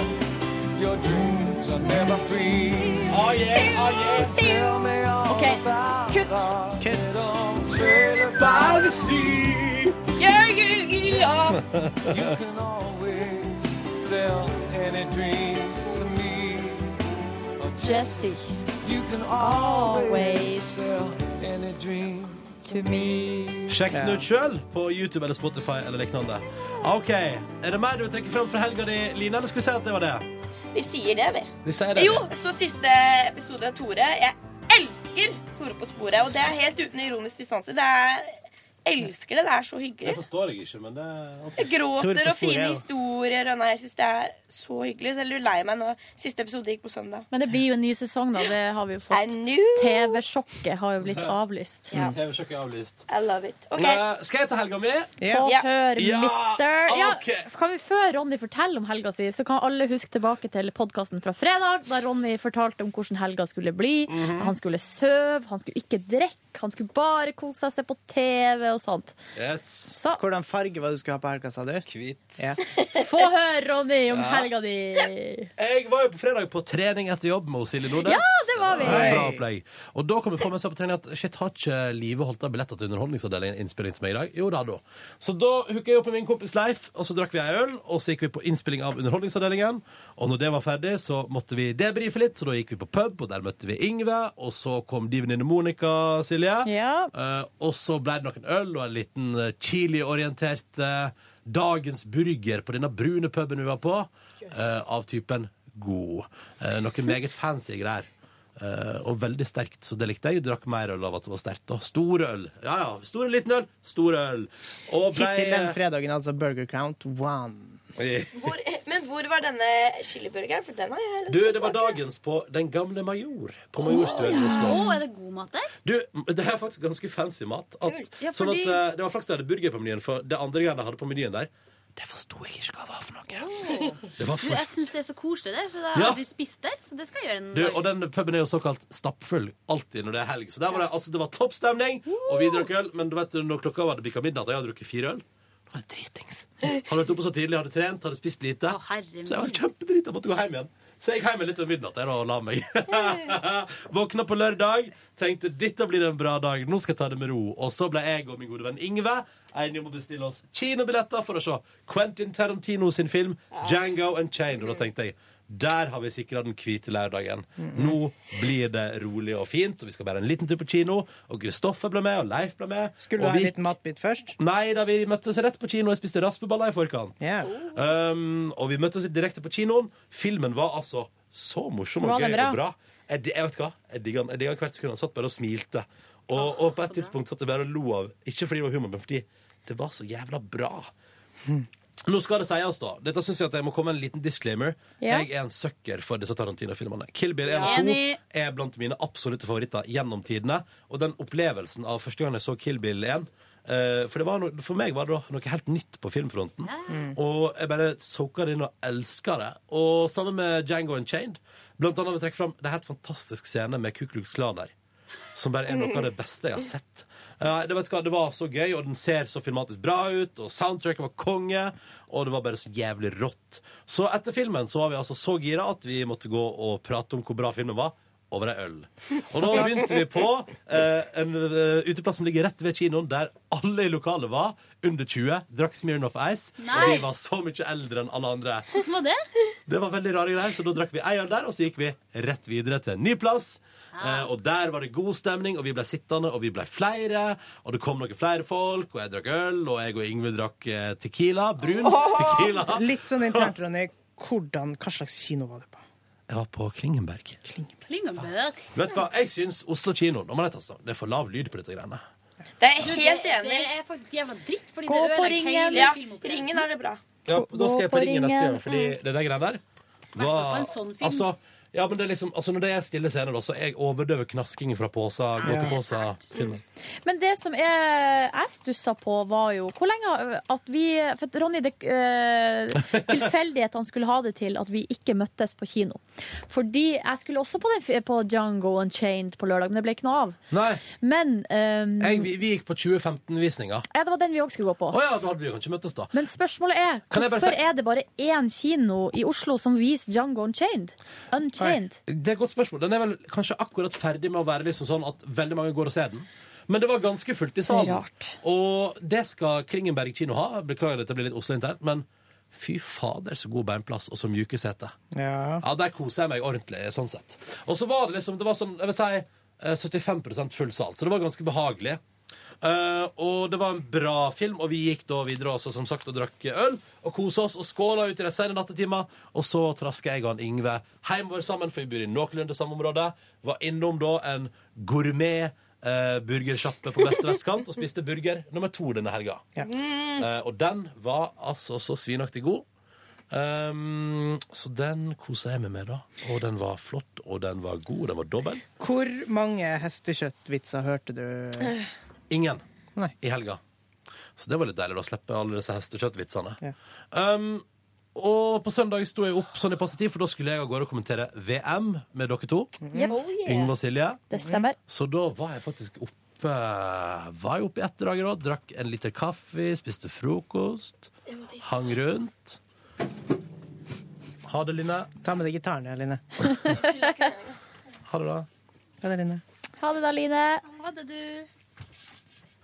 Your dreams are never free. Oh yeah, oh yeah. Tell me all Okay. about Kutt. it on the trailer by the sea. Yeah, yeah, yeah. you can always sell any dream to me. Oh, Jesse, you can always always sell any dream to me. Sjekk den ut sjøl på YouTube eller Spotify eller lignende. OK. Er det mer du vil trekke fram fra helga di, Line, eller skal vi si at det var det? Vi sier det, vi. Vi sier det. Jo, så siste episode av Tore. Jeg elsker Tore på sporet, og det er helt uten ironisk distanse. Det er Elsker det. Det er så hyggelig. Det forstår jeg ikke, men det Jeg Tore på gråter og sporet, fine ja. historier, og nei, jeg syns det er så hyggelig. Så jeg blir lei meg nå. Siste episode gikk på søndag. Men det blir jo en ny sesong, da. Det har vi jo fått. TV-sjokket har jo bliblitt avlyst. Ja. TV-sjokket er avlyst. I love it. OK. Eh, Skal jeg ta helga mi? Få høre, Ja, Ah, mister. Ja, ok. kan vi Før Ronny forteller om helga si, så kan alle huske tilbake til podkasten fra fredag, da Ronny fortalte om hvordan helga Mhm. skulle bli. Han skulle sove, han skulle ikke drikke, han skulle bare kose seg, se på TV og og sånt. Hvordan farge var det du skulle ha på helga, sa du? Hvit. Ja. (laughs) Få høre, Ronny, om Ja. helga di. Jeg var jo på fredag på trening etter jobb med Silje Nordnes. Ja, det var vi. var bra opplegg. Og da kom jeg på meg på trening at shit, har ikke Live holdt av billetter til Underholdningsavdelingen innspilling til meg i dag? Jo da, da. Så da hooka jeg opp med min kompis Leif, og så drakk vi ei øl, og så gikk vi på innspilling av Underholdningsavdelingen. Og når det var ferdig, så måtte vi debrife litt, så da gikk vi på pub, og der møtte vi Yngve, og så kom de venninne Monica, Silje. Eh, og så ble det noen øl og en liten eh, chiliorientert eh, dagens burger på denne brune puben vi var på, eh, av typen god. Eh, noe meget fancy greier. Eh, og veldig sterkt, så det likte jeg. Jeg drakk mer øl av at det var sterkt. Og stor øl. Ja, ja. Stor og liten øl. Stor øl. Og ble Hittil den fredagen, altså Burger Count one. Hvor, men hvor var denne chiliburgeren? For den har jeg lyst Du, til å det var dagens på Den gamle Major. På Majorstuen i Oslo. Å, er det god mat der? Du, det her er faktisk ganske fancy mat. At, Kult. Ja, Sånn at fordi- eh, Det var flaks de hadde burger på menyen, for det andre greiene de hadde på menyen der Det forsto jeg ikke hva var for noe. Det var Du, for... jeg syns det er så koselig der, så da Ja. har vi spist der. Så det skal jeg gjøre en Du, dag. og den puben er jo såkalt stappfull alltid når det er helg. Så der var det, altså, det var topp stemning, og vi drakk øl. Men du vet, når klokka var det bikka midnatt, og jeg hadde drukket fire øl Hadde vært oppe så tidlig, hadde trent, hadde spist lite. så jeg var kjempedrita, måtte gå hjem igjen. Så jeg gikk hjem litt ved midnatt jeg, da, og la meg. (laughs) Våkna på lørdag, tenkte dette blir en bra dag, nå skal jeg ta det med ro. Og så ble jeg og min gode venn Ingve enige om å bestille oss kinobilletter for å se Quentin Tarantino sin film Django Unchained. Og da tenkte jeg der har vi sikra den hvite lørdagen. Mm. Nå blir det rolig og fint, og vi skal bare en liten tur på kino. Og Kristoffer ble med, og Leif ble med. Skulle du og ha en vi- liten matbit først? Nei da, vi møttes rett på kino. Jeg spiste raspeballer i forkant. Um, og vi møttes direkte på kinoen. Filmen var altså så morsom og Var gøy den bra? og bra. Jeg, di- jeg vet hva, jeg digga den. Jeg digga hvert sekund. Han satt bare og smilte. Og, Ah, og på et tidspunkt satt jeg bare og lo av Ikke fordi det var humor, men fordi det var så jævla bra. Nå skal det sies, da. Dette synes jeg at jeg må komme med en liten disclaimer. Ja. Jeg er en sucker for disse Tarantino-filmene. Kill Bill 1 og 2 Enig. er blant mine absolutte favoritter gjennom tidene. Og den opplevelsen av første gang jeg så Kill Bill 1 eh, for, det var no, for meg var det da noe helt nytt på filmfronten. Og jeg bare soka det inn og elska det. Og sammen med Django Unchained. Blant annet vil jeg trekke fram det er helt fantastisk scene med Ku Klux Klan der. Som bare er noe av det beste jeg har sett. Eh, det, vet du hva, det var så gøy, og den ser så filmatisk bra ut. Og soundtracket var konge, og det var bare så jævlig rått. Så etter filmen så var vi altså så gira at vi måtte gå og prate om hvor bra filmen var. Over ei øl. Og Så da bra. begynte vi på eh, en eh, uteplass som ligger rett ved kinoen, der alle i lokalet var under 20, drakk Smirnoff Ice. Og Nei. vi var så mye eldre enn alle andre. Hvordan var det? Det var veldig rare greier, så da drakk vi ei øl der, og så gikk vi rett videre til en ny plass. Eh, og der var det god stemning, og vi ble sittende, og vi ble flere. Og det kom noen flere folk, og jeg drakk øl, og jeg og Yngve drakk eh, tequila. Brun tequila. Litt sånn internt, Ronny. Hvordan, hva slags kino var du på? Jeg var på Klingenberg. Klingenberg. Vet du hva, jeg syns Oslo kino nå må jeg ta sånn, Det er for lav lyd på dette greiene. Det er jeg helt enig. Det er faktisk jævla dritt. Fordi Gå det på ødelegger Ringen. hele Ja, filmopplevelsen. Ringen er det bra. Ja, da skal jeg på på ringen neste Ringen. gang, fordi det der greiene der på var en sånn film. Altså, ja, men det er liksom, altså når det er stille scener, da, så er jeg overdøver knaskingen fra påsa, gåtepåsa-filmen. Men det som jeg, jeg stussa på, var jo hvor lenge ø, at vi For at Ronny, det (laughs) øh, tilfeldighetene skulle ha det til at vi ikke møttes på kino. Fordi jeg skulle også på, den, fi- på Django Unchained på lørdag, men det ble ikke noe av. Nei. Men øhm, Jeg, vi, vi gikk på 2015-visninga. ja, Det var den vi òg skulle gå på. Å ja, da hadde vi kanskje møttes, da. Men spørsmålet er Kan jeg bare hvorfor si- er det bare én kino i Oslo som viser Django Unchained? Unchained. Det er et godt spørsmål. Den er vel kanskje akkurat ferdig med å være liksom sånn at veldig mange går og ser den. Men det var ganske fullt i Så salen. Og det skal Kringenberg kino ha. Beklager at det blir litt Oslo-internt, men fy fader, så god beinplass og så mjuke seter. Ja. Ja, der koser jeg meg ordentlig, sånn sett. Og så var det liksom, det var sånn, jeg vil si, eh, 75 full sal, så det var ganske behagelig. Eh, og det var en bra film, og vi gikk da videre også, som sagt, og drakk øl, og koset oss, og skåla ut i de sene nattetimer, og så trasket jeg og han Yngve hjemover sammen, for vi bor i noenlunde samme område, var innom da en gourmet eh, burgersjappe på beste vestkant, og spiste burger nummer to denne helga. Mm. Eh, og den var altså så svinaktig god. Ehm, så den kosa jeg meg med, da. Og den var flott, og den var god, og den var dobbel. Hvor mange hestekjøttvitser hørte du? Ingen i helga. Så det var litt deilig da, å slippe alle disse hestekjøttvitsene. Ehm, og på søndag sto jeg opp sånn i passe tid, for da skulle jeg av gårde og kommentere VM med dere to. Jeps. Oh, yeah. Yngve og Silje. Det stemmer. Så da var jeg faktisk oppe oppe, var jo oppe i ett dager òg. Drakk en liter kaffe, spiste frokost, hang rundt. Ha det, (laughs) Line. Ta med deg gitaren, ja, Line. Ha det, da. Ja, det er Line. Ha det da, Line. Ha det, du.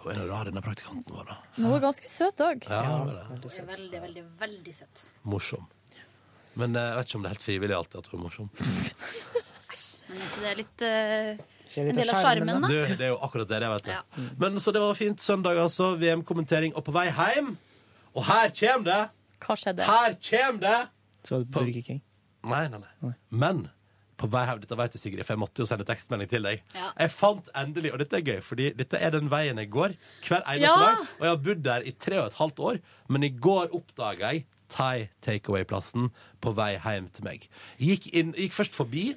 Hun er noe rar, denne praktikanten vår, da. Hun var ganske søt òg. Ja, hun er det. Veldig, veldig, veldig søt. morsom. Men eh, jeg vet ikke om det er helt frivillig alltid at hun er morsom. Men er ikke det litt eh, litt en del av av skjermen, sjarmen, da? Du, det er jo akkurat det det, vet du. Men så det var fint søndag, altså. VM-kommentering. Og på vei hjem Og her kjem det! Hva skjedde? Her kjem det! Så var det Burger King. Nei, nei, nei. Men på vei hjem, dette vet du, Sigrid, for jeg måtte jo sende tekstmelding til deg. Ja. Jeg fant endelig, og dette er gøy, fordi dette er den veien jeg går hver eneste Ja! dag. Og jeg har bodd der i tre og et halvt år, men i går oppdaga jeg Thai Takeaway-plassen på vei hjem til meg. Gikk, inn, gikk først forbi.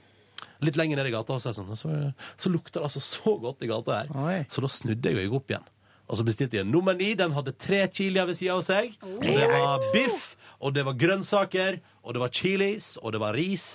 Litt lenger ned i gata, og så, er jeg sånn, så, så lukter det altså så godt i gata her. Så da snudde jeg og gikk opp igjen. Og så bestilte jeg en nummer ni. Den hadde tre chilier ved sida av seg. Og det var biff, og det var grønnsaker, og det var chilis, og det var ris.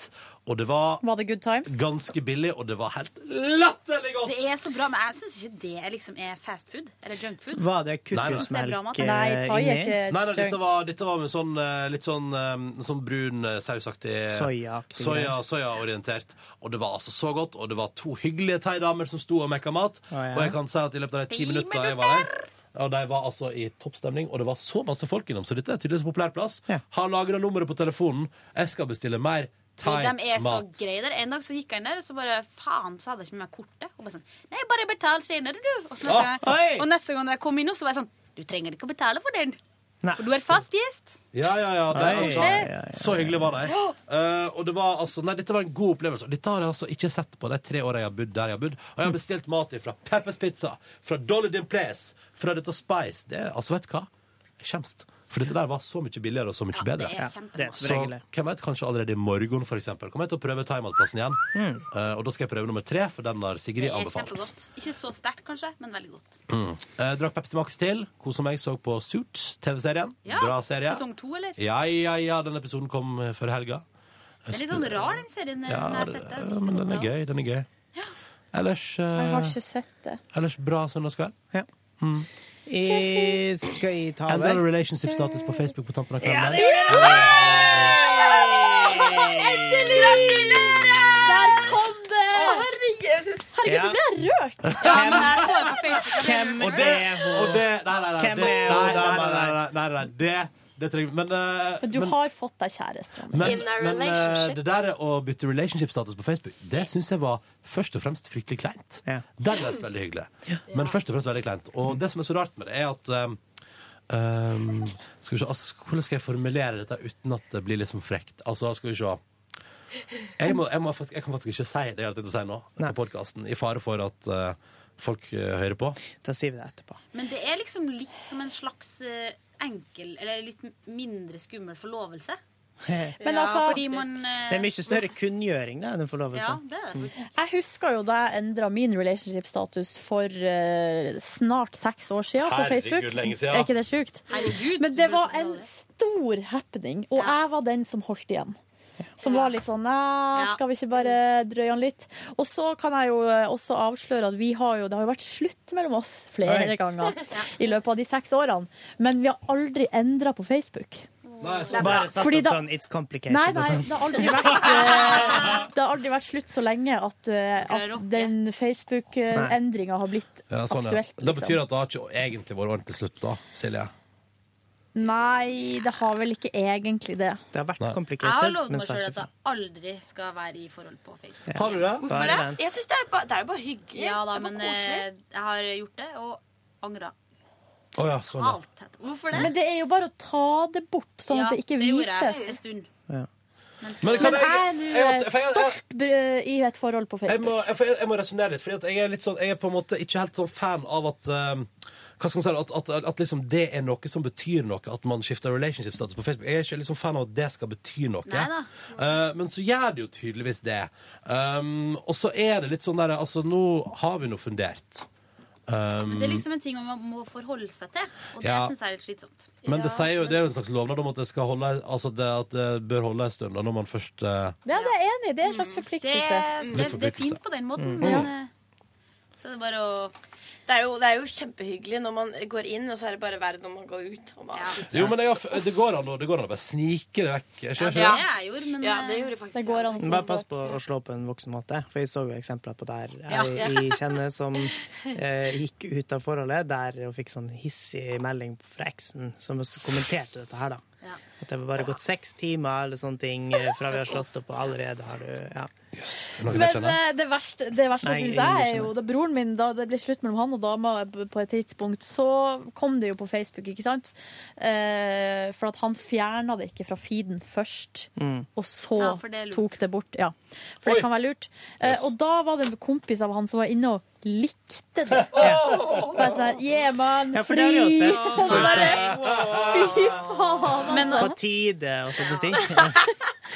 Og det var Var det good times? ganske billig, og det var helt Latterlig godt! Det er så bra, men jeg syns ikke det liksom er fast food. Eller junk food. Var det Jeg synes det er bra mat. kukkelsmelk eh, inni? Nei, nei, dette var, dette var med sånn eh, litt sånn, eh, sånn brun eh, sausaktig Soyaaktig soya, greier. Soyaorientert. Og det var altså så godt, og det var to hyggelige thaidamer som sto og mekka mat. ja. Og jeg kan si at i løpet av de ti minuttene jeg var der og De var altså i toppstemning, og det var så masse folk innom, så dette er tydeligvis en populær plass. Har lagra nummeret på telefonen. Jeg skal bestille mer Jo, de er så thai-mat. greie der. En dag så gikk han der, og så bare faen, så hadde jeg ikke med meg kortet. Og bare sånn Nei, bare betal senere, du. Og, så neste Ah, gang, oi! og neste gang jeg kom innom, så var jeg sånn Du trenger ikke å betale for den. For du er fast gjest. Ja, ja, ja. Det, Nei. altså, Så hyggelig var de. Eh, og det var altså Nei, dette var en god opplevelse. Og Dette har jeg altså ikke sett på de tre åra jeg har bodd der jeg har bodd. Og jeg har bestilt mat fra Peppers Pizza, fra Dolly Din Place, fra dette Spice. Det er, altså, vet du hva? Jeg kjemst. For dette der var så mye billigere og så mye bedre. det er kjempegodt. Det er som så regel det. hvem vet, kanskje allerede i morgen for eksempel, kommer jeg til å prøve Thaimatplassen igjen. Eh, og da skal jeg prøve nummer tre, for den har Det Sigrid er anbefalt. kjempegodt. Ikke så sterkt, kanskje, men veldig godt. Mm. Eh, drakk Pepsi Max til. Kosa meg, så på Suits, TV-serien. Ja, Bra serie. sesong to, eller? Ja, ja, ja. Den episoden kom eh, før helga. Eh, Den er litt sånn rar, den Ja, serien. når jeg har det- sett den. ja, men den er gøy. Den er gøy. Ellers, Jeg har eh, ikke sett det. ellers bra søndagskveld. Ja. Mm. I, skal jeg ta Endra over? relationship-status på Facebook på tampen av Ja, kvelden. det gjorde der. Endelig! Der kom det! Herregud, Ja. nå ble jeg rørt. Ja, men jeg så det på Facebook. Hvem Og det, og det Nei, nei, nei. Hvem det- er hun nei, nei, dama nei, nei, nei, nei, det, det trenger vi Men, eh, Men du men- har fått deg kjæreste. Ronny. Men, men eh, det der å bytte relationship-status på Facebook, det syns jeg var først og fremst fryktelig kleint. Dernest veldig hyggelig. Men først og fremst veldig kleint. Og det som er så rart med det, er at eh, eh, skal vi se, altså, Hvordan skal jeg formulere dette uten at det blir liksom frekt? Altså, skal vi se Jeg, må, jeg, må, faktisk- jeg kan faktisk ikke si det jeg har tenkt å si nå på podkasten, i fare for at eh, folk eh, hører på. Da sier vi det etterpå. Men det er liksom litt som en slags eh, enkel, eller litt mindre skummel (laughs) forlovelse. Men Ja, altså- fordi man, eh, Det er mye større kunngjøring da, enn en forlovelse. Ja, det er det faktisk. Jeg husker jo da jeg endra min relationship-status for eh, snart seks år siden på Herregud, Facebook. lenge siden. Er ikke det sjukt? Men det var en stor happening, og jeg var den som holdt igjen. Som var litt sånn Nei, skal vi ikke bare drøye han litt? Og så kan jeg jo eh, også avsløre at vi har jo, det har jo vært slutt mellom oss flere Oi. ganger i løpet av de seks årene. Men vi har aldri endra på Facebook. Bare satt Fordi opp da- sånn It's complicated Nei, nei, og det har sånn. aldri vært, eh, det har aldri vært slutt så lenge at, eh, at den Facebook-endringa har blitt Ja, sånn, ja. aktuelt. Det betyr Liksom. at det har ikke egentlig vært ordentlig slutt, da, Silje. Nei, det har vel ikke egentlig det. Det har vært Jeg har complicated. lovet men meg sjøl snart at jeg aldri skal være i forhold på Facebook. Ja. Har du det? Hvorfor Bare det? vent. Jeg synes det, er bare, det er jo bare hyggelig. Ja da, Det er bare men eh, koselig. jeg har gjort det, og angra. Å ja, sånn, ja. Alt. Hvorfor det? Men det er jo bare å ta det bort, sånn at det ikke Ja, det gjorde jeg en vises. stund. Men kan Men jeg er nå jeg- eh, for jeg- jeg- stolt br- i et forhold på jeg må, Facebook. jeg, får- jeg må resonnere litt, for jeg, er litt sånn, jeg er på en måte ikke helt sånn fan av at eh, hva skal man si, at, at, at liksom det er noe som betyr noe, at man skifter relationship-status på Facebook. Jeg er ikke liksom fan av at det skal bety noe. Neida. Eh, men så gjør det jo tydeligvis det. Um, og så er det litt sånn der, altså nå har vi nå fundert. Um, Men det er liksom en ting man må forholde seg til, og det Ja. synes jeg er litt slitsomt. men det, sier jo, det er jo en slags lovnad om at det, skal holde, altså det, at det bør holde en stund da, når man først eh, Ja, det er jeg enig i. Det er en slags forpliktelse. Mm. Det, det, Altså, Litt det er forpliktelse. fint på den måten, Mm. men Ja. eh, Så det er bare å det er, jo, det er jo kjempehyggelig når man går inn, og så er det bare verre når man går ut. Og man, Jo, men det, er jo- det går an å det går an å bare snike det vekk. Jeg skjønner ikke det. jeg gjorde, men Ja, det gjorde faktisk Det går an å Men Bare pass på å slå på en voksen måte, for jeg så jo eksempler på der Ja. jeg, jeg kjenner (laughs) som eh, gikk ut av forholdet, der hun fikk sånn hissig melding fra eksen som også kommenterte dette her, da. At det var bare gått seks timer eller sånne ting eh, fra vi har slått opp, og allerede har du Ja. Men eh, det verste, det verste Nei, syns ingen jeg jeg er jo da broren min Da det ble slutt mellom han og dama b- på et tidspunkt, så kom det jo på Facebook, ikke sant? Eh, for at han fjerna det ikke fra feeden først, Mm. og så Ja, for det er lurt. tok det bort. Ja, for det kan være lurt. Eh, og da var det en kompis av han som var inne og likte det. Bare sånn Yeah, man, Ja, for det har jeg jo fri! sett. Og bare, Fy faen! Men- På tide og sånne (laughs) ting.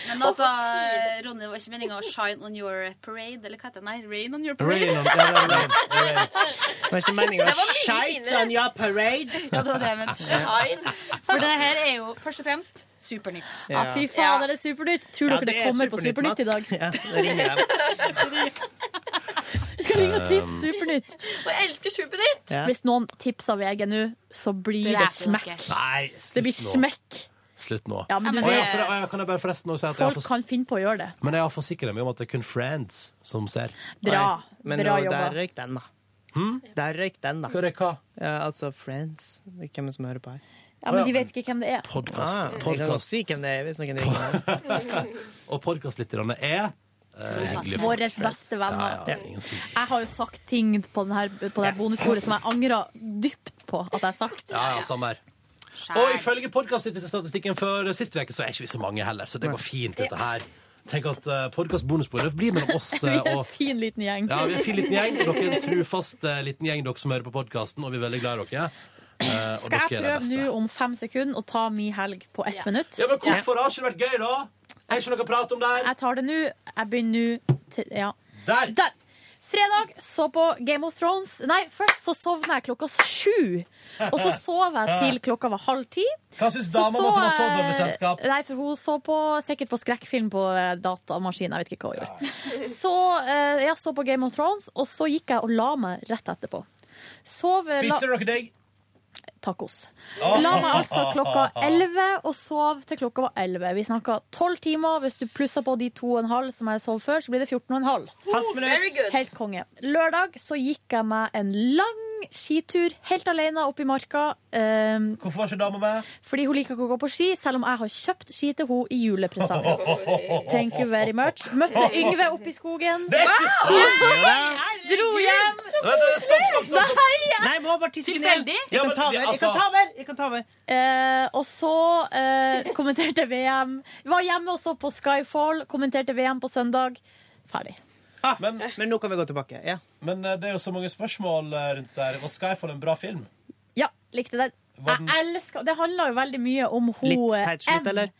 Men altså, Ronny, det var ikke meninga å shine on your parade, eller hva heter det? Nei, rain on your parade. Rain on- ja, det var rain, Det var ikke meningen (laughs) Det å var mye shite finere. on your parade. Ja, det var det jeg mente. Shine. For det her er jo først og fremst supernytt. Ja. Ja, fy faen, det er Supernytt. Tror Ja, dere det, det er kommer på Supernytt, Supernytt i dag? Ja, det ringer jeg. Vi skal ringe og tipse Um, Supernytt. Og jeg elsker Supernytt! Ja. Hvis noen tipser VG nå, så blir det, Dreper smekk. Nei, Det blir slutt nå. smekk. Slutt nå. Ja, men du Å, ja, vet- for, å, ja, kan jeg bare forresten også si at jeg har Folk fått- kan finne på å gjøre det. Men jeg har forsikret meg om at det er kun friends som ser. Bra. Men Bra nå, jobba. der røyk den, da. Hm? Der røyk den, da. Ja, altså Friends. Det er Hvem som hører på her. Ja, men de vet ikke hvem det er. Podcast. Ah, Jeg kan Podcast. godt si hvem det er, hvis noen (laughs) ringer. Og podcastlytterne er eh, hyggelige. folk. Våres beste venner. Ja, ja, ingen syk. Jeg har jo sagt ting på det her, på det her bonusbordet som jeg angrer dypt på at jeg har sagt. ja, ja, samme her. Og ifølge podkaststatistikken for sist uke, så er ikke vi så mange heller, så det går fint, dette her. Tenk at uh, podkastbonusbordet blir mellom oss (laughs) (laughs) Vi eh, er en og fin liten gjeng. Ja, vi er en fin liten gjeng. Dere er en trufast eh, liten gjeng, dere som hører på podkasten, og vi er veldig glad i dere. Eh, og Skal jeg dere er prøve de beste. nå om fem sekunder å ta mi helg på ett minutt? Ja, men hvorfor har ikke det vært gøy, da? Er ikke noe å prate om der? Jeg tar det nå. Jeg begynner nå. til- Ja. Der! Fredag så på Game of Thrones. Nei, først så sovna jeg klokka sju. Og så sov (laughs) jeg til klokka var halv ti. Hva syns Så dama om at hun har så, sovet med eh, selskap? Nei, for hun så på, sikkert på skrekkfilm på eh, datamaskin. Jeg vet ikke hva hun gjorde. Så eh, jeg så på Game of Thrones, og så gikk jeg og la meg rett etterpå. Sov eh, la- Spiser dere deg? Tacos. La meg altså klokka 11 og sov til klokka var 11. Vi snakka 12 timer. Hvis du plusser på de 2,5 som jeg sov før, så blir det 14,5. very good. Helt konge. Lørdag så gikk jeg meg en lang skitur helt alene opp i marka. ehm, Hvorfor var ikke dama med? Fordi hun liker ikke å gå på ski, selv om jeg har kjøpt ski til henne i (laughs) julepresang. Thank you very much. Møtte Yngve oppe i skogen. Det er ikke sant! Dro hjem. Nei, jeg må bare tisse på den. Jeg kan ta over. Jeg altså- kan ta over. Jeg kan ta over. Eh, og så eh, kommenterte VM. Var hjemme også på Skyfall. Kommenterte VM på søndag. Ferdig. Ah, men, nå kan vi gå tilbake. Ja. Men eh, det er jo så mange spørsmål eh, rundt det der. Var Skyfall en bra film? Ja, likte den. Var den- Jeg elsker Det handler jo veldig mye om hun Litt teit slutt, M. eller?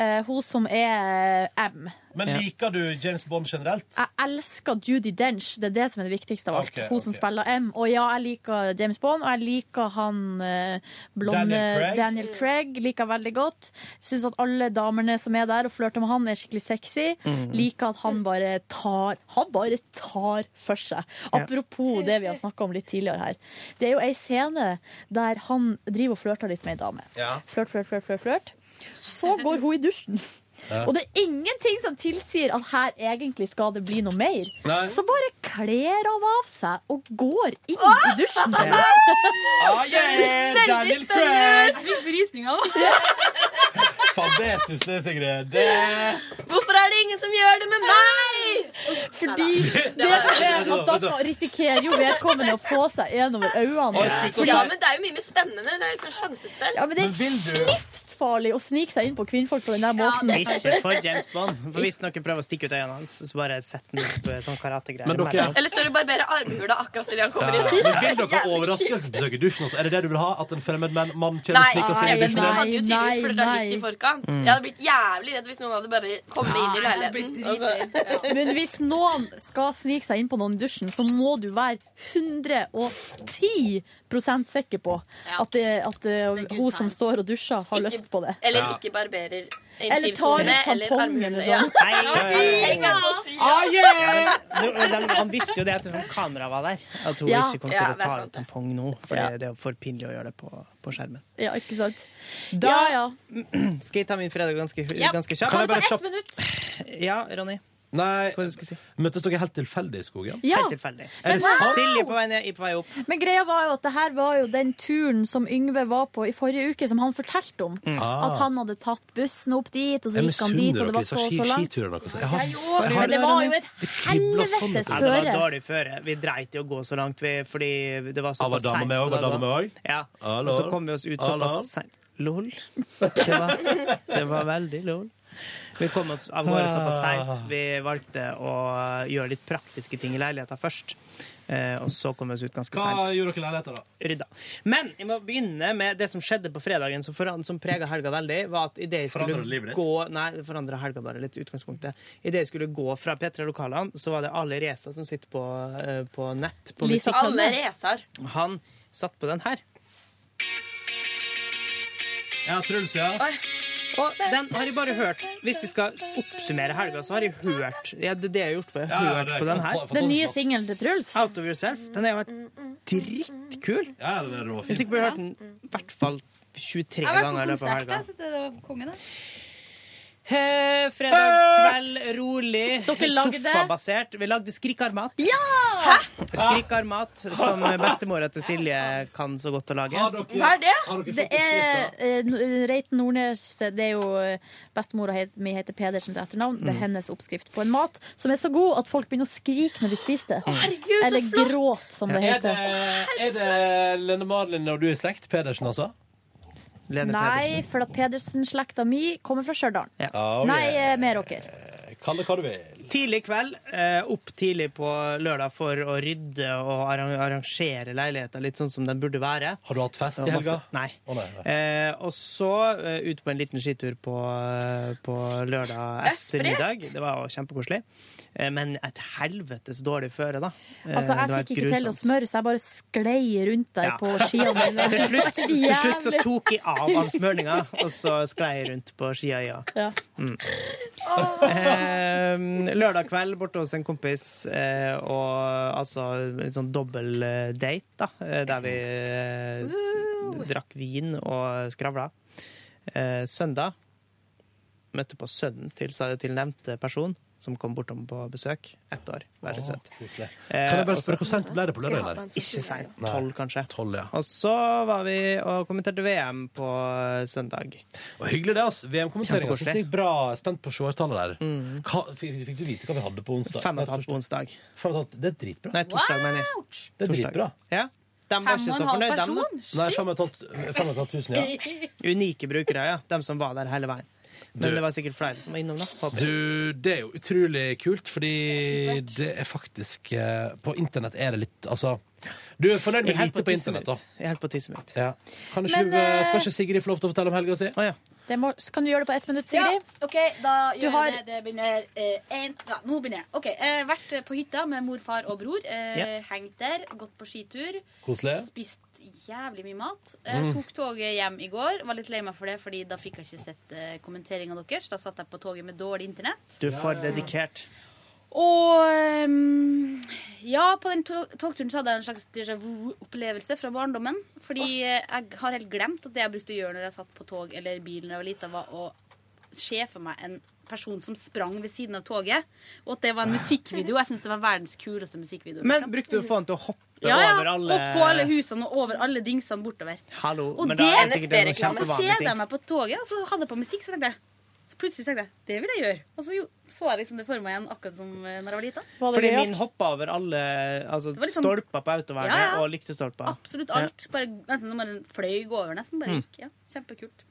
Eh, hun som er eh, M. Men liker du James Bond generelt? Jeg elsker Judy Dench, det er det som er det viktigste av alt. Ok, hun som ok. spiller M. Og ja, jeg liker James Bond, og jeg liker han eh, blonde Daniel Daniel Craig? Craig. Liker veldig godt. Syns at alle damene som er der og flørter med han, er skikkelig sexy. Mhm. Liker at han bare tar Han bare tar for seg. Apropos det vi har snakka om litt tidligere her. Det er jo ei scene der han driver og flørter litt med ei dame. Ja. Flørt, flørt, flørt, flørt, flørt. Så går hun i dusjen. Ja. Og det er ingenting som tilsier at her egentlig skal det bli noe mer. Nei. Så bare kler han av seg og går inn i dusjen. Ja. Ah, yeah, Veldig Daniel spennende. Craig! Fikk (laughs) frysninger nå. Faen, det er stusslig, Sigrid. Det Hvorfor er det ingen som gjør det med meg?! Fordi Neida. det som er at da kan- risikerer jo vedkommende å få seg en over øynene. Fordi, Ja, men det er jo mye mer spennende. Det er liksom sjansespill. ja, men det er livsfarlig å snike seg inn på kvinnfolk på den der måten. Ikke for James Bond. For Hvis noen prøver å stikke ut øynene hans, så bare sett den opp eh, sånn karategreier. Men dere- Eller står og barberer armhula akkurat idet han kommer Ja. inn. Men vil dere overraskelsesbesøke dusjen også? Er det det du vil ha? At en fremmed mann, mann kommer Nei, snikker seg inn i men dusjen han din? hadde jo tydeligvis flørta litt i forkant. Mm. Jeg hadde blitt jævlig redd hvis noen hadde bare kommet inn i leiligheten. Altså. (laughs) Men hvis noen skal snike seg inn på noen i dusjen, så må du være 110 sikker på at, det, at eh, hun som står og dusjer, har lyst på det. Eller ikke barberer Eller tar ut tampongen eller sånn. Ah, yeah! de, de, han visste jo det ettersom kameraet var der, at hun Ja. ikke kom til Ja, å det er ta sant ut tampong nå. For Ja. det er jo for pinlig å gjøre det på, på skjermen. (clears throat) Ja, ikke sant? Da ja, ja. skal jeg ta min fredag ganske, Ja. ganske kjapt. Kan jeg bare stoppe? Ja, Ronny. Nei, møttes dere helt tilfeldig i skogen? Ja. Helt tilfeldig. Er det sant? Silje på vei ned, jeg på vei opp. Men greia var jo at det her var jo den turen som Yngve var på i forrige uke, som han fortalte om. Mm. Ah. At han hadde tatt bussen opp dit, og så Jeg gikk han dit, misunner og det dere var disse så og så ski- langt. skiturene deres. Jeg har- Men jeg har- det var jo et kribler sånn. helvetes Ja, det var føre. dårlig føre. Vi dreit i å gå så langt, vi, fordi det var Ah, var såpass dama seint. med også? Var dama med også? Ja. Hallo? Og så kom vi oss ut Hallo? såpass seint. Lol. Det var, det var veldig lol. Vi kom oss av gårde såpass Ah. seint. Vi valgte å eh, gjøre litt praktiske ting i leiligheta først. Eh, og så kom vi oss ut ganske seint. Hva gjorde dere i leiligheten, da? Rydda. Men jeg må begynne med det som skjedde på fredagen, som, foran- som prega helga veldig. var at i det jeg Forandret livet skulle ditt? gå Nei, det forandra helga bare litt. utgangspunktet. Idet jeg skulle gå fra P3-lokalene, så var det alle Reza som sitter på, eh, på nett. På Lisa musikk. Alle Rezar. Han satt på den her. Ja, Truls, ja. Og den har jeg bare hørt. Hvis jeg skal oppsummere helga, så har jeg hørt ja, det, er det jeg har gjort på, jeg har Ja, ja, hørt det er på den godt. her. Fant- Den nye singelen til Truls. Out of Yourself. Den er jo drittkul. Ja, den er rå. Jeg er sikker på jeg har hørt den i hvert fall 23 Jeg har vært ganger på i løpet av konsert, helga. da, så det var konge, da. Eh, fredag kveld, rolig, Dere lagde- sofabasert. Vi lagde skrikkarmat. Skrikkarmat, som bestemora til Silje kan så godt å lage. Hva er det? Det er eh, N- Reiten Nordnes Det er jo eh, bestemora het- mi heter Pedersen til etternavn. Det Mm. er hennes oppskrift på en mat som er så god at folk begynner å skrike når de spiser det. herregud, så Eller flott! gråt, som det Er heter. det, er det Lene Marlin og du er i slekt? Pedersen, altså? Nei, for at Pedersen-slekta mi kommer fra Stjørdal. Ah, ok. Nei, eh, Meråker. Kall det hva du vil. Tidlig kveld, eh, opp tidlig på lørdag for å rydde og arran- arrangere leiligheter litt sånn som den burde være. Har du hatt fest i Og masse- helga? Nei. Å, nei, nei. Eh, og så eh, ut på en liten skitur på, eh, på lørdag Det er ettermiddag. Det var jo kjempekoselig. Eh, men et helvetes dårlig føre, da. Eh, Altså, det var jeg helt fikk ikke til å grusomt. smøre, så jeg bare sklei rundt der Ja. på skia (laughs) mine. til, slutt, Det var til slutt så jævlig. tok jeg av all smøringa, og så sklei jeg rundt på skia, ja. Ja. Mm. Eh, lørdag kveld borte hos en kompis, eh, og altså en sånn dobbel eh, date, da, eh, der vi eh, s- drakk vin og skravla. Eh, søndag møtte på sønnen til, sa- til nevnte person, som kom bortom på besøk. Ett år. Veldig søt. Kan jeg bare spørre, hvor sent ble det på lørdag, eller? Ikke seint. Tolv, kanskje. ja. Og så var vi og kommenterte VM på eh, søndag. Og hyggelig det, altså. VM-kommenteringa Kjempekoselig. Mm. syns jeg gikk bra. Spent på seertallet der. Hva, fikk, fikk du vite hva vi hadde på onsdag? Fem og et Nei, halvt på onsdag. Fem og et halvt, det er dritbra. Nei, torsdag, mener jeg. Det er Torsdag. dritbra. Ja. De var ikke så fornøyd, dem, da. Nei, fem og et halvt- fem og et halvt tusen, ja. (laughs) Unike brukere, ja. De som var der hele veien. Men Du- det var sikkert flere som var innom, da. Håper jeg. Du, det er jo utrolig kult, fordi det er faktisk eh, På internett er det litt Altså, du er fornøyd Jeg med er helt lite på på tissen internett, da. Jeg er helt på tisset mitt. Ja. Kan ikke, Men, du, eh, skal eh, ikke Sigrid få lov til å fortelle om helga si? Det må, kan du gjøre det på ett minutt, Sigrid? OK, da Du gjør har- jeg det. Det begynner eh, en, ja, Nå begynner jeg. OK. Eh, vært på hytta med mor, far og bror. Eh, Ja. Hengt der. Gått på skitur. Koselig. Spist jævlig mye mat. Eh, Mm. Tok toget hjem i går. Var litt lei meg for det, Fordi da fikk jeg ikke sett eh, kommenteringa deres. Da satt jeg på toget med dårlig internett. Du er for dedikert. Og ehm, ja, på den to- togturen så hadde jeg en slags déjà vu-opplevelse fra barndommen. Fordi eh, jeg har helt glemt at det jeg brukte å gjøre når jeg satt på tog eller bil når jeg var lita, var å se for meg en person som sprang ved siden av toget. Og at det var en musikkvideo. Jeg syns det var verdens kuleste musikkvideo. Men liksom. brukte du å få han til å hoppe ja, ja, over alle Opp på alle husene og over alle dingsene bortover. Hallo. Og Men det da er det NSB sikkert en sånn reklame. Så kjempevanlig kjeda jeg ting. meg på toget, og så hadde jeg på musikk, så tenkte jeg så plutselig tenkte jeg, det vil jeg gjøre. Og så jo, så jeg liksom det for meg igjen, akkurat som eh, når jeg var lita. Fordi min hoppa over alle altså, Det var liksom- stolper på autovernet Ja, ja. og lyktestolper. Absolutt alt. Bare, nesten som bare den fløy over, nesten. Bare Mm. gikk. Ja. Kjempekult.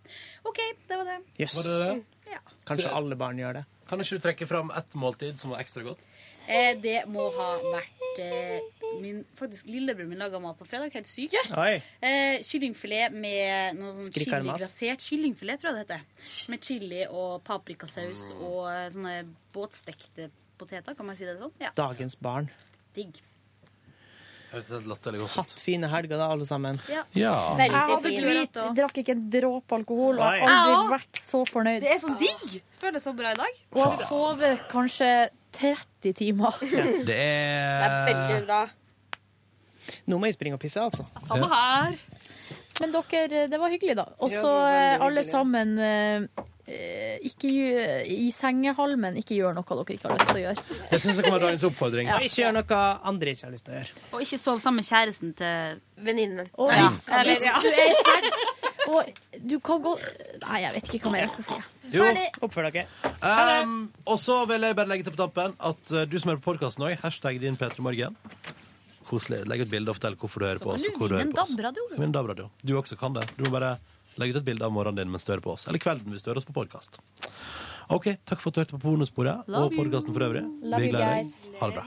OK, det var det. Yes. Var det det? Kanskje alle barn gjør det. Kan ikke du trekke fram ett måltid som var ekstra godt? Eh, det må ha vært eh, min, Faktisk lillebror min laga mat på fredag. Helt sykt. Oi. Eh, kyllingfilet med noe sånn Skrikende mat. chiliglasert kyllingfilet, tror jeg det heter. Med chili og paprikasaus og eh, sånne båtstekte poteter. Kan man si det sånn? Ja. Dagens barn. Digg. Hørtes helt latterlig godt ut. Hatt fine helger, da, alle sammen. Ja. Jeg hadde fin. hvit, drakk ikke en dråpe alkohol og har Nei. aldri Jeg vært så fornøyd. Det er så digg! Føles så bra i dag. Og har sovet kanskje 30 timer. Det er bra. Nå må jeg springe og pisse, altså. Samme her. Men dere, det var hyggelig, da. Og Ja, det så var veldig eh, alle hyggelig. sammen eh, ikke gj- i sengehalmen, ikke gjør noe dere ikke har lyst til å gjøre. Jeg syns det kan være dagens oppfordring. Og ikke gjør noe andre ikke har lyst til å gjøre. Og ikke sov sammen med kjæresten til venninnen. Og hvis, hvis du er ferdig Og du kan gå Nei, jeg vet ikke hva mer jeg skal si. Jo. Oppfør dere. Um, og så vil jeg bare legge til på tampen at uh, du som hører på podkasten òg, hashtag din P3morgen. Koselig. Legg ut bilde og fortell hvorfor du hører på oss. og hvor du hører på oss. Kom inn, DAB-radio. Du også kan det. Du må bare legge ut et bilde av morgenen din mens du hører på oss. Eller kvelden hvis du hører oss på podkast. OK, takk for at du hørte på Pornosporet Love og podkasten for øvrig. Love Vi you gleder deg. guys. Ha det bra.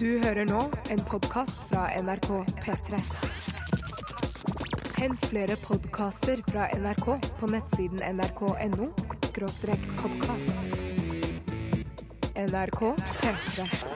Du hører nå en podkast fra NRK P3. Hent flere podkaster fra NRK på nettsiden nrk.no podkast. NRK P3.